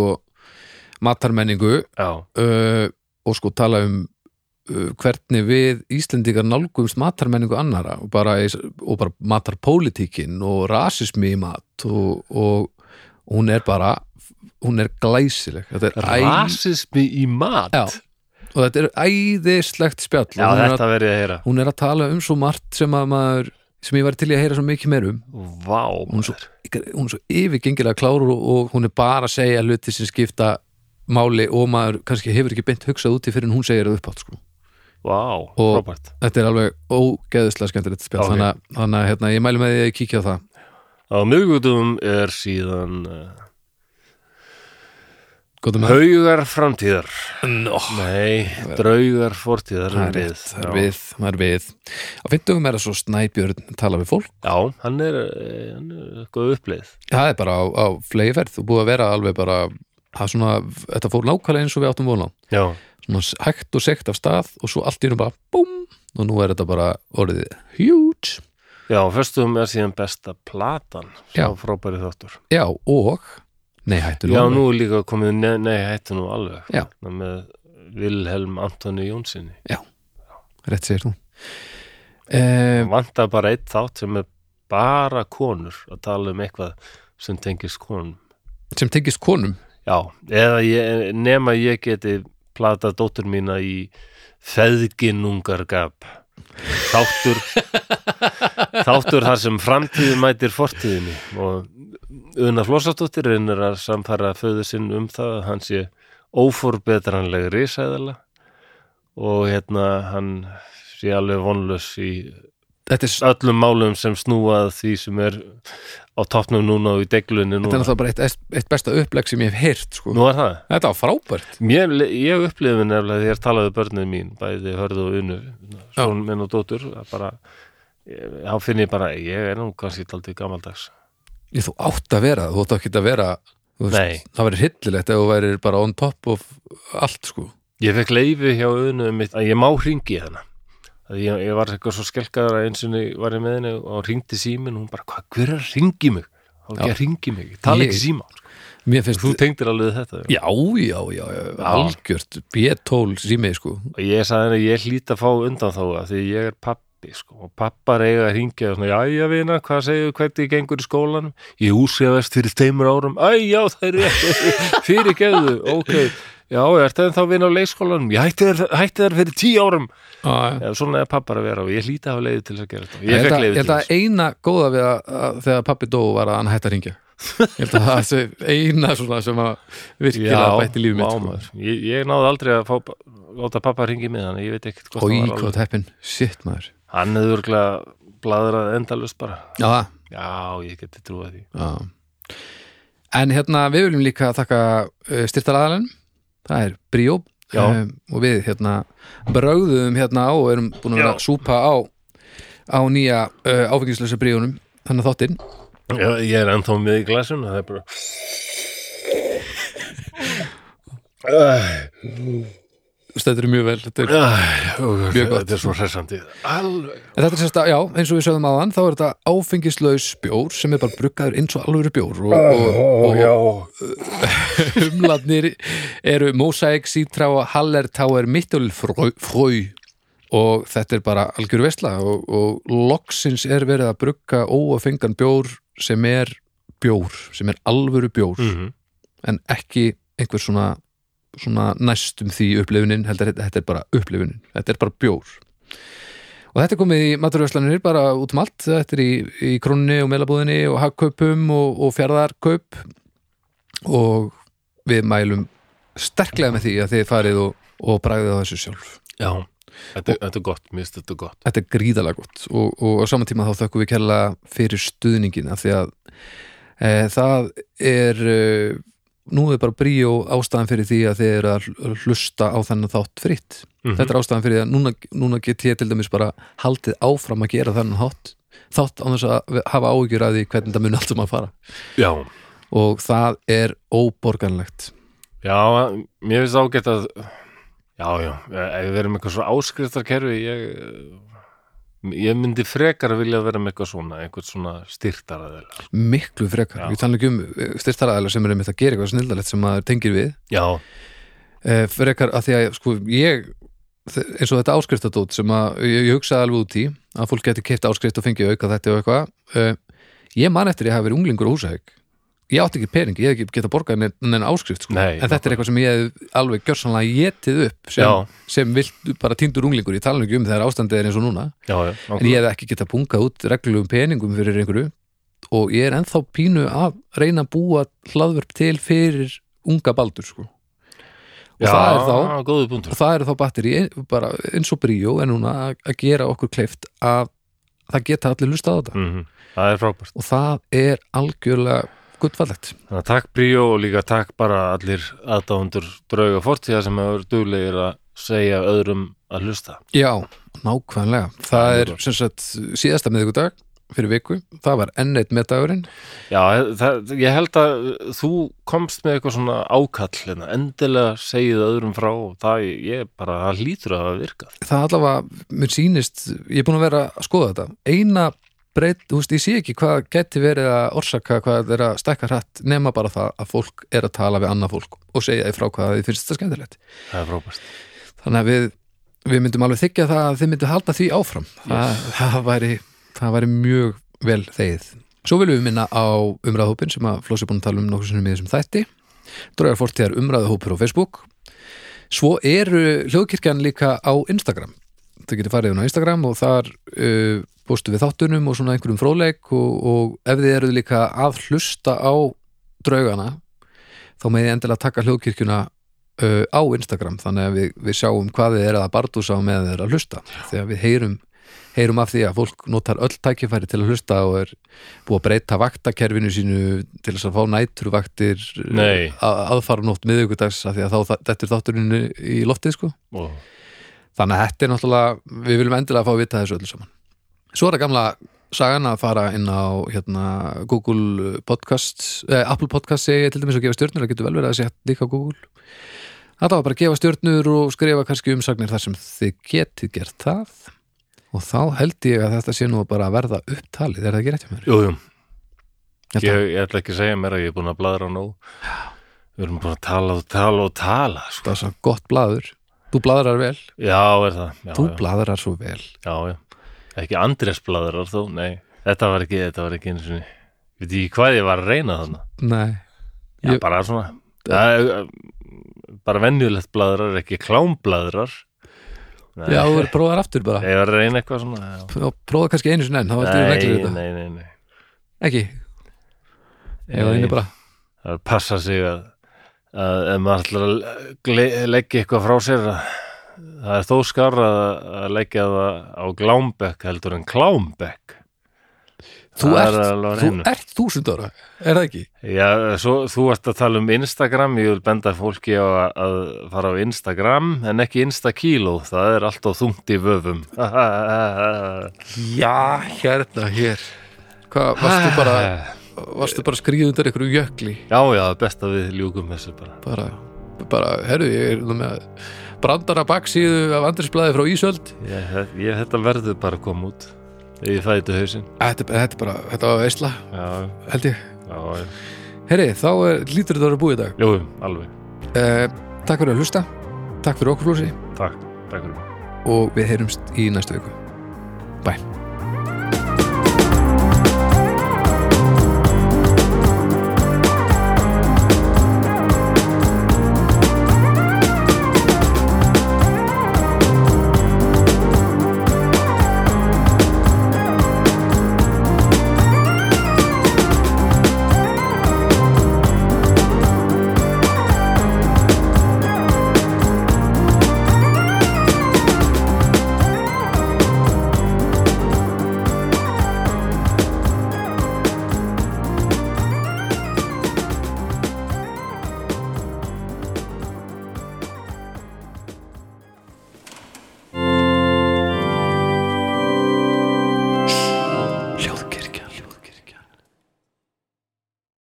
Speaker 2: matarmenningu
Speaker 1: já,
Speaker 2: uh, og sko tala um uh, hvernig við Íslendingar nálgumst matarmenningu annara og bara, eins- og bara matarpólitíkin og rasismi í mat og, og hún er bara hún er glæsileg Þetta er æ-
Speaker 1: Rasismi í mat
Speaker 2: Já. og þetta er æðislegt spjall
Speaker 1: Já,
Speaker 2: og hún, er að,
Speaker 1: þetta verið að heyra
Speaker 2: hún er að tala um svo margt sem að maður sem ég var til í að heyra svo mikið meir um
Speaker 1: Vá,
Speaker 2: hún er svo, hún er svo yfirgengilega klár og, og hún er bara að segja hluti sem skipta máli og maður kannski hefur ekki beint hugsað úti fyrir en hún segir það upphátt sko.
Speaker 1: vá,
Speaker 2: Og-
Speaker 1: frábært
Speaker 2: þetta er alveg ógeðislega skemmtilegt spjall
Speaker 1: Ok.
Speaker 2: okay. þannig að- þannig að hérna, ég mælu með því að kíkja á það
Speaker 1: Á miðgutum er síðan uh,
Speaker 2: Góðum að
Speaker 1: Haugar framtíðar
Speaker 2: Nó,
Speaker 1: Nei, draugar fortíðar
Speaker 2: það er
Speaker 1: við.
Speaker 2: rétt, það er
Speaker 1: Já.
Speaker 2: við, það er við á fimmtugum er það svo snæbjörn tala við fólk
Speaker 1: Já, hann er, eh, hann er góð uppleið
Speaker 2: það er bara á, á fleiferð og búið að vera alveg bara það er svona, þetta fór nákvæmlega eins og við áttum vona
Speaker 1: Já,
Speaker 2: svona s- hægt og segt af stað og svo allt í einu bara búm og nú er þetta bara orðið huge
Speaker 1: já, fyrstum er síðan besta platan
Speaker 2: Já.
Speaker 1: Já, frábæri þáttur
Speaker 2: já og nei hættu
Speaker 1: Já,
Speaker 2: alveg.
Speaker 1: nú er líka komið, nei, nei hættu nú alveg
Speaker 2: Já.
Speaker 1: með Vilhelm Antoni Jónssoni
Speaker 2: rétt segir þú eh,
Speaker 1: Vantar bara eitt þátt sem er bara konur að tala um eitthvað sem tengist konum
Speaker 2: sem tengist konum
Speaker 1: Já, eða ég, nema ég geti plata dóttur mína í feðginungargap þáttur þáttur þar sem framtíðin mætir fortíðinni og Una Flósardóttir reynir að samfara föður sinn um það að hann sé óforbetranleg risæðala og hérna hann sé alveg vonlaus í
Speaker 2: þetta er, s-
Speaker 1: öllum málum sem snúað því sem er á toppnum núna og í deglunni
Speaker 2: þetta er
Speaker 1: núna.
Speaker 2: náttúrulega bara eitt, eitt besta upplegg sem ég hef heyrt sko.
Speaker 1: Nú er það?
Speaker 2: þetta var frábært
Speaker 1: Mér, ég upplifði nefnilega þegar ég talaði við börnin mín, bæði hörðu og unnu són minn og dóttur að bara, ég, þá finn ég bara ég er nú kannski taldið gamaldags
Speaker 2: ég þú átt að vera, þú átt ekki að vera þú
Speaker 1: Nei.
Speaker 2: það verður hillilegt ef þú værir bara on top of allt sko
Speaker 1: ég fekk leifi hjá unnu mitt að ég má hringi hana að ég, ég var eitthvað svo skelkaður að eins og var ég með henni og hringdi símin og hún bara, hvað, hver er að hringi mig? Þá ekki
Speaker 2: Já.
Speaker 1: að hringi mig, ég tala ekki
Speaker 2: Ég-
Speaker 1: síma
Speaker 2: mér finnst
Speaker 1: Þú tengdir alveg þetta
Speaker 2: Já, já, já, já, algjört B12 sími, sko
Speaker 1: og ég sagði henni að ég hlýt að fá undan þá að því ég er pappi sko og pappar eiga að hringja og svona, jæja vina, hvað segir hvernig gengur í skólanum ég úsefast fyrir tveimur árum æjá, það er rétt <laughs> fyrir geðu, ok já, er það þá vina á leikskólanum ég hætti þær, hætti þær fyrir tíu árum
Speaker 2: ah,
Speaker 1: Eða, svona er pappar að vera og ég hlýt að hafa leiði til þess að gera þetta
Speaker 2: Ég
Speaker 1: ég
Speaker 2: held
Speaker 1: fekk
Speaker 2: að- ég
Speaker 1: leiði
Speaker 2: held
Speaker 1: til
Speaker 2: að
Speaker 1: þess
Speaker 2: eina góða við að, að þegar pappi dó var að hann hætti að ringja Ég held að það sé eina svona sem að virkilega bætti lífið mitt sko.
Speaker 1: mámaður ég, ég náði aldrei að fá, láta pappa hringi með hann ég veit ekkert hvort
Speaker 2: Hói,
Speaker 1: hann var
Speaker 2: hvað
Speaker 1: alveg
Speaker 2: teppin, shit maður
Speaker 1: hann hefur örgulega bladrað endalust bara
Speaker 2: Já,
Speaker 1: já, ég geti trúið því
Speaker 2: já En hérna, við viljum líka þakka uh, styrtaraðalinn Það er Bríó
Speaker 1: Já.
Speaker 2: og við hérna brögðum hérna á og erum búin að vera
Speaker 1: Já.
Speaker 2: að súpa á á nýja uh, áfengislösa Bríónum þannig að þáttinn
Speaker 1: Já, ég er ennþá með í glasuna, það er bara... Æ,
Speaker 2: stendur mjög vel þetta er,
Speaker 1: æ, ó,
Speaker 2: Mjög gott.
Speaker 1: Þetta er svo hressandi. Alveg.
Speaker 2: en þetta er sérst að, já, eins og við sögðum áðan þá er þetta áfengislaus bjór sem er bara bruggaður eins og alvöru bjór og, og, og,
Speaker 1: já.
Speaker 2: og humladnir eru Mosaic, Citra og Hallertauer Mittelfröy og þetta er bara algjör vesla og, og loksins er verið að brugga óafengan bjór sem er bjór, sem er alvöru bjór
Speaker 1: Mm. Mhm,
Speaker 2: en ekki einhver svona, svona næstum því upplifunin heldur þetta- þetta er bara upplifunin þetta er bara bjór og þetta er komið í maturvörslanir bara út um allt þetta er í, í krónni og meilabúðinni og hagkaupum og, og fjardarkaup og við mælum sterklega með því að þið farið og, og bragðið á þessu sjálf
Speaker 1: Já, þetta, þetta er gott, mér finnst þetta gott.
Speaker 2: þetta er gríðalega gott og, og á saman tíma þá þökkum við kella fyrir stuðningin af því að e, það er e, nú er bara brí og ástæðan fyrir því að þið eru að hl- hlusta á þennan þátt fritt
Speaker 1: Mhm.
Speaker 2: þetta er ástæðan fyrir því að núna, núna get ég til dæmis bara haldið áfram að gera þennan þátt þátt á þess að við- hafa áhyggjur að því hvernig það mun allt sem að fara
Speaker 1: Já,
Speaker 2: og það er óborganlegt
Speaker 1: já, mér finnst ágætt að... Já, já, e, ef við erum eitthvað svo áskriftarkerfi, ég... e, Ég myndi frekar vilja vera með eitthvað svona, einhvern svona styrtaraðilega.
Speaker 2: miklu frekar,
Speaker 1: Já.
Speaker 2: við tala ekki um styrtaraðalega sem er um þetta að gera eitthvað snildalegt sem maður tengir við
Speaker 1: Já,
Speaker 2: Eh, frekar að því að sko ég þe- eins og þetta áskriftadót sem að ég, ég hugsaði alveg út í að fólk geti keipt áskrift og fengið auka þetta og eitthvað uh, ég man eftir ég hafi verið unglingur á húsahauk ég átti ekki pening, ég hef ekki getað borgað neinn neinn áskrift sko.
Speaker 1: Nei,
Speaker 2: en þetta er eitthvað sem ég hef alveg gjörsanlega getið upp
Speaker 1: Já.
Speaker 2: sem, sem vilt bara tindur unglingur, ég tala nú ekki um þegar ástandið er eins og núna
Speaker 1: já, já,
Speaker 2: en ég hef ekki getað bungað út reglum peningum fyrir einhverju og ég er ennþá pínu að reyna að búa hlaðverk til fyrir unga baldur sko. og
Speaker 1: já,
Speaker 2: það er þá
Speaker 1: góðu punktur
Speaker 2: og það eru þá batteri bara eins og bríó en núna að- að gera okkur kleift að það geta allir lustað á þetta
Speaker 1: mm það er frábært
Speaker 2: og það er algjörlega guttfallegt
Speaker 1: Þannig að takk Bríó og líka takk bara allir aðdáðundur drauga fortíða sem hefur duglegir að segja öðrum að hlusta.
Speaker 2: já, nákvæmlega það
Speaker 1: Það
Speaker 2: er
Speaker 1: er
Speaker 2: sem sagt síðasta miðvikudag fyrir viku, það var enn eitt metagurinn
Speaker 1: Já, það, ég held að þú komst með eitthvað svona ákall hérna, endilega segið öðrum frá og það, ég bara, það hlýtur að hafa virkað.
Speaker 2: það allavega, mér sýnist ég er búin að vera að skoða þetta eina breyt, þú veist, ég sé ekki hvað geti verið að orsaka hvað þetta er að stekka hratt nema bara það að fólk er að tala við annað fólk og segja því frá hvað þið finnst þetta skemmtilegt
Speaker 1: Það er frábært.
Speaker 2: þannig að við, við myndum alveg þykja það að þið myndum halda því áfram það, það, væri, það væri mjög vel þeir svo viljum við minna á umræðhópin sem að Flósi er búin að tala um nokkuð sinnum í þessum þætti draugar fortíðar umræðhópur á Facebook svo eru hljóðkirkjan líka á Instagram þau getur farið inn á Instagram og þar uh, bústu við þáttunum og svona einhverjum fróleik og, og ef þið eruð líka að hlusta á draugana þá meði endilega taka hljóðkirkjuna uh, á Instagram þannig að við, við sjáum hvað þið er að bardúsa og með þeir að hlusta þegar við heyrum, heyrum af því að fólk notar öll tækifæri til að hlusta og er búið að breyta vaktakerfinu sínu til þess að fá næturvaktir
Speaker 1: Nei.
Speaker 2: aðfara nótt miðvikudags af því að þá þetta er þátturinn í loftið sko
Speaker 1: Og,
Speaker 2: þannig að þetta er náttúrulega, við viljum endilega fá að vita þessu öllu saman svo er það gamla sagan að fara inn á hérna, Google podcast eh, Apple podcast segi ég til dæmis að gefa stjörnur það getur vel verið að segja líka á Google þetta var bara að gefa stjörnur og skrifa kannski umsagnir þar sem þið getið gert það og þá held ég að þetta sé nú bara að verða upptalið er það ekki rétt hjá mér?
Speaker 1: jú, jú,
Speaker 2: Ég
Speaker 1: ég,
Speaker 2: held að-
Speaker 1: ég ætla ekki að segja mér að ég er búin að bladra nóg. Við erum búin að tala og tala og tala,
Speaker 2: það
Speaker 1: sko.
Speaker 2: er svo gott blaður, þú bladrar vel
Speaker 1: Já, er það. Já,
Speaker 2: þú
Speaker 1: já,
Speaker 2: bladrar svo vel
Speaker 1: já, já. Ekki Andrés bladrar þó, nei. Þetta var ekki, þetta var ekki eins og Við veit ekki hvað ég var að reyna þannig.
Speaker 2: nei,
Speaker 1: Já,
Speaker 2: Ég-
Speaker 1: bara svona það, er- bara venjulegt bladrar, ekki klámbladrar Nei,
Speaker 2: já þú er prófaðar aftur bara
Speaker 1: Ég var að reyna eitthvað svona já.
Speaker 2: prófaðar kannski einu sinni enn, þá ertu
Speaker 1: Nei,
Speaker 2: reglur þetta
Speaker 1: nei, nei, nei
Speaker 2: ekki, ég var inni bara
Speaker 1: Það passa sig að, að ef maður ætlar að gle- leggja eitthvað frá sér að, það er þó skar að, að leggja það á glámbekk heldur en klámbekk
Speaker 2: þú
Speaker 1: Það er
Speaker 2: ert,
Speaker 1: alveg á
Speaker 2: þú
Speaker 1: hreinu.
Speaker 2: ert þúsund ára er það ekki?
Speaker 1: Já, svo, þú ert að tala um Instagram, ég vil benda fólki á að, að fara á Instagram en ekki Instakíló, það er alltaf þungt í vöfum. <laughs>
Speaker 2: já, hérna, hér hvað, varstu bara Ah. varstu bara skrýðundar ykkur jökli
Speaker 1: Já, já, best að við ljúkum þessu bara.
Speaker 2: bara, bara, herru, ég er nú með brandara baksíðu af andrisblæði frá Ísöld
Speaker 1: Ég, ég, þetta verður bara að koma út þegar ég fæði til hausinn.
Speaker 2: þetta, þetta er bara, þetta var veistla
Speaker 1: Já,
Speaker 2: held ég,
Speaker 1: já, já,
Speaker 2: herri, þá er, lítur þetta að vera búið í dag
Speaker 1: ljúkum, alveg.
Speaker 2: eh, takk fyrir að hlusta, takk fyrir okkur flósi
Speaker 1: Takk, takk fyrir mig.
Speaker 2: og við heyrumst í næstu viku bye